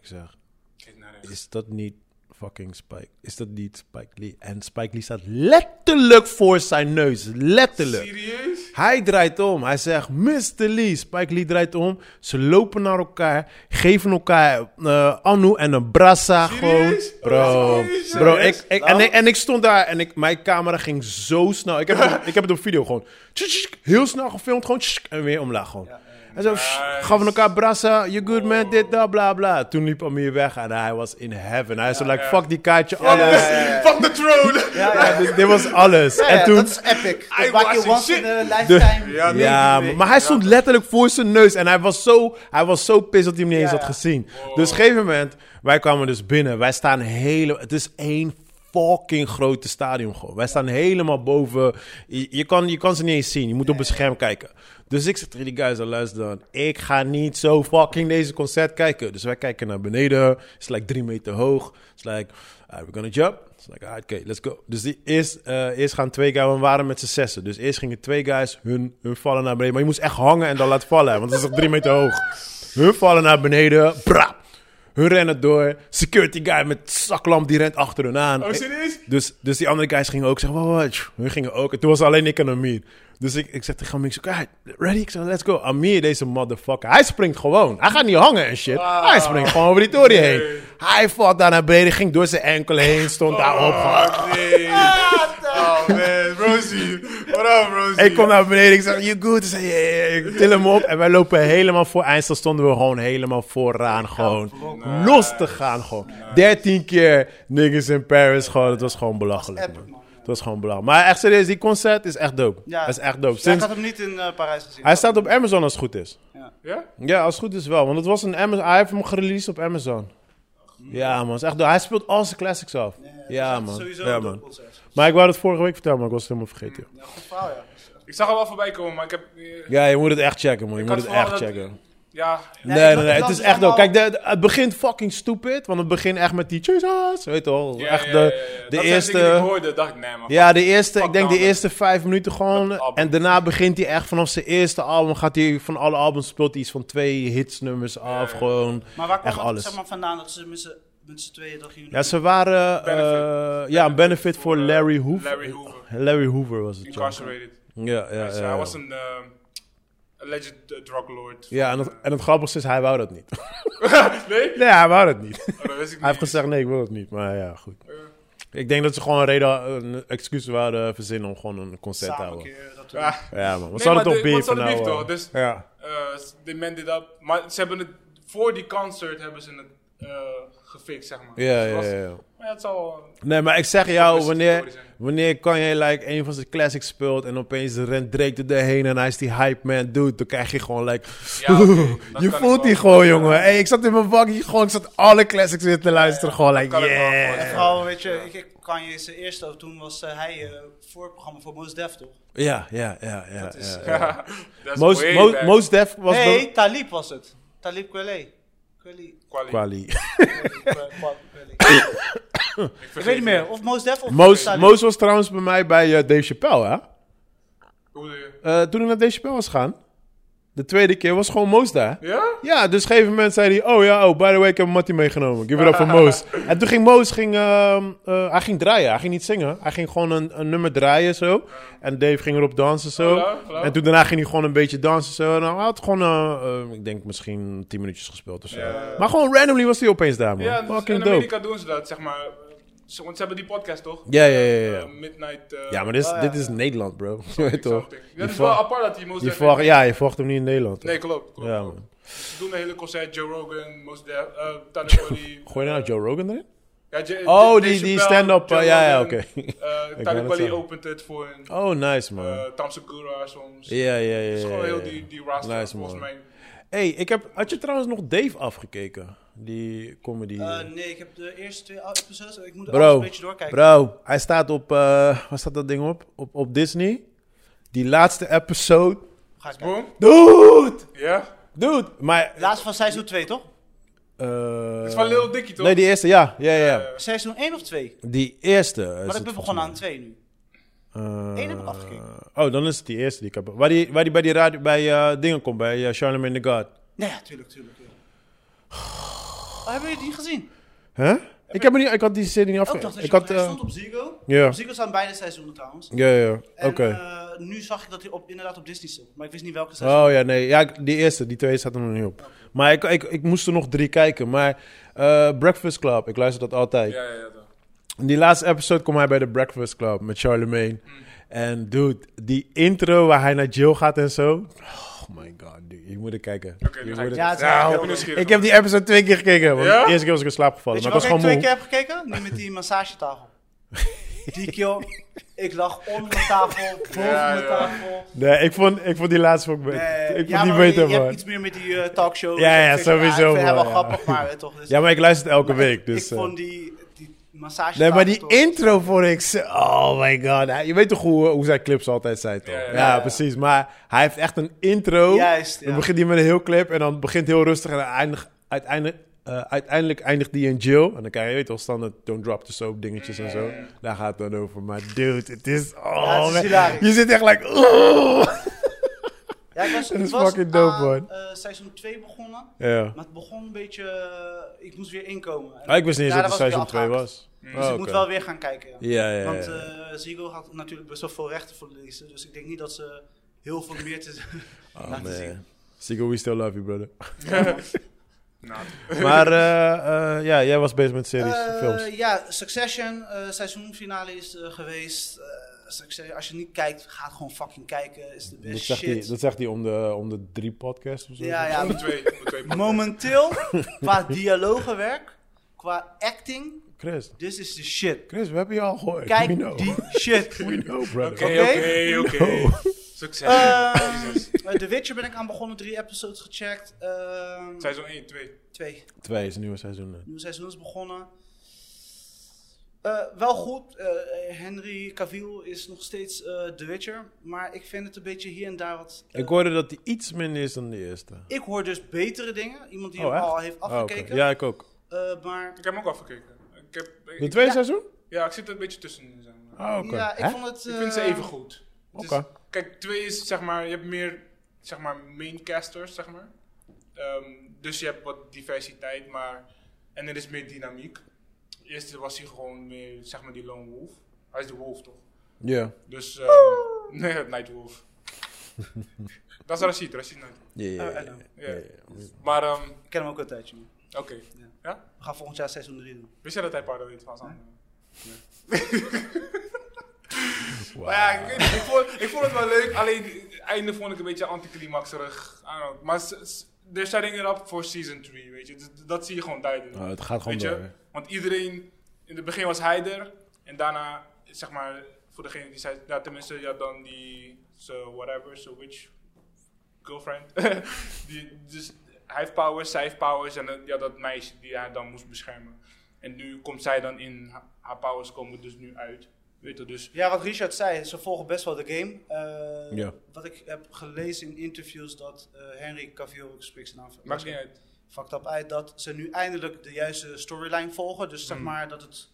S1: Ik zeg,
S2: Kijk naar hem.
S1: is dat niet fucking Spike? Is dat niet Spike Lee? En Spike Lee staat letterlijk voor zijn neus. Letterlijk.
S2: Serieus?
S1: Hij draait om. Hij zegt, Mr. Lee. Spike Lee draait om. Ze lopen naar elkaar. Geven elkaar eh Anu en een brassa gewoon.
S2: Serieus?
S3: Oh,
S1: Bro.
S2: Serieus?
S1: Bro, ik, ik, en,
S3: Nou.
S1: ik, en ik stond daar en ik, mijn camera ging zo snel. Ik heb, het op- ik heb het op video gewoon. tsk, tsk, Heel snel gefilmd. Gewoon tsk, en weer omlaag gewoon. En zo tsk, gaven elkaar brassa. You good man, dit, dat, bla, bla. Toen liep Amir weg en hij was in heaven. Hij is zo like, fuck die kaartje, alles.
S3: ja, ja, ja.
S2: [laughs] Fuck the throne! Ja,
S1: Ja, [laughs] dit, dit was alles.
S3: Ja,
S1: en
S3: ja,
S1: toen...
S3: dat is
S2: [laughs]
S3: epic.
S2: I
S3: Dat maak
S2: was
S3: je
S2: in
S3: once
S2: shit.
S3: in a lifetime.
S2: Ja, nee.
S1: Ja, maar hij stond letterlijk voor zijn neus. En hij was zo, hij was zo pissed dat hij hem niet eens
S3: Ja,
S1: had
S3: ja.
S1: gezien. Dus op een gegeven moment, wij kwamen dus binnen. Wij staan helemaal... Het is één fucking grote stadion gewoon. Wij staan helemaal boven. Je, je kan, je kan ze niet eens zien. Je moet op een scherm kijken. Dus ik zeg tegen die guys, luister dan. Ik ga niet zo fucking deze concert kijken. Dus wij kijken naar beneden. Het is like drie meter hoog. Het is like, alright, we're gonna jump. It's like, alright, okay, let's go. Dus die eerst, eh, eerst gaan twee guys, we waren met z'n zessen. Dus eerst gingen twee guys hun, hun vallen naar beneden. Maar je moest echt hangen en dan laten vallen, want het is nog drie meter hoog. Hun vallen naar beneden, brap. Hun rennen door. Security guy met zaklamp, die rent achter hun aan.
S2: Oh, serieus?
S1: Dus, dus die andere guys gingen ook zeggen, wat, wat? Hun gingen ook. En toen was alleen ik en Amir. Dus ik, ik zeg tegen Amir, ik zeg, "Alright, ready? Ik zeg, let's go. Amir, deze motherfucker, hij springt gewoon. Hij gaat niet hangen en shit. Hij springt gewoon over die toren heen. Hij valt daar naar beneden, ging door zijn enkel heen, stond daar op. gewoon.
S2: Nee. Oh man, Rosie. What up, Rosie?
S1: Ik kom naar beneden, ik zeg, you good? Ze zei, "Yeah, yeah, yeah." Ik til hem op en wij lopen helemaal voor. Eindstand stonden we gewoon helemaal vooraan. Gewoon los te gaan gewoon. 13 keer niggas in Paris gewoon. Het was gewoon belachelijk
S3: Dat was epic,
S1: man.
S3: man.
S1: Het was gewoon belachelijk. Maar echt serieus, die concert is echt dope.
S3: Ja.
S1: Dat is echt dope.
S3: Ja, ik
S1: Sinds,
S3: had hem niet in eh, Parijs gezien.
S1: hij staat op Amazon als het goed is.
S2: Ja?
S1: Ja, als het goed is wel. Want het was een Amazon, hij heeft hem gereleased op Amazon. Ja man, het is echt dope. Hij speelt al zijn classics af.
S3: Eh,
S1: Ja man.
S3: dus Sowieso
S1: Ja,
S3: een
S1: man.
S3: doelconcert.
S1: Maar ik wou dat vorige week vertellen, maar ik was het helemaal vergeten. joh.
S3: Ja, Nou, goed verhaal, ja.
S2: Ik zag hem wel voorbij komen, maar ik heb... eh,
S1: Ja, je moet het echt checken man. Je moet
S2: had
S1: het
S2: vooral
S1: echt
S2: dat-
S1: checken.
S2: Ja,
S1: Nee,
S3: Nee,
S1: nee,
S3: dat-
S1: nee,
S3: dat
S1: het is
S3: is
S1: echt dope.
S3: allemaal-
S1: Kijk, de, de- het begint fucking stupid, want het begint echt met die Jesus, weet je wel.
S2: Ja,
S1: echt
S2: ja,
S1: de,
S2: ja, ja.
S1: de
S2: Dat zijn
S1: eerste...
S2: dingen die ik hoorde, dacht ik, nee man.
S1: Ja, de eerste,
S2: Fuck
S1: ik denk de
S2: nou,
S1: eerste vijf minuten gewoon.
S2: album.
S1: En daarna begint hij echt vanaf zijn eerste album. Gaat hij van alle albums speelt hij iets van twee hitsnummers af. Gewoon
S3: Maar waar kwam
S1: echt
S3: dat
S1: alles.
S3: zeg maar, vandaan dat ze met z'n- met z'n tweeën dat gingen
S1: Ja, ze waren.
S2: Benefit.
S1: eh, ja, een benefit voor
S2: eh,
S1: Larry Hoover.
S2: Larry Hoover.
S1: Larry Hoover was het. Ja,
S2: Incarcerated.
S1: ja, ja.
S2: Dus
S1: ja.
S2: hij was een eh, alleged eh, drug lord.
S1: Ja, en het, en het grappigste is, hij wou dat niet.
S2: [laughs] nee?
S1: Nee, hij wou dat [laughs] niet.
S2: Oh, dat wist ik
S1: Hij heeft
S2: niet.
S1: gezegd, nee, ik wil het niet. Maar ja, goed. Ik denk dat ze gewoon een reden, een excuus waren verzinnen om gewoon een concert te
S3: samen een
S1: houden.
S3: keer dat
S2: Ja.
S1: Ja, man. Wat
S2: Nee,
S1: zou
S2: maar
S1: het toch
S2: de- want
S1: beef
S2: ze hadden beef,
S1: nou?
S2: toch?
S1: eh,
S2: Dus-
S1: Ja.
S2: Eh, s- they mended up. Maar ze hebben het voor die concert hebben ze het eh, gefixt, zeg maar.
S1: Ja,
S2: Dus het
S1: ja,
S2: was-
S1: ja, ja.
S2: Maar ja, het zal.
S1: Nee, maar ik zeg jou,
S2: best
S1: wanneer,
S2: historisch zijn.
S1: wanneer kan je like, een van zijn classics speelt en opeens rent Drake er doorheen en hij is die hype man dude, dan krijg je gewoon like... [laughs]
S2: Ja, oké, dat
S1: je
S2: kan
S1: voelt
S2: ik
S1: die
S2: wel.
S1: gewoon, jongen. Hey, ik zat in mijn bakje, gewoon, ik zat alle classics weer te luisteren, gewoon like,
S2: kan ik wel
S1: yeah.
S2: gewoon.
S3: En vooral, weet je, ik, ik kan je zijn eerste, ook, toen was eh, hij eh, voorprogramma voor Mos Def, toch?
S1: Ja, ja, ja, ja.
S3: is,
S2: eh, [laughs]
S1: ja.
S2: That's
S1: Most,
S2: way
S1: most,
S2: back.
S1: most Def was
S3: nee,
S1: de...
S3: Talib was het. Talib Kweli. Kweli.
S2: Quali.
S1: Kwali.
S3: Kweli.
S1: [coughs]
S3: Kweli. Ik
S2: vergeet
S3: weet niet meer,
S2: het.
S3: of Mos Def of
S1: Moos,
S3: Talib.
S1: Moos was trouwens bij mij bij eh, Dave Chappelle, hè?
S2: Hoe bedoel je?
S1: Eh, toen ik naar Dave Chappelle was gaan, de tweede keer was gewoon Moos daar.
S2: Ja?
S1: Ja, dus op een gegeven moment zei hij, oh ja, oh, by the way, ik heb Matty meegenomen. Give it up voor
S2: [laughs]
S1: Moos. en toen ging Moos, ging, ehm, eh, hij ging draaien, hij ging niet zingen. Hij ging gewoon een, een nummer draaien zo. En Dave ging erop dansen zo.
S2: Hallo, hallo.
S1: En toen daarna ging hij gewoon een beetje dansen zo. En hij had gewoon, eh, eh, ik denk misschien 10 minuutjes gespeeld of zo. Maar gewoon randomly was hij opeens daar, man.
S2: Ja, dus
S1: Fucking
S2: in
S1: dope.
S2: Amerika doen ze dat, zeg maar. Ze, want ze hebben die podcast toch?
S1: Ja, ja, ja, ja.
S2: Eh, Midnight. eh,
S1: Ja, maar dit is,
S3: Oh, ja.
S1: dit is Nederland, bro. [laughs] Je weet toch?
S2: something. Ja,
S1: Je
S2: Dat is wel
S1: volgt-
S2: apart dat die Mos
S1: je
S2: Def
S1: volgt-
S2: heeft-
S1: Ja, je volgt hem niet in Nederland. toch?
S2: Nee, klopt. klopt.
S1: Ja, man.
S2: Ze doen een hele concert. Joe Rogan, Mos Def, eh Tanner Bally.
S1: Gooi je nou Joe Rogan erin?
S2: Ja, J-
S1: Oh,
S2: Dave
S1: die- die
S2: Chappelle,
S1: stand-up,
S2: Joe
S1: eh, ja, ja,
S2: Rogan,
S1: oké. [laughs] Ik
S2: eh,
S1: net
S2: Tyler Bally
S1: zeggen.
S2: opent het voor een
S1: Oh, nice, man.
S2: eh Tamsin Gura soms.
S1: ja, ja, ja.
S2: Het is
S1: ja,
S2: gewoon
S1: ja, ja.
S2: heel die, die roster
S1: Nice,
S2: volgens
S1: man.
S2: mij.
S1: hey, ik heb... Had je trouwens nog Dave afgekeken? Die comedy...
S3: Eh, nee, ik heb de eerste twee oude episodes. Ik moet alles een
S1: Bro,
S3: beetje doorkijken.
S1: bro, hij staat op, eh waar staat dat ding op? op? Op Disney. Die laatste episode.
S3: Ga ik kijken.
S2: Boom.
S1: Dude,
S2: Ja? Het
S1: dude. Maar,
S3: Laatste van seizoen 2, toch?
S1: eh,
S2: is van Lil Dicky toch? Eh.
S1: nee, die eerste, ja, ja, ja.
S3: Seizoen 1 of 2?
S1: Die eerste. eh, is
S3: Maar
S1: het
S3: ik ben begonnen aan 2 nu.
S1: volgens mij.
S3: Eén heb ik
S1: Eh,
S3: afgekeken.
S1: Oh, dan is het die eerste die ik heb. Waar die, waar die bij die radio, bij eh, dingen komt, bij eh, Charlemagne the God.
S3: Nee, ja, tuurlijk, tuurlijk. tuurlijk. Oh, hebben jullie die gezien?
S1: Huh? Ik, heb me niet, ik had die serie niet
S3: Ook dacht
S1: afgekeken.
S3: Oh,
S1: Ik
S3: dat je
S1: had... eh,
S3: hij stond op Ziggo.
S1: Ja,
S3: Op Ziggo staan beide seizoenen trouwens.
S1: ja, ja. Oké.
S3: En eh, nu zag ik dat hij op, inderdaad op Disney stond. Maar ik wist niet welke seizoen.
S1: Oh ja, nee. Ja, ik- die eerste, die twee staat er nog niet op. Maar ik, ik, ik moest er nog drie kijken. Maar eh, Breakfast Club, ik luister dat altijd.
S2: Ja, ja, ja. toch.
S1: In die laatste episode kwam hij bij de Breakfast Club met Charlemagne.
S2: Mm.
S1: En dude, die intro waar hij naar Jill gaat en zo. Oh my god, dude. Je moet er kijken.
S2: Oké, nu
S1: Je
S2: ga
S1: moet
S2: ik-
S1: er-
S3: Ja, het is
S2: Ja,
S3: wel
S2: ik
S3: heel
S2: ben
S3: leuk.
S2: nieuwsgierig.
S1: ik heb die episode twee keer gekeken. Want
S2: Ja?
S1: de eerste keer was ik in slaap gevallen.
S3: Weet
S1: Maar ik
S3: je wat
S1: was gewoon
S3: ik twee
S1: moe.
S3: keer heb gekeken? Nu met die
S1: [laughs]
S3: massagetafel. Die keer, ik lag onder de tafel, boven
S2: Ja,
S3: de
S2: ja.
S3: tafel.
S1: Nee, ik vond, ik vond die laatste ook beter.
S3: Nee,
S1: ik vond
S3: ja,
S1: die
S3: maar
S1: beter,
S3: je, je
S1: man.
S3: hebt iets meer met die eh, talkshow.
S1: Ja, ja,
S3: Ik vind-
S1: sowieso,
S3: Ik vind hem wel
S1: man, ja.
S3: grappig, maar eh, toch. Dus,
S1: Ja, maar ik luister het elke
S3: Maar
S1: week.
S3: ik,
S1: dus,
S3: ik
S1: eh.
S3: vond die, die massage.
S1: Nee, maar die
S3: toch-
S1: intro vond ik zo... Oh my god. Hij- Je weet toch hoe, hoe zijn clips altijd zijn, toch?
S2: Ja,
S1: Ja,
S2: ja,
S3: ja.
S1: precies. Maar hij heeft echt een intro.
S3: Juist, ja.
S1: Dan begint hij met een heel clip en dan begint heel rustig... en dan eindig- uiteindelijk, eh, uiteindelijk eindigt die in Jill. En dan krijg je, je weet toch, standaard don't drop the soap dingetjes en zo. Daar gaat het dan over. Maar dude, het is... Oh,
S3: Ja, het is
S1: man.
S3: hilarisch.
S1: je zit echt like... Oh.
S3: Ja, ik was,
S1: [laughs] Dat
S3: ik
S1: is
S3: was
S1: fucking dope,
S3: aan,
S1: man.
S3: eh, seizoen 2 begonnen.
S1: Ja.
S3: Maar het begon een beetje. eh, ik moest weer inkomen. En
S1: Ah, ik wist niet eens
S3: daar
S1: dat het
S3: was ik
S1: seizoen
S3: weer
S1: 2
S3: afgehaakt.
S1: was. Oh,
S3: Dus ik moet wel weer gaan kijken. Ja.
S1: Ja, ja, ja.
S3: Want eh Ziegel had natuurlijk best wel veel rechten verliezen. Dus ik denk niet dat ze heel veel meer te [laughs]
S2: Oh,
S1: Oh,
S3: laten zien.
S1: man. Sigo, we still love you, brother.
S2: [laughs] Nou, [laughs]
S1: Maar eh, eh, ja, jij was bezig met series,
S3: Eh,
S1: films.
S3: Ja, Succession, eh seizoenfinale is eh, geweest. Eh, Succession, als je niet kijkt, ga het gewoon fucking kijken. Is de beste
S1: Dat zegt,
S3: shit.
S1: hij, dat zegt hij om de, om de drie podcasts of zo.
S3: Ja, ja.
S2: Om de twee. om de twee
S1: [laughs]
S3: Momenteel, qua dialogenwerk, qua acting,
S1: Chris,
S3: this is the shit.
S1: Chris, we hebben je al gehoord. We
S3: Kijk
S1: know.
S3: die
S1: [laughs]
S3: shit.
S1: We know, brother.
S2: Oké,
S3: Oké?
S2: oké,
S1: [laughs]
S2: oké. Succes.
S1: Ah.
S3: Ehm,
S2: Jezus.
S3: eh, The Witcher ben ik aan begonnen, drie episodes gecheckt. Ehm,
S2: Seizoen 1, 2.
S3: twee
S1: Twee is een nieuwe seizoen. hè.
S3: nieuwe seizoen is begonnen. Eh, wel goed, eh, Henry Cavill is nog steeds eh, The Witcher, maar ik vind het een beetje hier en daar wat... eh,
S1: Ik hoorde dat die iets minder is dan de eerste.
S3: ik hoor dus betere dingen, iemand die
S1: Oh,
S3: hem
S1: echt?
S3: al heeft
S1: Oh, oké.
S3: afgekeken.
S1: Ja, ik ook.
S3: Eh, maar
S2: Ik heb hem ook afgekeken. Ik heb,
S1: De
S2: ik,
S1: tweede
S3: Ja.
S1: seizoen?
S2: ja, ik zit er een beetje tussenin. Zeg maar.
S1: Oh, oké.
S3: ja, ik
S1: Hè?
S3: vond het...
S2: Ik vind ze
S3: eh,
S2: even goed. Het is-
S1: Oké.
S2: kijk, 2 is zeg maar, je hebt meer zeg maar maincasters, zeg maar. Ehm, dus je hebt wat diversiteit, maar. En er is meer dynamiek. Eerst was hij gewoon meer, zeg maar, die lone wolf. Hij is de wolf toch?
S1: Ja.
S2: Dus. ehm, nee, Night Wolf. [laughs] Dat is Rashid, Rashid Night Wolf.
S1: Ja, ja, ja,
S3: eh,
S1: ja.
S2: ja.
S1: Ja, ja.
S2: Maar, ehm,
S3: Ik ken hem ook een tijdje. man.
S2: oké. Ja?
S3: We gaan volgend jaar seizoen 3 doen.
S2: Wist jij dat hij paarden weet van zijn?
S1: Wauw.
S2: Maar ja, ik, weet niet, ik, vond, ik vond het wel leuk, alleen het einde vond ik een beetje anticlimaxerig. I don't know. Maar s- s- they're setting it up for season 3, weet je. Dat, dat zie je gewoon duidelijk.
S1: Oh, het gaat gewoon
S2: weet je? eh,
S1: door, hè?
S2: Want iedereen, in het begin was hij er. En daarna, zeg maar, voor degene die zei, ja, tenminste, ja, dan die, so whatever, so which girlfriend. [laughs] die, dus hij heeft powers, zij heeft powers en dan- ja, dat meisje die hij dan moest beschermen. En nu komt zij dan in, ha- haar powers komen dus nu uit. Weet je, dus
S3: Ja, wat Richard zei, ze volgen best wel de game. Eh,
S1: Ja.
S3: Wat ik heb gelezen in interviews dat eh, Henry Cavill, ik spreek zijn naam
S2: maakt niet uit.
S3: fucked up uit, dat ze nu eindelijk de juiste storyline volgen. Dus zeg
S2: Mm.
S3: maar dat het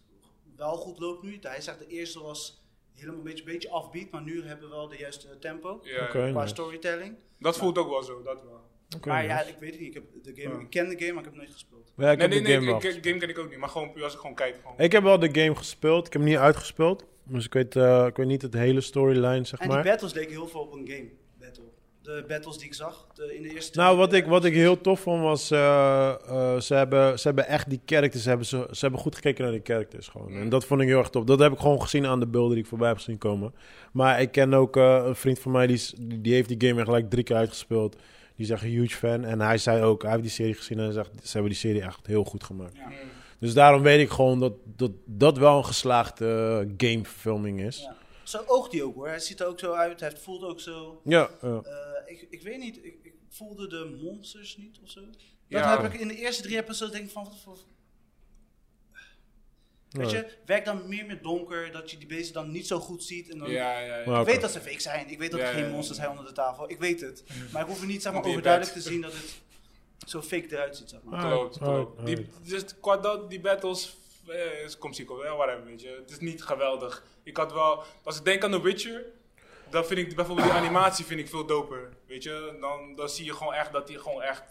S3: wel goed loopt nu. Hij zegt de eerste was helemaal een beetje, beetje afbeat, maar nu hebben we wel de juiste tempo
S2: Ja,
S1: Oké,
S3: qua
S1: nice.
S3: storytelling.
S2: Dat voelt ook wel zo, dat wel.
S1: Oké,
S3: maar ja,
S1: nice.
S3: ik weet het niet. Ik, heb de game, ik ken de game, maar ik heb het nooit gespeeld.
S1: Ja, ik heb
S2: nee, nee,
S1: de
S2: nee,
S1: game wel
S2: ik- ik- game ken ik ook niet, maar gewoon puur als ik gewoon kijk. Gewoon.
S1: Ik heb wel de game gespeeld. Ik heb hem niet uitgespeeld. Dus ik weet, eh, ik weet niet het hele storyline, zeg
S3: En
S1: maar.
S3: die battles leken heel veel op een game battle. de battles die ik zag. De, in de eerste eh,
S1: Nou, wat ik, wat ik heel tof vond was, eh, eh, ze, hebben, ze hebben echt die characters, ze hebben, ze, ze hebben goed gekeken naar die characters gewoon. En dat vond ik heel erg tof. Dat heb ik gewoon gezien aan de beelden die ik voorbij heb gezien komen. Maar ik ken ook eh, een vriend van mij, die, is- die die heeft die game echt gelijk drie keer uitgespeeld. Die is echt een huge fan. En hij zei ook, hij heeft die serie gezien en hij zegt, ze hebben die serie echt heel goed gemaakt.
S3: Ja.
S1: Dus daarom weet ik gewoon dat dat, dat wel een geslaagde eh, gameverfilming is.
S3: Ja. Zo oogt hij ook hoor. Hij ziet er ook zo uit. Hij voelt ook zo.
S1: Ja, ja.
S3: Eh, ik, ik weet niet, ik, ik voelde de monsters niet of zo. Dat
S2: Ja.
S3: heb ik in de eerste drie episodes denk ik van. wat voor- Weet
S1: Nee.
S3: je, werk dan meer met donker, dat je die beesten dan niet zo goed ziet. En dan...
S2: Ja, ja, ja.
S1: Maar-
S3: Ik weet dat ze fake zijn, ik weet dat
S2: Ja,
S3: er geen
S2: ja, ja.
S3: monsters zijn onder de tafel, ik weet het. Maar ik hoef er niet zeg maar,
S2: Want je
S3: overduidelijk te
S2: bent-
S3: zien dat het zo fake eruit ziet. Zeg maar.
S1: Ah,
S2: Klopt, klopt.
S1: ah,
S2: Die, dus qua dat, die battles, eh, is- komt ziek op, eh, whatever, weet je. Het is niet geweldig. Ik had wel, als ik denk aan The Witcher, dan vind ik bijvoorbeeld die animatie vind ik veel doper, weet je. Dan, dan zie je gewoon echt dat die gewoon echt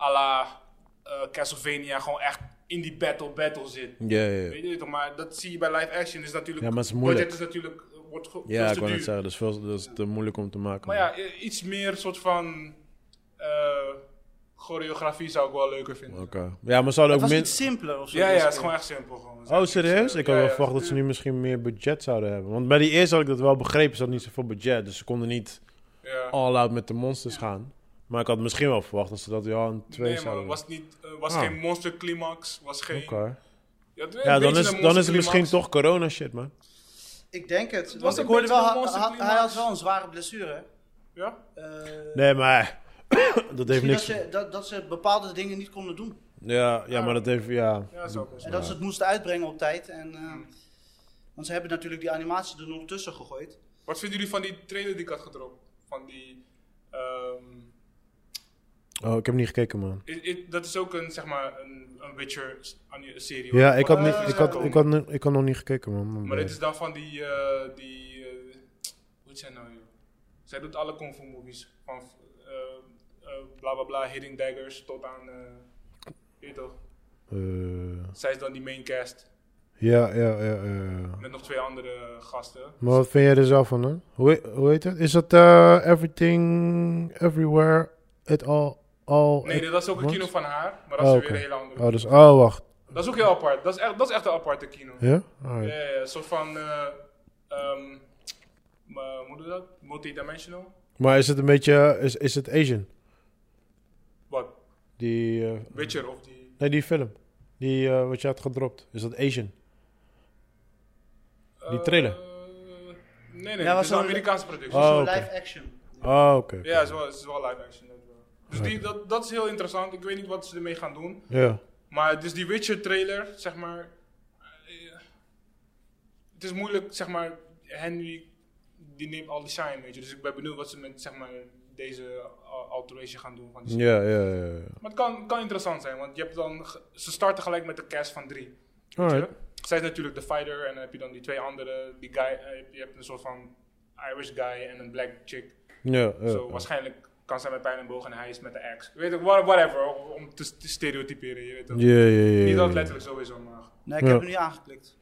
S2: à la eh, Castlevania gewoon echt in die battle battle zit.
S1: Ja, ja, ja.
S2: Weet je toch, maar dat zie je bij live action is natuurlijk...
S1: Ja, maar het is moeilijk.
S2: Budget is natuurlijk, eh, wordt ge- veel
S1: Ja,
S2: te
S1: ik wou net
S2: duur.
S1: zeggen, dat is, veel, dat is te moeilijk om te maken.
S2: Maar ja, i- iets meer soort van eh, choreografie zou ik wel leuker vinden.
S1: Oké. Ja, maar ze hadden
S3: Het
S1: ook
S3: was
S1: min...
S3: iets simpeler of zo. Dus
S2: Ja, ja,
S3: deze
S2: het is
S3: keer.
S2: gewoon echt eh, simpel. Gewoon.
S1: Oh, serieus? Ik had wel verwacht
S2: verwacht
S1: dat ze nu misschien meer budget zouden hebben. Want bij die eerste had ik dat wel begrepen, ze hadden niet zoveel budget. Dus ze konden niet
S2: Ja.
S1: all out met de monsters gaan. Maar ik had misschien wel verwacht dat ze dat ja aan twee
S2: Nee, man,
S1: zouden
S2: was, niet, eh, was
S1: Ah.
S2: geen monster climax, was geen...
S1: doen. Oké.
S2: Ja, het-
S1: Ja,
S2: een
S1: dan
S2: beetje
S1: is, dan
S2: een
S1: is
S2: monster
S1: het misschien
S2: climax.
S1: toch corona shit, man.
S3: Ik denk het,
S2: was
S3: want ik
S2: een
S3: hoorde
S2: beetje
S3: wel,
S2: een
S3: ha-
S2: monster
S3: ha- hij
S2: climax.
S3: had wel een zware blessure.
S2: Ja?
S3: Eh,
S1: Nee, maar [coughs] dat heeft
S3: misschien dat,
S1: niks...
S3: ze, dat, dat ze bepaalde dingen niet konden doen.
S1: Ja, ja, maar dat heeft... Ja. Hmm.
S2: Ja, dat is ook wel zo.
S3: En dat ze het moesten uitbrengen op tijd. En, eh, want ze hebben natuurlijk die animatie er nog tussen gegooid.
S1: Oh,
S2: Wat vinden jullie van die trailer die ik had gedropt? Van die... ehm,
S1: Oh, ik heb niet gekeken, man.
S2: i- i- dat is ook een, zeg maar, een, een Witcher-serie.
S1: Ja, ik had,
S3: Eh,
S1: niet, ik, had, ik, had, nu- ik had nog niet gekeken, man.
S2: Maar dit is dan van die... eh, die eh, hoe heet zij nou, joh? Zij doet alle kung fu movies. Van eh, eh, bla bla bla, Hitting Daggers tot aan... eh weet je toch?
S1: Eh,
S2: Zij is dan die main cast.
S1: ja, ja, ja, ja. ja.
S2: Met nog twee andere gasten.
S1: Maar wat vind jij er zelf van, hè? Hoe, he- hoe heet het? Is dat eh, Everything, Everywhere, It All, All...
S2: Nee, dat was ook een
S1: Wat?
S2: kino van haar, maar dat
S1: Oh,
S2: is weer
S1: oké.
S2: een hele andere.
S1: Oh, dus, oh, wacht.
S2: Dat is ook heel apart. Dat is echt, dat is echt een aparte kino. Ja,
S1: Ja? Alright.
S2: ja, ja, Een soort van, eh ehm eh, hoe noem je dat? Multidimensional?
S1: Maar is het een beetje, eh, is, is het Asian?
S2: Wat?
S1: Die, eh,
S2: Witcher of die...
S1: nee, die film. Die, eh, wat je had gedropt. Is dat Asian? Die
S2: eh,
S1: trailer?
S2: nee, nee,
S3: Ja,
S2: het
S3: was
S2: is een
S3: zo'n-
S2: Amerikaanse productie.
S1: Oh,
S3: Zo'n
S1: oké.
S3: Dus live action.
S1: Oh, oké. oké.
S2: Ja, het is wel, het is wel live action. dat wel. Dus die, dat, dat is heel interessant. Ik weet niet wat ze ermee gaan doen.
S1: Ja.
S2: Maar dus die Witcher trailer, zeg maar. eh, het is moeilijk, zeg maar. Henry, die neemt al die shine, weet je. Dus ik ben benieuwd wat ze met, zeg maar, deze al- alteration gaan doen. Van die scène.
S1: Ja, ja, ja. ja.
S2: Maar het kan, kan interessant zijn, want je hebt dan. ge- Ze starten gelijk met de cast van drie. weet je.
S1: Alright.
S2: Zij is natuurlijk de fighter, en dan heb je dan die twee andere. Die guy, eh, je hebt een soort van Irish guy en een black chick.
S1: Ja,
S2: Zo,
S1: ja. ja.
S2: waarschijnlijk kan zij met pijn en boog en hij is met de ex. Weet ik, wha- whatever, om te, te stereotyperen, je weet toch.
S1: Ja, ja, ja, ja,
S2: Niet dat het
S1: ja.
S2: letterlijk sowieso, maar.
S3: Nee, ik
S1: Ja.
S3: heb hem niet aangeklikt.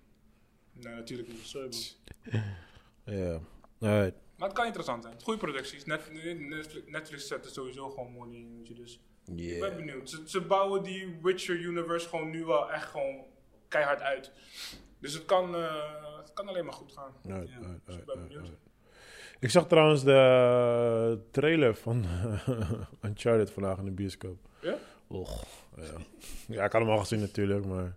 S2: Nee, natuurlijk niet. Sorry, man.
S1: Ja. Alright.
S2: Maar het kan interessant zijn. Goede producties. Net, Netflix, Netflix zet er sowieso gewoon money in. Weet je, dus ik ben
S1: Yeah.
S2: benieuwd. Ze, ze bouwen die Witcher universe gewoon nu wel echt gewoon keihard uit. Dus het kan, eh, het kan alleen maar goed gaan.
S1: Alright,
S3: Ja,
S1: alright,
S2: Dus ik
S1: alright,
S2: ben
S1: alright.
S2: benieuwd.
S1: Ik zag trouwens de trailer van [laughs] Uncharted vandaag in de bioscoop.
S2: Ja?
S1: Och, ja. ja, ik had hem al gezien natuurlijk, maar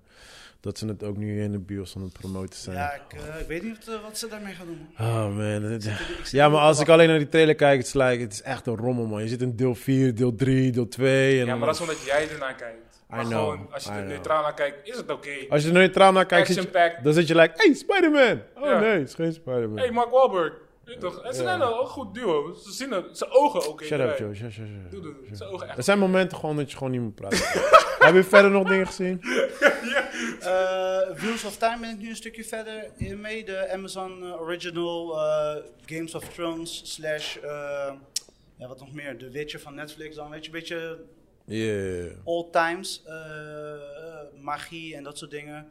S1: dat ze het ook nu in de bios aan het promoten zijn.
S3: Ja, ik, eh, ik weet niet wat, eh, wat ze daarmee gaan
S1: [laughs]
S3: doen.
S1: Oh man. dit-
S3: Ik zit
S1: Ja, maar
S3: erop
S1: als
S3: te
S1: ik alleen naar die trailer kijk, het is, like, het is echt een rommel man. Je zit in deel 4, deel 3, deel 2. En
S2: Ja,
S1: dan-
S2: maar dat is omdat jij ernaar kijkt. Maar
S1: know,
S2: gewoon, als je
S1: I
S2: er
S1: know.
S2: neutraal naar kijkt, is het oké.
S1: Als je er neutraal naar kijkt, zit je-
S2: Action-packed.
S1: dan zit je like, hey Spider-Man! Oh
S2: Ja.
S1: nee, het is geen Spider-Man.
S2: Hey, Mark Wahlberg. Weet je toch? En ze zijn wel een goed duo. Ze zien het. Zijn ogen oké.
S1: Shut up,
S2: erbij.
S1: Joe. Shut, shut, shut.
S2: Doe, doe, doe. Zijn ogen
S1: Er
S2: echt.
S1: zijn momenten gewoon dat je gewoon niet moet praten. [laughs] Heb je verder nog dingen gezien?
S3: Eh, Wheels of Time ben ik nu een stukje verder in mee. De Amazon eh, Original eh, Games of Thrones slash... eh, ja, wat nog meer? De Witcher van Netflix dan. Weet je, een beetje
S1: Yeah.
S3: old times. eh, magie en dat soort dingen.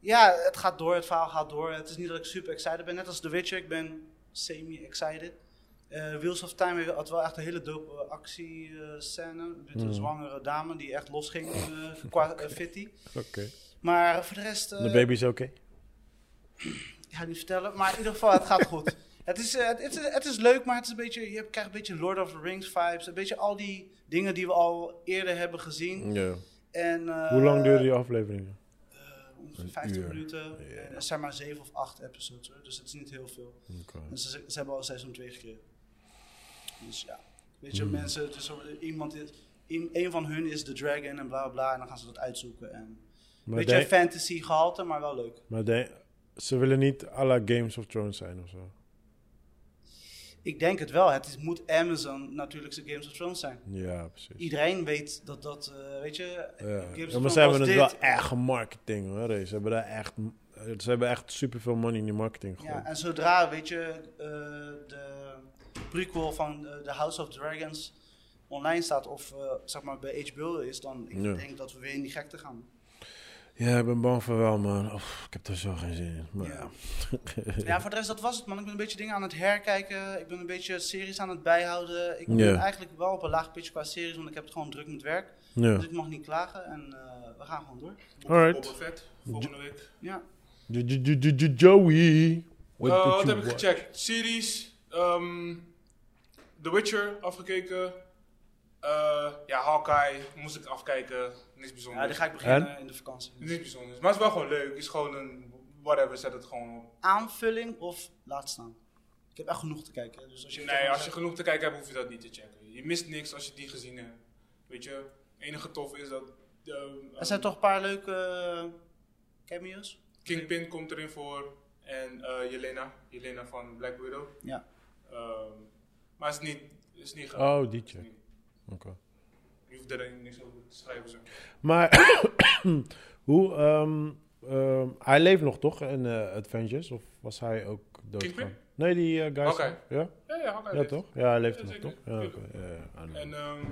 S3: Ja, het gaat door. Het verhaal gaat door. Het is niet dat ik super excited ben. Net als The Witcher. Ik ben semi-excited. Eh, Wheels of Time had wel echt een hele dope eh, actiescène. met
S1: Hmm.
S3: een zwangere dame die echt losging eh qua eh, fitty.
S1: Oké.
S3: Maar voor de rest... eh,
S1: De baby is oké.
S3: ik ga het niet vertellen, maar in ieder geval, het gaat goed. [laughs] Het is, eh, het, het, is- het is leuk, maar het is een beetje, je hebt- krijgt een beetje Lord of the Rings vibes. Een beetje al die dingen die we al eerder hebben gezien.
S1: Ja.
S3: En, eh,
S1: Hmm. Hoe lang duurde die aflevering?
S3: eh, ongeveer 50
S1: uur?
S3: minuten.
S1: Ja.
S3: En er zijn maar 7 of 8 episodes, hoor, dus het is niet heel veel. En ze, ze hebben al seizoen 2 gekregen. Dus ja, weet
S1: Hmm.
S3: je, mensen, het is zo- iemand is, een, een van hun is de dragon en bla bla bla. En dan gaan ze dat uitzoeken. En,
S1: Maar,
S3: beetje
S1: denk-
S3: fantasy gehalte, maar wel leuk.
S1: maar denk- ze willen niet à la Games of Thrones zijn of zo.
S3: Ik denk het wel. Het is, moet Amazon natuurlijk zijn Games of Thrones zijn.
S1: Ja, precies.
S3: Iedereen weet dat dat, eh, weet je,
S1: Ja.
S3: Games
S1: Ja,
S3: of
S1: maar
S3: Thrones
S1: ze hebben
S3: was
S1: het wel
S3: dit.
S1: echt marketing hoor. Ze hebben daar echt, ze hebben echt superveel money in die marketing gegooid.
S3: Ja, en zodra, weet je, eh, de prequel van eh, The House of Dragons online staat of eh, zeg maar bij HBO is, dan ik
S1: Ja.
S3: denk dat we weer in die gekte gaan.
S1: Ja, ik ben bang voor wel, man. Of, ik heb er zo geen zin in. Maar Nou ja.
S3: [laughs] Ja, voor de rest, dat was het man. Ik ben een beetje dingen aan het herkijken. Ik ben een beetje series aan het bijhouden. Ik ben
S1: Ja.
S3: eigenlijk wel op een laag pitch qua series, want ik heb het gewoon druk met werk.
S1: ja.
S3: Dus ik mag niet klagen en eh, we gaan gewoon door.
S1: Alright.
S2: Boba Fett, volgende week.
S3: Ja.
S1: Jo- jo- jo- jo- jo- Joey.
S3: Oh,
S1: What
S2: Eh,
S1: did
S2: wat
S1: you
S2: heb ik
S1: watch?
S2: gecheckt? Series, ehm, The Witcher afgekeken. Eh, ja, Hawkeye moest ik afkijken. Niks
S3: ja,
S2: bijzonders.
S3: daar ga ik beginnen
S1: En?
S3: in de vakantie.
S2: Niks bijzonders. Maar het is wel gewoon leuk. Het is gewoon een whatever, zet het gewoon op.
S3: Aanvulling of laat staan? Ik heb echt genoeg te kijken. hè, Dus als je
S2: Nee, als je genoeg te kijken hebt, hoef je dat niet te checken. Je mist niks als je die gezien hebt. Weet je, het enige tof is dat ehm,
S3: Er zijn
S2: ehm,
S3: toch een paar leuke eh, cameo's?
S2: Kingpin komt erin voor en eh Jelena, Jelena van Black Widow.
S3: Ja.
S2: Ehm, maar het is niet, het is niet gaaf.
S1: Oh, die check.
S2: Nee.
S1: Oké.
S2: Je hoeft er niks over te schrijven. Zo.
S1: Maar [coughs] hoe... ehm, ehm, hij leeft nog toch in eh, Avengers? Of was hij ook doodgegaan?
S2: Kingpin?
S1: Nee, die eh guy. is-
S2: Oké.
S1: Ja?
S2: Ja, ja, Hawkeye
S1: ja,
S2: leeft.
S1: toch? Ja, hij leeft
S2: Ja,
S1: nog
S2: zeker.
S1: toch? Ja,
S2: Tuurlijk.
S1: oké. Ja, ja, I know.
S2: En ehm,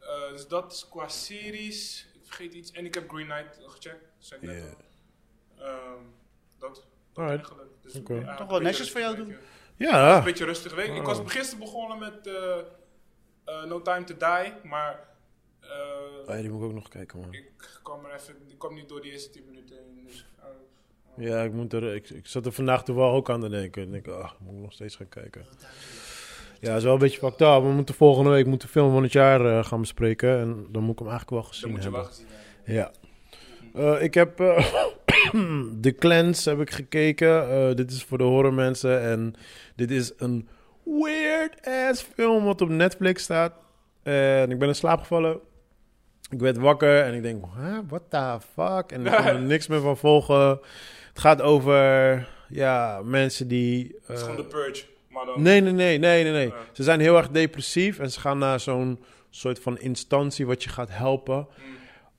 S2: eh, dus dat is qua series. Ik vergeet iets. En ik heb Green Knight gecheckt. Zeg ik net
S1: Ja.
S2: al. Ehm, dat. dat
S1: Alright.
S2: eigenlijk. Dus
S1: Oké.
S2: ja,
S3: Toch
S2: een
S3: wel
S2: beetje
S3: netjes voor jou
S2: rustig
S3: doen.
S2: weekje.
S1: ja.
S2: Een beetje rustig week. Ik
S1: Oh.
S2: was gisteren begonnen met eh, eh, No Time to Die. Maar eh,
S1: Oh, ja, die moet ik ook nog kijken, man.
S2: ik kwam er even, ik kwam niet door die eerste 10 minuten heen. Dus, eh,
S1: Ja, ik, moet er, ik, ik zat er vandaag toch wel ook aan te denken. Ik denk, ah, moet ik nog steeds gaan kijken. Ja, het is wel een beetje fucked up. We moeten volgende week moeten de film van het jaar eh, gaan bespreken. En dan moet ik hem eigenlijk wel gezien
S2: dat moet je
S1: hebben.
S2: wel gezien hebben.
S1: Ja. Eh, ik heb eh, [coughs] The Clans heb ik gekeken. Eh, dit is voor de horror mensen. En dit is een weird ass film wat op Netflix staat. En ik ben in slaap gevallen. Ik werd wakker en ik denk, huh, what the fuck? En ik kon
S2: [laughs]
S1: er niks meer van volgen. Het gaat over ja, mensen die...
S2: Het is
S1: eh,
S2: gewoon de Purge. Maar dan,
S1: Nee, nee, nee, nee, nee. nee.
S2: Ja.
S1: Ze zijn heel erg depressief en ze gaan naar zo'n soort van instantie wat je gaat helpen.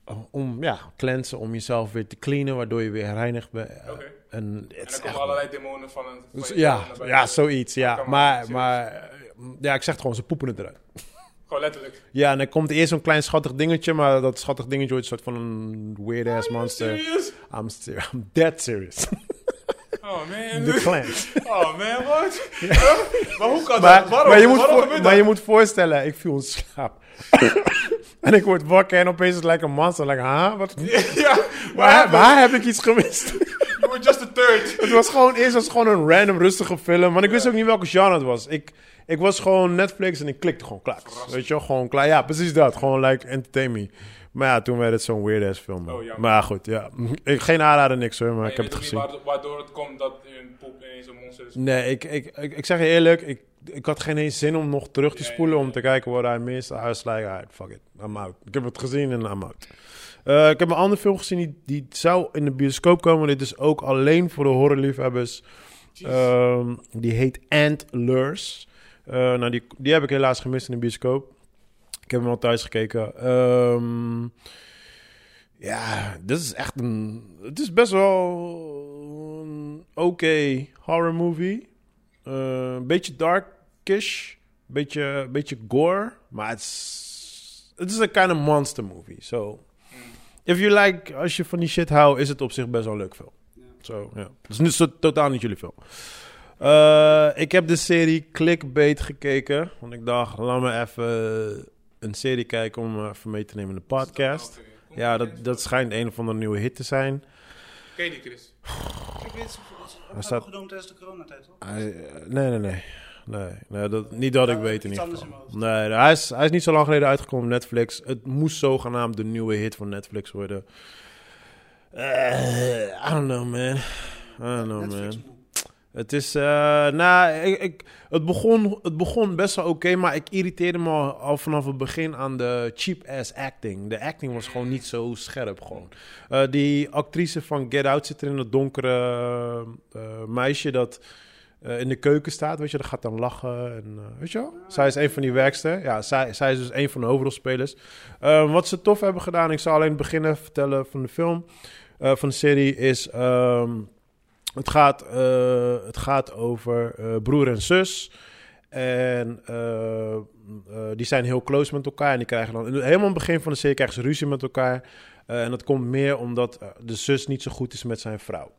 S1: eh, Om ja, cleansen, om jezelf weer te cleanen, waardoor je weer reinigd bent. eh,
S2: Oké.
S1: En het
S2: en
S1: is
S2: dan komen
S1: echt-
S2: allerlei demonen van een. van
S1: dus
S2: je
S1: ja,
S2: naar buiten.
S1: ja, zoiets. Ja.
S2: kan maar niet,
S1: Maar,
S2: serieus.
S1: maar eh, ja, ik zeg het gewoon, ze poepen het eruit.
S2: Gewoon letterlijk.
S1: Ja, en dan komt eerst zo'n klein schattig dingetje, maar dat schattig dingetje wordt een soort van een weird ass monster.
S2: Serieus?
S1: I'm, ser- [laughs] I'm dead serious.
S2: Oh man.
S1: The clans.
S2: [laughs] Oh man, wat? Maar hoe kan
S1: Maar,
S2: dat? Waarom?
S1: maar, je moet
S2: Waarom
S1: voor-
S2: gebeurt
S1: maar
S2: dat?
S1: je moet voorstellen, ik viel in slaap. [laughs] en ik word wakker en opeens is het like een monster. Like, huh? Wat?
S2: [laughs] ja,
S1: Waar,
S2: maar
S1: waar heb ik iets gemist? [laughs]
S2: you were just a third.
S1: het was gewoon, eerst was het gewoon een random rustige film. Want ik wist ook niet welke genre het was. Ik, ik was gewoon Netflix en ik klikte gewoon klaar. Weet je wel, gewoon klaar. Ja, precies dat. Gewoon like entertain me. Maar ja, toen werd het zo'n weird ass film. man.
S2: Oh, jammer.
S1: maar goed, ja. Ik, geen aanrader, niks hoor, maar, ik heb het gezien.
S2: Waardoor het komt dat een poep ineens een monster is.
S1: Nee, ik, ik, ik, ik zeg je eerlijk, ik, ik had geen eens zin om nog terug te
S2: Ja, ja,
S1: spoelen
S2: ja.
S1: om te kijken wat hij mist. I was like, alright, fuck it, I'm out. Ik heb het gezien en I'm out. Eh, ik heb een andere film gezien die, die zou in de bioscoop komen. Dit is ook alleen voor de horrorliefhebbers. Ehm, die heet Antlers. Eh nou, die, die heb ik helaas gemist in de bioscoop. Ik heb hem al thuis gekeken. Ehm, ja, dit is echt een... Het is best wel een oké horror movie. Eh, Een beetje darkish. Beetje, beetje gore. Maar het is... Het is een kind of monster movie. So, if you like... Als je van die shit houdt, is het op zich best wel een leuk film.
S3: Ja.
S1: Zo, ja. Het is niet, zo, totaal niet jullie film. Eh, Eh, ik heb de serie Clickbait gekeken. Want ik dacht, laat me even een serie kijken om eh, even mee te nemen in de podcast.
S2: Ah, nou
S1: Ja, dat, dat schijnt een of andere nieuwe hit te zijn.
S2: Ken je die, Chris?
S3: Ik weet het,
S1: Hij
S3: dat
S1: staat-
S3: staat genomen tijdens de coronatijd, toch?
S1: Hij- eh, nee, nee, nee. Nee, nee dat, niet dat ik
S3: Ja,
S1: weet in
S3: iets
S1: ieder
S3: anders
S1: geval.
S3: in
S1: Nee, hij is, hij is niet zo lang geleden uitgekomen op Netflix. Het moest zogenaamd de nieuwe hit van Netflix worden. Eh, I don't know, man. I don't know, man.
S3: Netflix-moe.
S1: Het is, eh, nou, ik, ik- het, begon, het begon best wel oké, maar ik irriteerde me al, al vanaf het begin aan de cheap ass acting. De acting was gewoon niet zo scherp gewoon. Eh, die actrice van Get Out zit er in dat donkere eh, meisje dat eh, in de keuken staat, weet je, dat gaat dan lachen en eh, weet je wel. Zij is een van die werkster. Ja, zij, zij is dus een van de hoofdrolspelers. Eh, wat ze tof hebben gedaan, ik zal alleen beginnen vertellen van de film, eh, van de serie, is ehm, het gaat, eh, het gaat over eh, broer en zus. En eh, eh, die zijn heel close met elkaar. En die krijgen dan. Helemaal aan het begin van de serie krijgen ze ruzie met elkaar. Eh, en dat komt meer omdat eh, de zus niet zo goed is met zijn vrouw.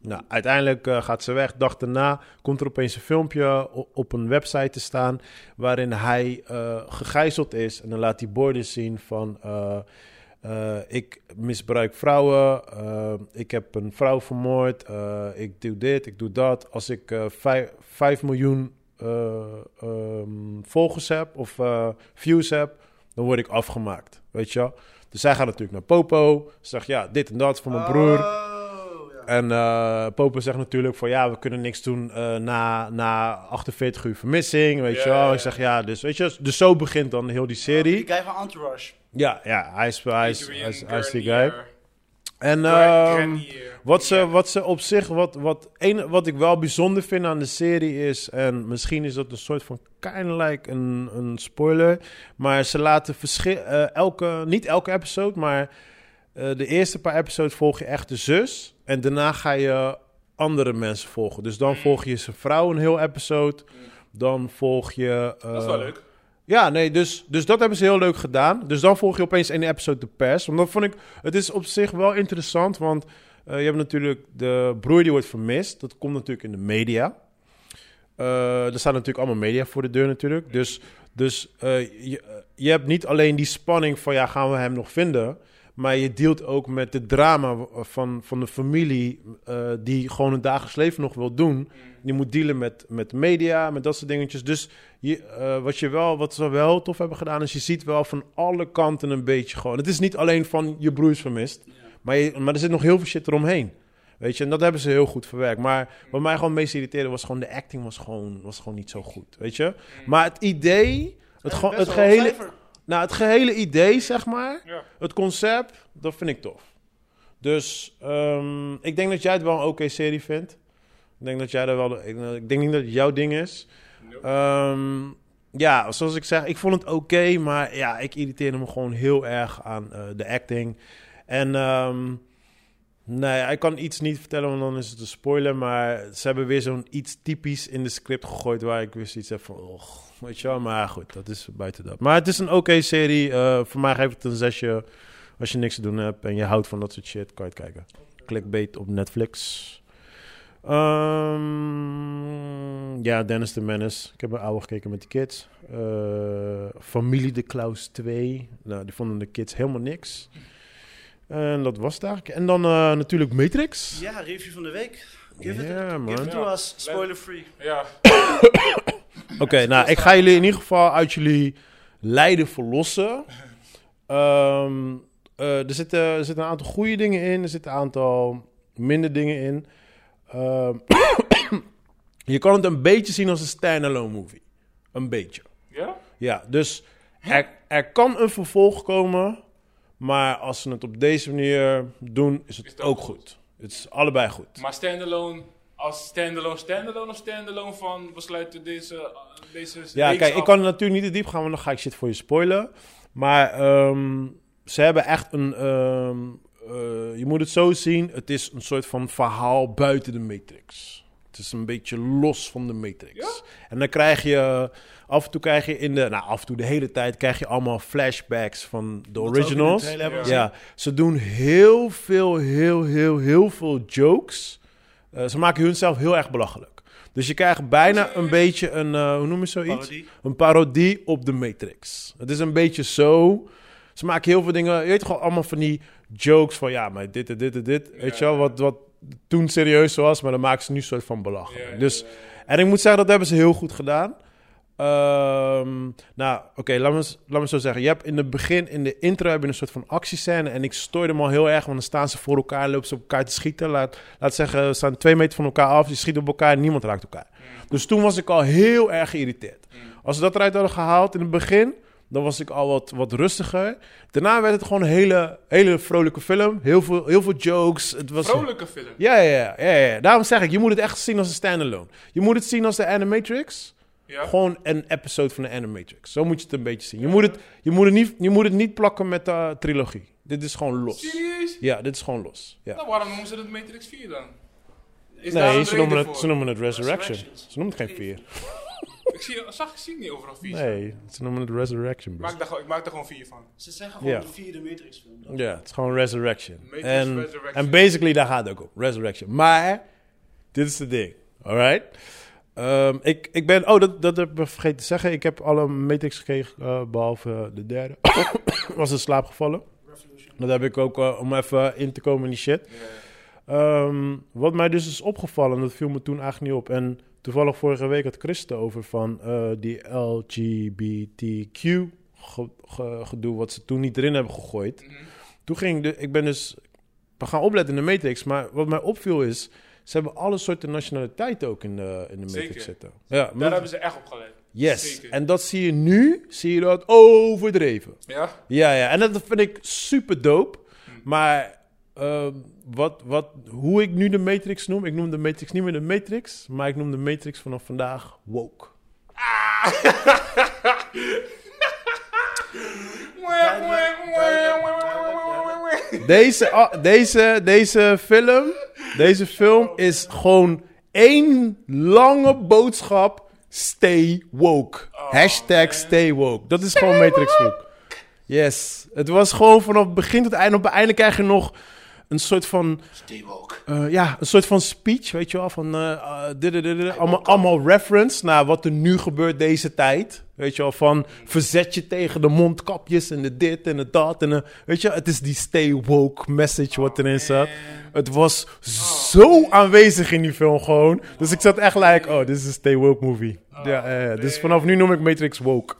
S1: Nou, uiteindelijk eh, gaat ze weg. Dag daarna komt er opeens een filmpje o- op een website te staan. waarin hij eh, gegijzeld is. En dan laat hij borden zien van. eh, eh, ik misbruik vrouwen. eh, ik heb een vrouw vermoord. eh, ik doe dit, ik doe dat. Als ik eh 5, miljoen eh, ehm, volgers heb of eh, views heb, dan word ik afgemaakt. Weet je wel? Dus zij gaat natuurlijk naar Popo. Ze zegt ja, dit en dat voor mijn broer.
S3: Oh, ja.
S1: En eh Popo zegt natuurlijk van ja, we kunnen niks doen eh, na, na 48 uur vermissing. Weet
S2: Ja,
S1: je wel?
S2: ja, ja.
S1: Ik zeg ja, dus weet je, dus zo begint dan heel die serie.
S3: Die guy van Entourage.
S1: Ja, ja, hij is, hij is, hij
S2: Adrian eh,
S1: is, hij is die guy.
S2: Grenier.
S1: En
S2: Gra-
S1: ehm,
S2: Grenier.
S1: wat, ze,
S2: Ja.
S1: wat ze op zich, wat, wat, een, wat ik wel bijzonder vind aan de serie is, en misschien is dat een soort van kind like een, een spoiler, maar ze laten verschil, eh, elke, niet elke episode, maar eh, de eerste paar episodes volg je echt de zus en daarna ga je andere mensen volgen. Dus
S2: Mm.
S1: dan volg je zijn vrouw een heel episode, dan volg je...
S2: Dat is
S1: eh,
S2: wel leuk.
S1: ja, nee, dus, dus dat hebben ze heel leuk gedaan. Dus dan volg je opeens één episode de pers. Want dat vond ik, het is op zich wel interessant, want eh, je hebt natuurlijk de broer die wordt vermist. Dat komt natuurlijk in de media. Eh, er staan natuurlijk allemaal media voor de deur natuurlijk. Dus, dus eh, je, je hebt niet alleen die spanning van, ja, gaan we hem nog vinden? Maar je deelt ook met het drama van, van de familie eh, die gewoon het dagelijks leven nog wil doen. Die moet dealen met, met media, met dat soort dingetjes. Dus je, eh, wat, je wel, wat ze wel tof hebben gedaan, is je ziet wel van alle kanten een beetje gewoon. Het is niet alleen van je broers vermist, maar, je, maar er zit nog heel veel shit eromheen. Weet je, en dat hebben ze heel goed verwerkt. Maar wat mij gewoon het meest irriteerde was gewoon de acting was gewoon, was gewoon niet zo goed. Weet je, maar het idee, het, gewoon, het,
S3: Best wel een
S1: gehele,
S3: cijfer.
S1: nou, het gehele idee, zeg maar,
S2: Ja.
S1: het concept, dat vind ik tof. Dus ehm, ik denk dat jij het wel een oké serie vindt. Ik denk dat jij daar wel. Ik, ik denk niet dat het jouw ding is.
S2: Nope.
S1: Ehm, ja, zoals ik zeg, ik vond het oké, maar ja, ik irriteerde me gewoon heel erg aan eh, de acting. En ehm nee, ik kan iets niet vertellen, want dan is het een spoiler. Maar ze hebben weer zo'n iets typisch in de script gegooid waar ik weer zoiets heb van, och, weet je wel. Maar goed, dat is buiten dat. Maar het is een oké serie. Eh, voor mij geeft het een zesje. Als je niks te doen hebt en je houdt van dat soort shit, kan je het kijken. Clickbait op Netflix. Ehm, ja, Dennis de Menace. Ik heb een oude gekeken met de kids. Eh, Familie de Klaus 2. Nou, die vonden de kids helemaal niks. En dat was het eigenlijk. En dan eh, natuurlijk Matrix.
S3: Ja, review van de week.
S1: Ja,
S3: Give it, give
S1: man.
S3: it
S1: Oké,
S3: to us. Spoiler free.
S2: Ja.
S1: nou, ik ga jullie in ieder geval uit jullie lijden verlossen. Ehm, eh, er, zitten, er zitten een aantal goede dingen in. Er zitten een aantal minder dingen in. Ehm, [coughs] je kan het een beetje zien als een standalone movie. Een beetje.
S2: Ja?
S1: Ja, dus er, er kan een vervolg komen. Maar als ze het op deze manier doen, is het
S2: Is dat
S1: ook
S2: goed?
S1: goed. Het is allebei goed.
S2: Maar standalone, als standalone, standalone of standalone van we sluiten deze, deze
S1: Ja,
S3: Dus
S2: reeks
S1: kijk, ik
S2: af?
S1: kan er natuurlijk niet te diep gaan, want dan ga ik shit voor je spoilen. Maar ehm, ze hebben echt een. ehm, eh, je moet het zo zien: het is een soort van verhaal buiten de Matrix. Het is een beetje los van de Matrix. En dan krijg je. Af en toe krijg je in de. Nou, af en toe de hele tijd krijg je allemaal flashbacks van de
S3: Wat we ook in de
S1: originals.
S3: trailer hebben
S2: Ja.
S3: gezien.
S1: Ja, ze doen heel veel, heel, heel, heel veel jokes. Eh, ze maken hunzelf heel erg belachelijk. Dus je krijgt bijna een beetje een, eh, hoe noem je zoiets?
S3: Parodie.
S1: Een parodie op de Matrix. Het is een beetje zo. Ze maken heel veel dingen, je weet gewoon allemaal van die jokes van ja, maar dit en dit en dit. Weet je wel, wat, wat toen serieus was, maar dan maken ze nu soort van belachelijk.
S2: Ja, ja,
S1: dus, en ik moet zeggen, dat hebben ze heel goed gedaan. Ehm, nou, oké, laat laat, laat me zo zeggen. Je hebt in het begin, in de intro, heb je een soort van actiescène. En ik stoorde hem al heel erg, want dan staan ze voor elkaar, lopen ze op elkaar te schieten. Laat, laat zeggen, we staan twee meter van elkaar af, je schiet op elkaar en niemand raakt elkaar. Dus toen was ik al heel erg geïrriteerd. Als ze dat eruit hadden gehaald in het begin, dan was ik al wat, wat rustiger. Daarna werd het gewoon een hele, hele vrolijke film. Heel veel, heel veel jokes. Het was
S2: Vrolijke film.
S1: Ja, ja, ja, ja, ja. Daarom zeg ik, je moet het echt zien als een standalone. Je moet het zien als de Animatrix.
S2: Ja.
S1: Gewoon een episode van de Animatrix. Zo moet je het een beetje zien. Je moet het, je moet het, niet, je moet het niet plakken met de trilogie. Dit is gewoon los.
S2: Serieus?
S1: Ja, dit is gewoon los. Ja.
S2: Nou, waarom noemen ze het Matrix 4 dan? Is daar
S1: Nee,
S2: een
S1: ze
S2: reden
S1: noemen, het,
S2: voor?
S1: ze noemen het Resurrection.
S3: Resurrections.
S1: Ze noemen het geen vier.
S2: Ik zie, zag, ik zie niet overal 4.
S1: Nee, ze noemen het Resurrection.
S2: Ik
S1: bro.
S2: maak, daar, gewoon- ik maak daar gewoon 4 van.
S3: Ze zeggen gewoon
S1: Ja.
S3: de vierde Matrix film.
S1: Ja, het is gewoon Resurrection.
S2: Matrix
S1: En
S2: Resurrection.
S1: en basically, daar gaat het ook om. Resurrection. Maar, dit is het ding. Alright? Ehm, ik, ik ben... Oh, dat, dat heb ik vergeten te zeggen. Ik heb alle Matrix gekregen, eh, behalve eh, de derde. [coughs] Was in slaap gevallen.
S3: Revolution.
S1: Dat heb ik ook eh, om even in te komen in die shit. Ehm, wat mij dus is opgevallen, en dat viel me toen eigenlijk niet op. En toevallig vorige week had Chris het over van eh, die LGBTQ ge- ge- gedoe, wat ze toen niet erin hebben gegooid.
S2: Mhm.
S1: Toen ging ik, de, ik ben dus, we gaan opletten in de Matrix, maar wat mij opviel is, ze hebben alle soorten nationaliteiten ook in de, in de Matrix
S2: Zeker.
S1: zitten. Ja,
S2: Daar
S1: maar-
S2: hebben ze echt op gelet.
S1: yes.
S2: Zeker.
S1: En dat zie je nu, zie je dat overdreven.
S2: Ja?
S1: Ja, ja, en dat vind ik super dope. Maar ehm, wat, wat, hoe ik nu de Matrix noem, ik noem de Matrix niet meer de Matrix, maar ik noem de Matrix vanaf vandaag woke. Deze, ah, deze, deze film, deze film is gewoon één lange boodschap. Stay woke. Hashtag Oh, stay woke. Dat is gewoon Matrix woke. Yes. Het was gewoon vanaf begin tot einde. Op het einde krijg je nog een soort van
S3: Steve ook.
S1: eh, ja, een soort van speech, weet je wel, van eh, eh, dit, dit, dit, dit. allemaal, allemaal reference naar wat er nu gebeurt deze tijd. Weet je wel, van verzet je tegen de mondkapjes en de dit en de dat. En de, weet je, het is die stay woke message wat erin zat. Het was zo aanwezig in die film gewoon. Dus ik zat echt like, oh, dit is een stay woke movie. ja, eh, dus vanaf nu noem ik Matrix woke.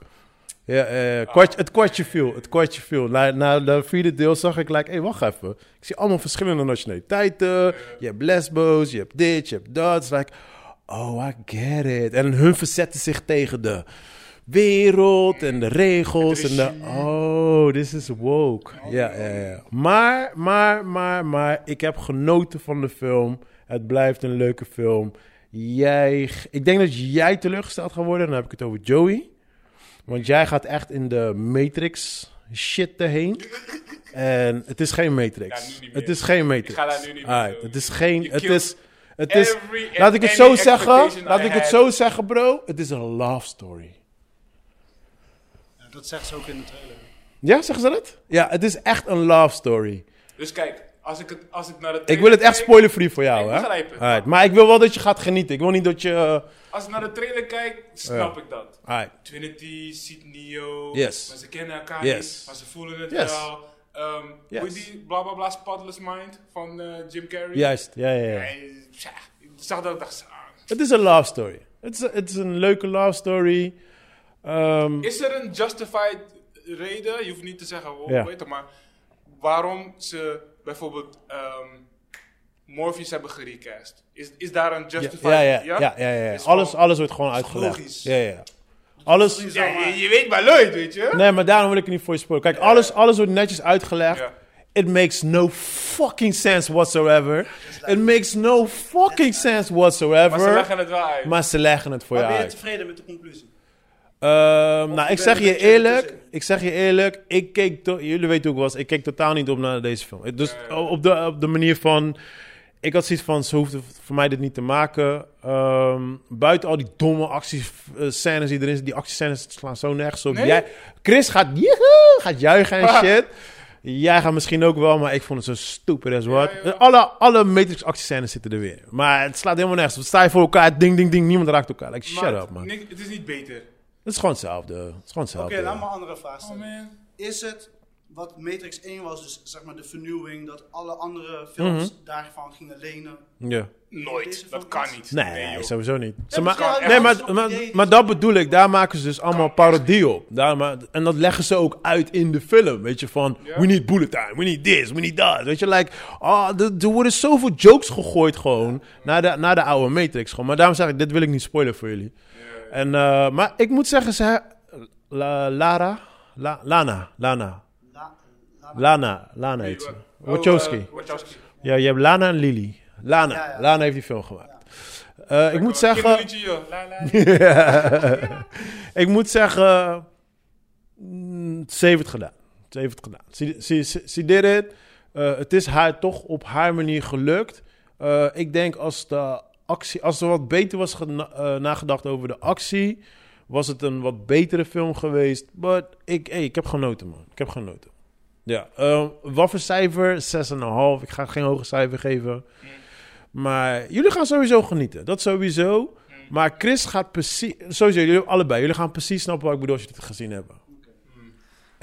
S1: Ja, eh, kwart, het kwartje viel. Het kwartje viel. Na, na de vierde deel zag ik, like, hey, wacht even. Ik zie allemaal verschillende nationaliteiten. Je hebt lesbo's, je hebt dit, je hebt dat. Het is like, oh, I get it. En hun verzetten zich tegen de wereld en de regels. En de, oh, this is woke. Ja, ja, ja. Maar, maar, maar, maar, ik heb genoten van de film. Het blijft een leuke film. Jij, ik denk dat jij teleurgesteld gaat worden. Dan heb ik het over Joey. Want jij gaat echt in de Matrix shit erheen. En het is geen
S2: Ja, nu
S1: Matrix.
S2: niet meer.
S1: het is geen Matrix.
S2: Ik ga daar nu niet meer
S1: Alright,
S2: over.
S1: Het is geen.
S2: Je
S1: Het
S2: killed
S1: is. Het is.
S2: every and
S1: Laat ik het
S2: any
S1: zo zeggen.
S2: expectation
S1: Laat
S2: I
S1: ik het
S2: had.
S1: zo zeggen, bro. Het is een love story.
S3: Ja, dat zegt ze ook in de trailer.
S1: Oh Ja, zeggen ze dat? Ja, het is echt een love story.
S2: Dus kijk, als ik, het, als ik naar de
S1: Ik
S2: trailer
S1: wil het echt
S2: kijk-
S1: spoiler-free voor jou,
S2: Ik
S1: hè?
S2: begrijp het.
S1: Alright, maar ik wil wel dat je gaat genieten. Ik wil niet dat je. eh,
S2: Als ik naar de trailer kijk, snap ik dat.
S1: Alright.
S2: Trinity, ziet Neo.
S1: Yes.
S2: Maar ze kennen elkaar
S1: Yes.
S2: niet, maar ze voelen het
S1: Yes.
S2: wel. Ehm
S1: Yes.
S2: Hoe is die bla bla bla spotless mind van eh, Jim Carrey?
S1: Juist, ja, ja, ja.
S2: Hij- tja, ik zag dat ik dacht, ah.
S1: Het is een love story. Het is, het is een leuke love story. Ehm,
S2: Is er een justified reden, je hoeft niet te zeggen, oh,
S1: Ja.
S2: weet het maar, waarom ze bijvoorbeeld ehm Morpheus hebben gerecast? Is, is daar een
S1: ja,
S2: justified...
S1: ja, ja, ja, ja, ja.
S2: Is
S1: Alles,
S2: gewoon-
S1: alles wordt gewoon uitgelegd.
S3: logisch.
S1: Ja, ja. Alles.
S3: Sorry,
S2: Ja,
S3: zeg maar.
S2: je, je weet maar nooit, weet je?
S1: Nee, maar daarom wil ik er niet voor je spoilen. Kijk, alles, alles wordt netjes uitgelegd.
S2: Ja.
S1: It makes no fucking sense whatsoever. It makes no fucking sense whatsoever.
S2: dus Maar ze leggen het wel uit.
S1: Maar ze leggen het voor
S3: Maar
S1: je
S3: ben je
S1: uit.
S3: tevreden met de conclusie?
S1: Ehm, nou, ik
S3: je
S1: zeg
S3: bent
S1: je
S3: een beetje
S1: eerlijk.
S3: ertussenin.
S1: Ik zeg je eerlijk. Ik keek to- jullie weten hoe ik was. Ik keek totaal niet op naar deze film. Ik- Dus op de, op de manier van. Ik had zoiets van, ze hoefden voor mij dit niet te maken. Ehm, buiten al die domme actiescènes die erin zitten. Die actiescènes slaan zo nergens op.
S2: Nee? [laughs]
S1: Jij, Chris gaat, joehoe, gaat juichen en shit. Jij gaat misschien ook wel, maar ik vond het zo stupid as what.
S2: Ja, joh.
S1: alle, alle Matrix actiescènes zitten er weer. Maar het slaat helemaal nergens. op. Sta je voor elkaar, ding, ding, ding. Niemand raakt elkaar. Like, shut
S2: Maar
S1: up,
S2: het-
S1: man.
S2: niks- het is niet beter.
S1: Het is gewoon hetzelfde. Het is gewoon
S3: Oké,
S1: hetzelfde.
S3: laat me een andere vraag
S2: Oh
S3: stellen.
S2: man.
S3: is het wat Matrix 1 was, dus zeg maar de vernieuwing, dat alle andere films
S1: Mhm.
S3: daarvan gingen lenen?
S1: Ja.
S3: Deze
S2: Nooit. Dat
S3: van
S2: kan
S3: ons?
S2: niet.
S1: Nee,
S2: joh.
S1: sowieso niet. Ze ma-
S3: Ja, misschien hadden
S1: nee,
S3: we
S1: maar,
S3: zo'n
S1: maar,
S3: idee.
S1: maar dat bedoel ik. Daar maken ze dus allemaal parodie op. Daar, ma- en dat leggen ze ook uit in de film. Weet je, van we need bullet time, we need this, we need that. Weet je, like, ah, er- er worden zoveel jokes gegooid gewoon naar de, naar de oude Matrix. Gewoon. Maar daarom zeg ik, dit wil ik niet spoilen voor jullie. En, eh, maar ik moet zeggen, ze, La- Lara, La- Lana, Lana,
S3: La, la,
S1: Lana, Lana heet ze.
S2: Oh, eh,
S1: Wachowski.
S2: Wachowski.
S1: Ja, je hebt Lana en Lily. Lana.
S3: Ja, ja.
S1: Lana heeft die film gemaakt. Eh, ik moet zeggen...
S2: Kinderliedje, joh. La, la, la.
S1: [laughs] ik moet zeggen... mm, Ze heeft het gedaan. Ze heeft het gedaan. Ze- Ze ze- ze did it. Eh, het is haar toch op haar manier gelukt. Eh, ik denk als de actie... Als er wat beter was gena- eh, nagedacht over de actie... was het een wat betere film geweest. Maar ik, hey, ik heb genoten, man. Ik heb genoten. Ja. eh, wat voor cijfer? 6,5. Ik ga geen hoge cijfer geven. Maar jullie gaan sowieso genieten. Dat sowieso. Maar Chris gaat precies... Sowieso, jullie allebei. Jullie gaan precies snappen wat ik bedoel als jullie het gezien hebben.
S3: ik wil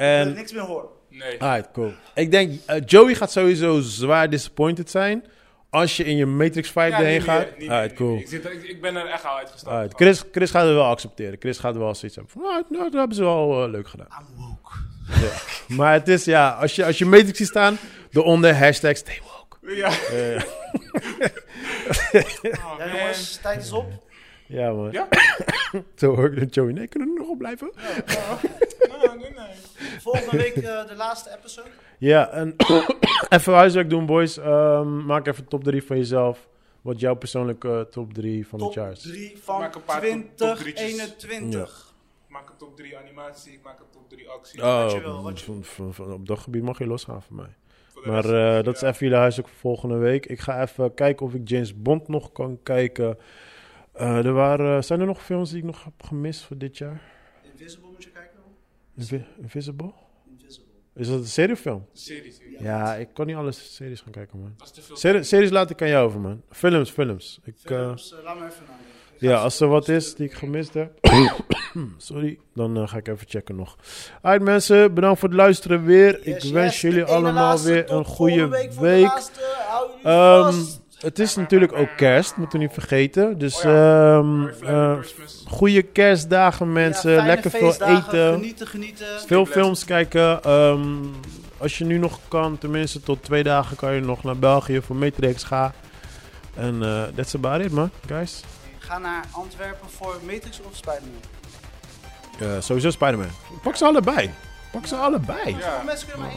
S1: En...
S3: niks meer horen.
S2: Nee.
S1: Alright, cool. Ik denk, eh, Joey gaat sowieso zwaar disappointed zijn... als je in je Matrix 5
S2: Ja,
S1: erheen
S2: niet meer,
S1: gaat.
S2: niet meer,
S1: Alright,
S2: niet meer.
S1: cool.
S2: Ik, zit er- ik, ik ben er echt al uitgestapt.
S1: Alright, Chris, Chris gaat het wel accepteren. Chris gaat wel zoiets hebben van... "Alright, nou, dat hebben ze wel eh, leuk gedaan. [laughs]
S3: I'm woke.
S1: Maar het is, ja... Als je, als je Matrix ziet staan... eronder hashtag stay woke.
S2: Ja. [laughs] Oh,
S3: Ja,
S2: man.
S3: jongens, tijd is op.
S1: Ja, man.
S2: Ja?
S1: [laughs] Zo hoor ik dat Joey... Nee, kunnen we er nog op blijven?
S2: Oh, nee, nee.
S3: Volgende week eh, de laatste episode.
S1: Ja, en [coughs] even huiswerk doen, boys. Ehm, maak even top 3 van jezelf. Wat jouw persoonlijke eh, top 3 van
S3: Top
S1: het jaar is.
S3: 3
S2: Maak
S3: van
S2: een paar top- top drietjes.
S3: 2021.
S2: Ik maak een top 3 animatie, ik maak een top 3 actie.
S1: Oh,
S3: je wil, wat je-
S1: van- van- van- op dat gebied mag je losgaan van mij.
S2: Voor de
S1: Maar
S2: rest,
S1: eh, dat is even jullie huiswerk voor volgende week. Ik ga even kijken of ik James Bond nog kan kijken. Eh, er waren, zijn er nog films die ik nog heb gemist voor dit jaar?
S3: Invisible moet je kijken. hoor.
S1: Invi- Invisible?
S3: Invisible.
S1: Is dat een seriefilm?
S2: serie, serie.
S1: Ja, ik kan niet alle series gaan kijken, man.
S2: eh, Dat is te veel.
S1: Serie- series laat ik aan jou over, man. Films, films. Ik, eh,
S3: Films, eh, laat me even nadenken. Ik ga
S1: Ja,
S3: zo-
S1: als er wat is die ik gemist heb. [coughs] Sorry, dan eh, ga ik even checken nog. Alright mensen, bedankt voor het luisteren weer.
S3: Yes,
S1: ik wens
S3: yes,
S1: jullie
S3: de ene
S1: allemaal
S3: laatste
S1: weer
S3: tot
S1: een goede
S3: volgende
S1: week.
S3: voor de laatste. Hou jullie
S1: Ehm,
S3: vast.
S1: het is natuurlijk ook kerst, moeten we niet vergeten. Dus
S2: Oh ja.
S1: ehm,
S2: Merry Flappy
S1: eh,
S2: Christmas.
S1: goede kerstdagen mensen.
S3: Ja, fijne
S1: Lekker veel
S3: feestdagen.
S1: eten.
S3: Genieten, genieten.
S1: Veel films kijken. Ehm, als je nu nog kan, tenminste tot twee dagen kan je nog naar België voor Matrix gaan. En eh that's about it man, guys.
S3: Ga naar Antwerpen voor Matrix of Spider-Man.
S1: Eh, sowieso Spider-Man. Pak ze allebei. Pak ze allebei.
S2: Ja.
S3: Mensen kunnen maar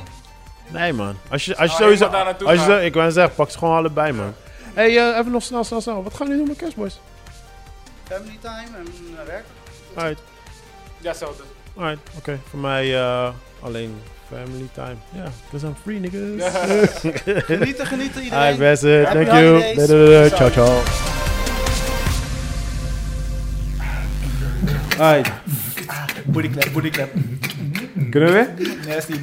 S3: één.
S1: Nee, man. Als je, als je
S2: Oh,
S1: sowieso...
S2: helemaal daar naartoe
S1: Als je,
S2: gaan.
S1: zo- ik wou zeggen, pak ze gewoon allebei, man. Hé, hey, eh, even nog snel, snel, snel. Wat gaan we nu doen met Kerstboys?
S3: Family time en eh, werk.
S1: Alright,
S2: Ja, zelfde.
S1: alright. Oké, voor mij eh, alleen family time. Ja, because I'm free, niggas.
S3: [laughs] Genieten, genieten iedereen.
S1: [laughs] Alright, mensen.
S3: Happy
S1: Thank you.
S3: holidays.
S1: Doei, doei, doei. Ciao, ciao. Alright,
S5: Booty clap, booty clap.
S1: kunnen we weer?
S5: Nasty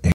S5: boys.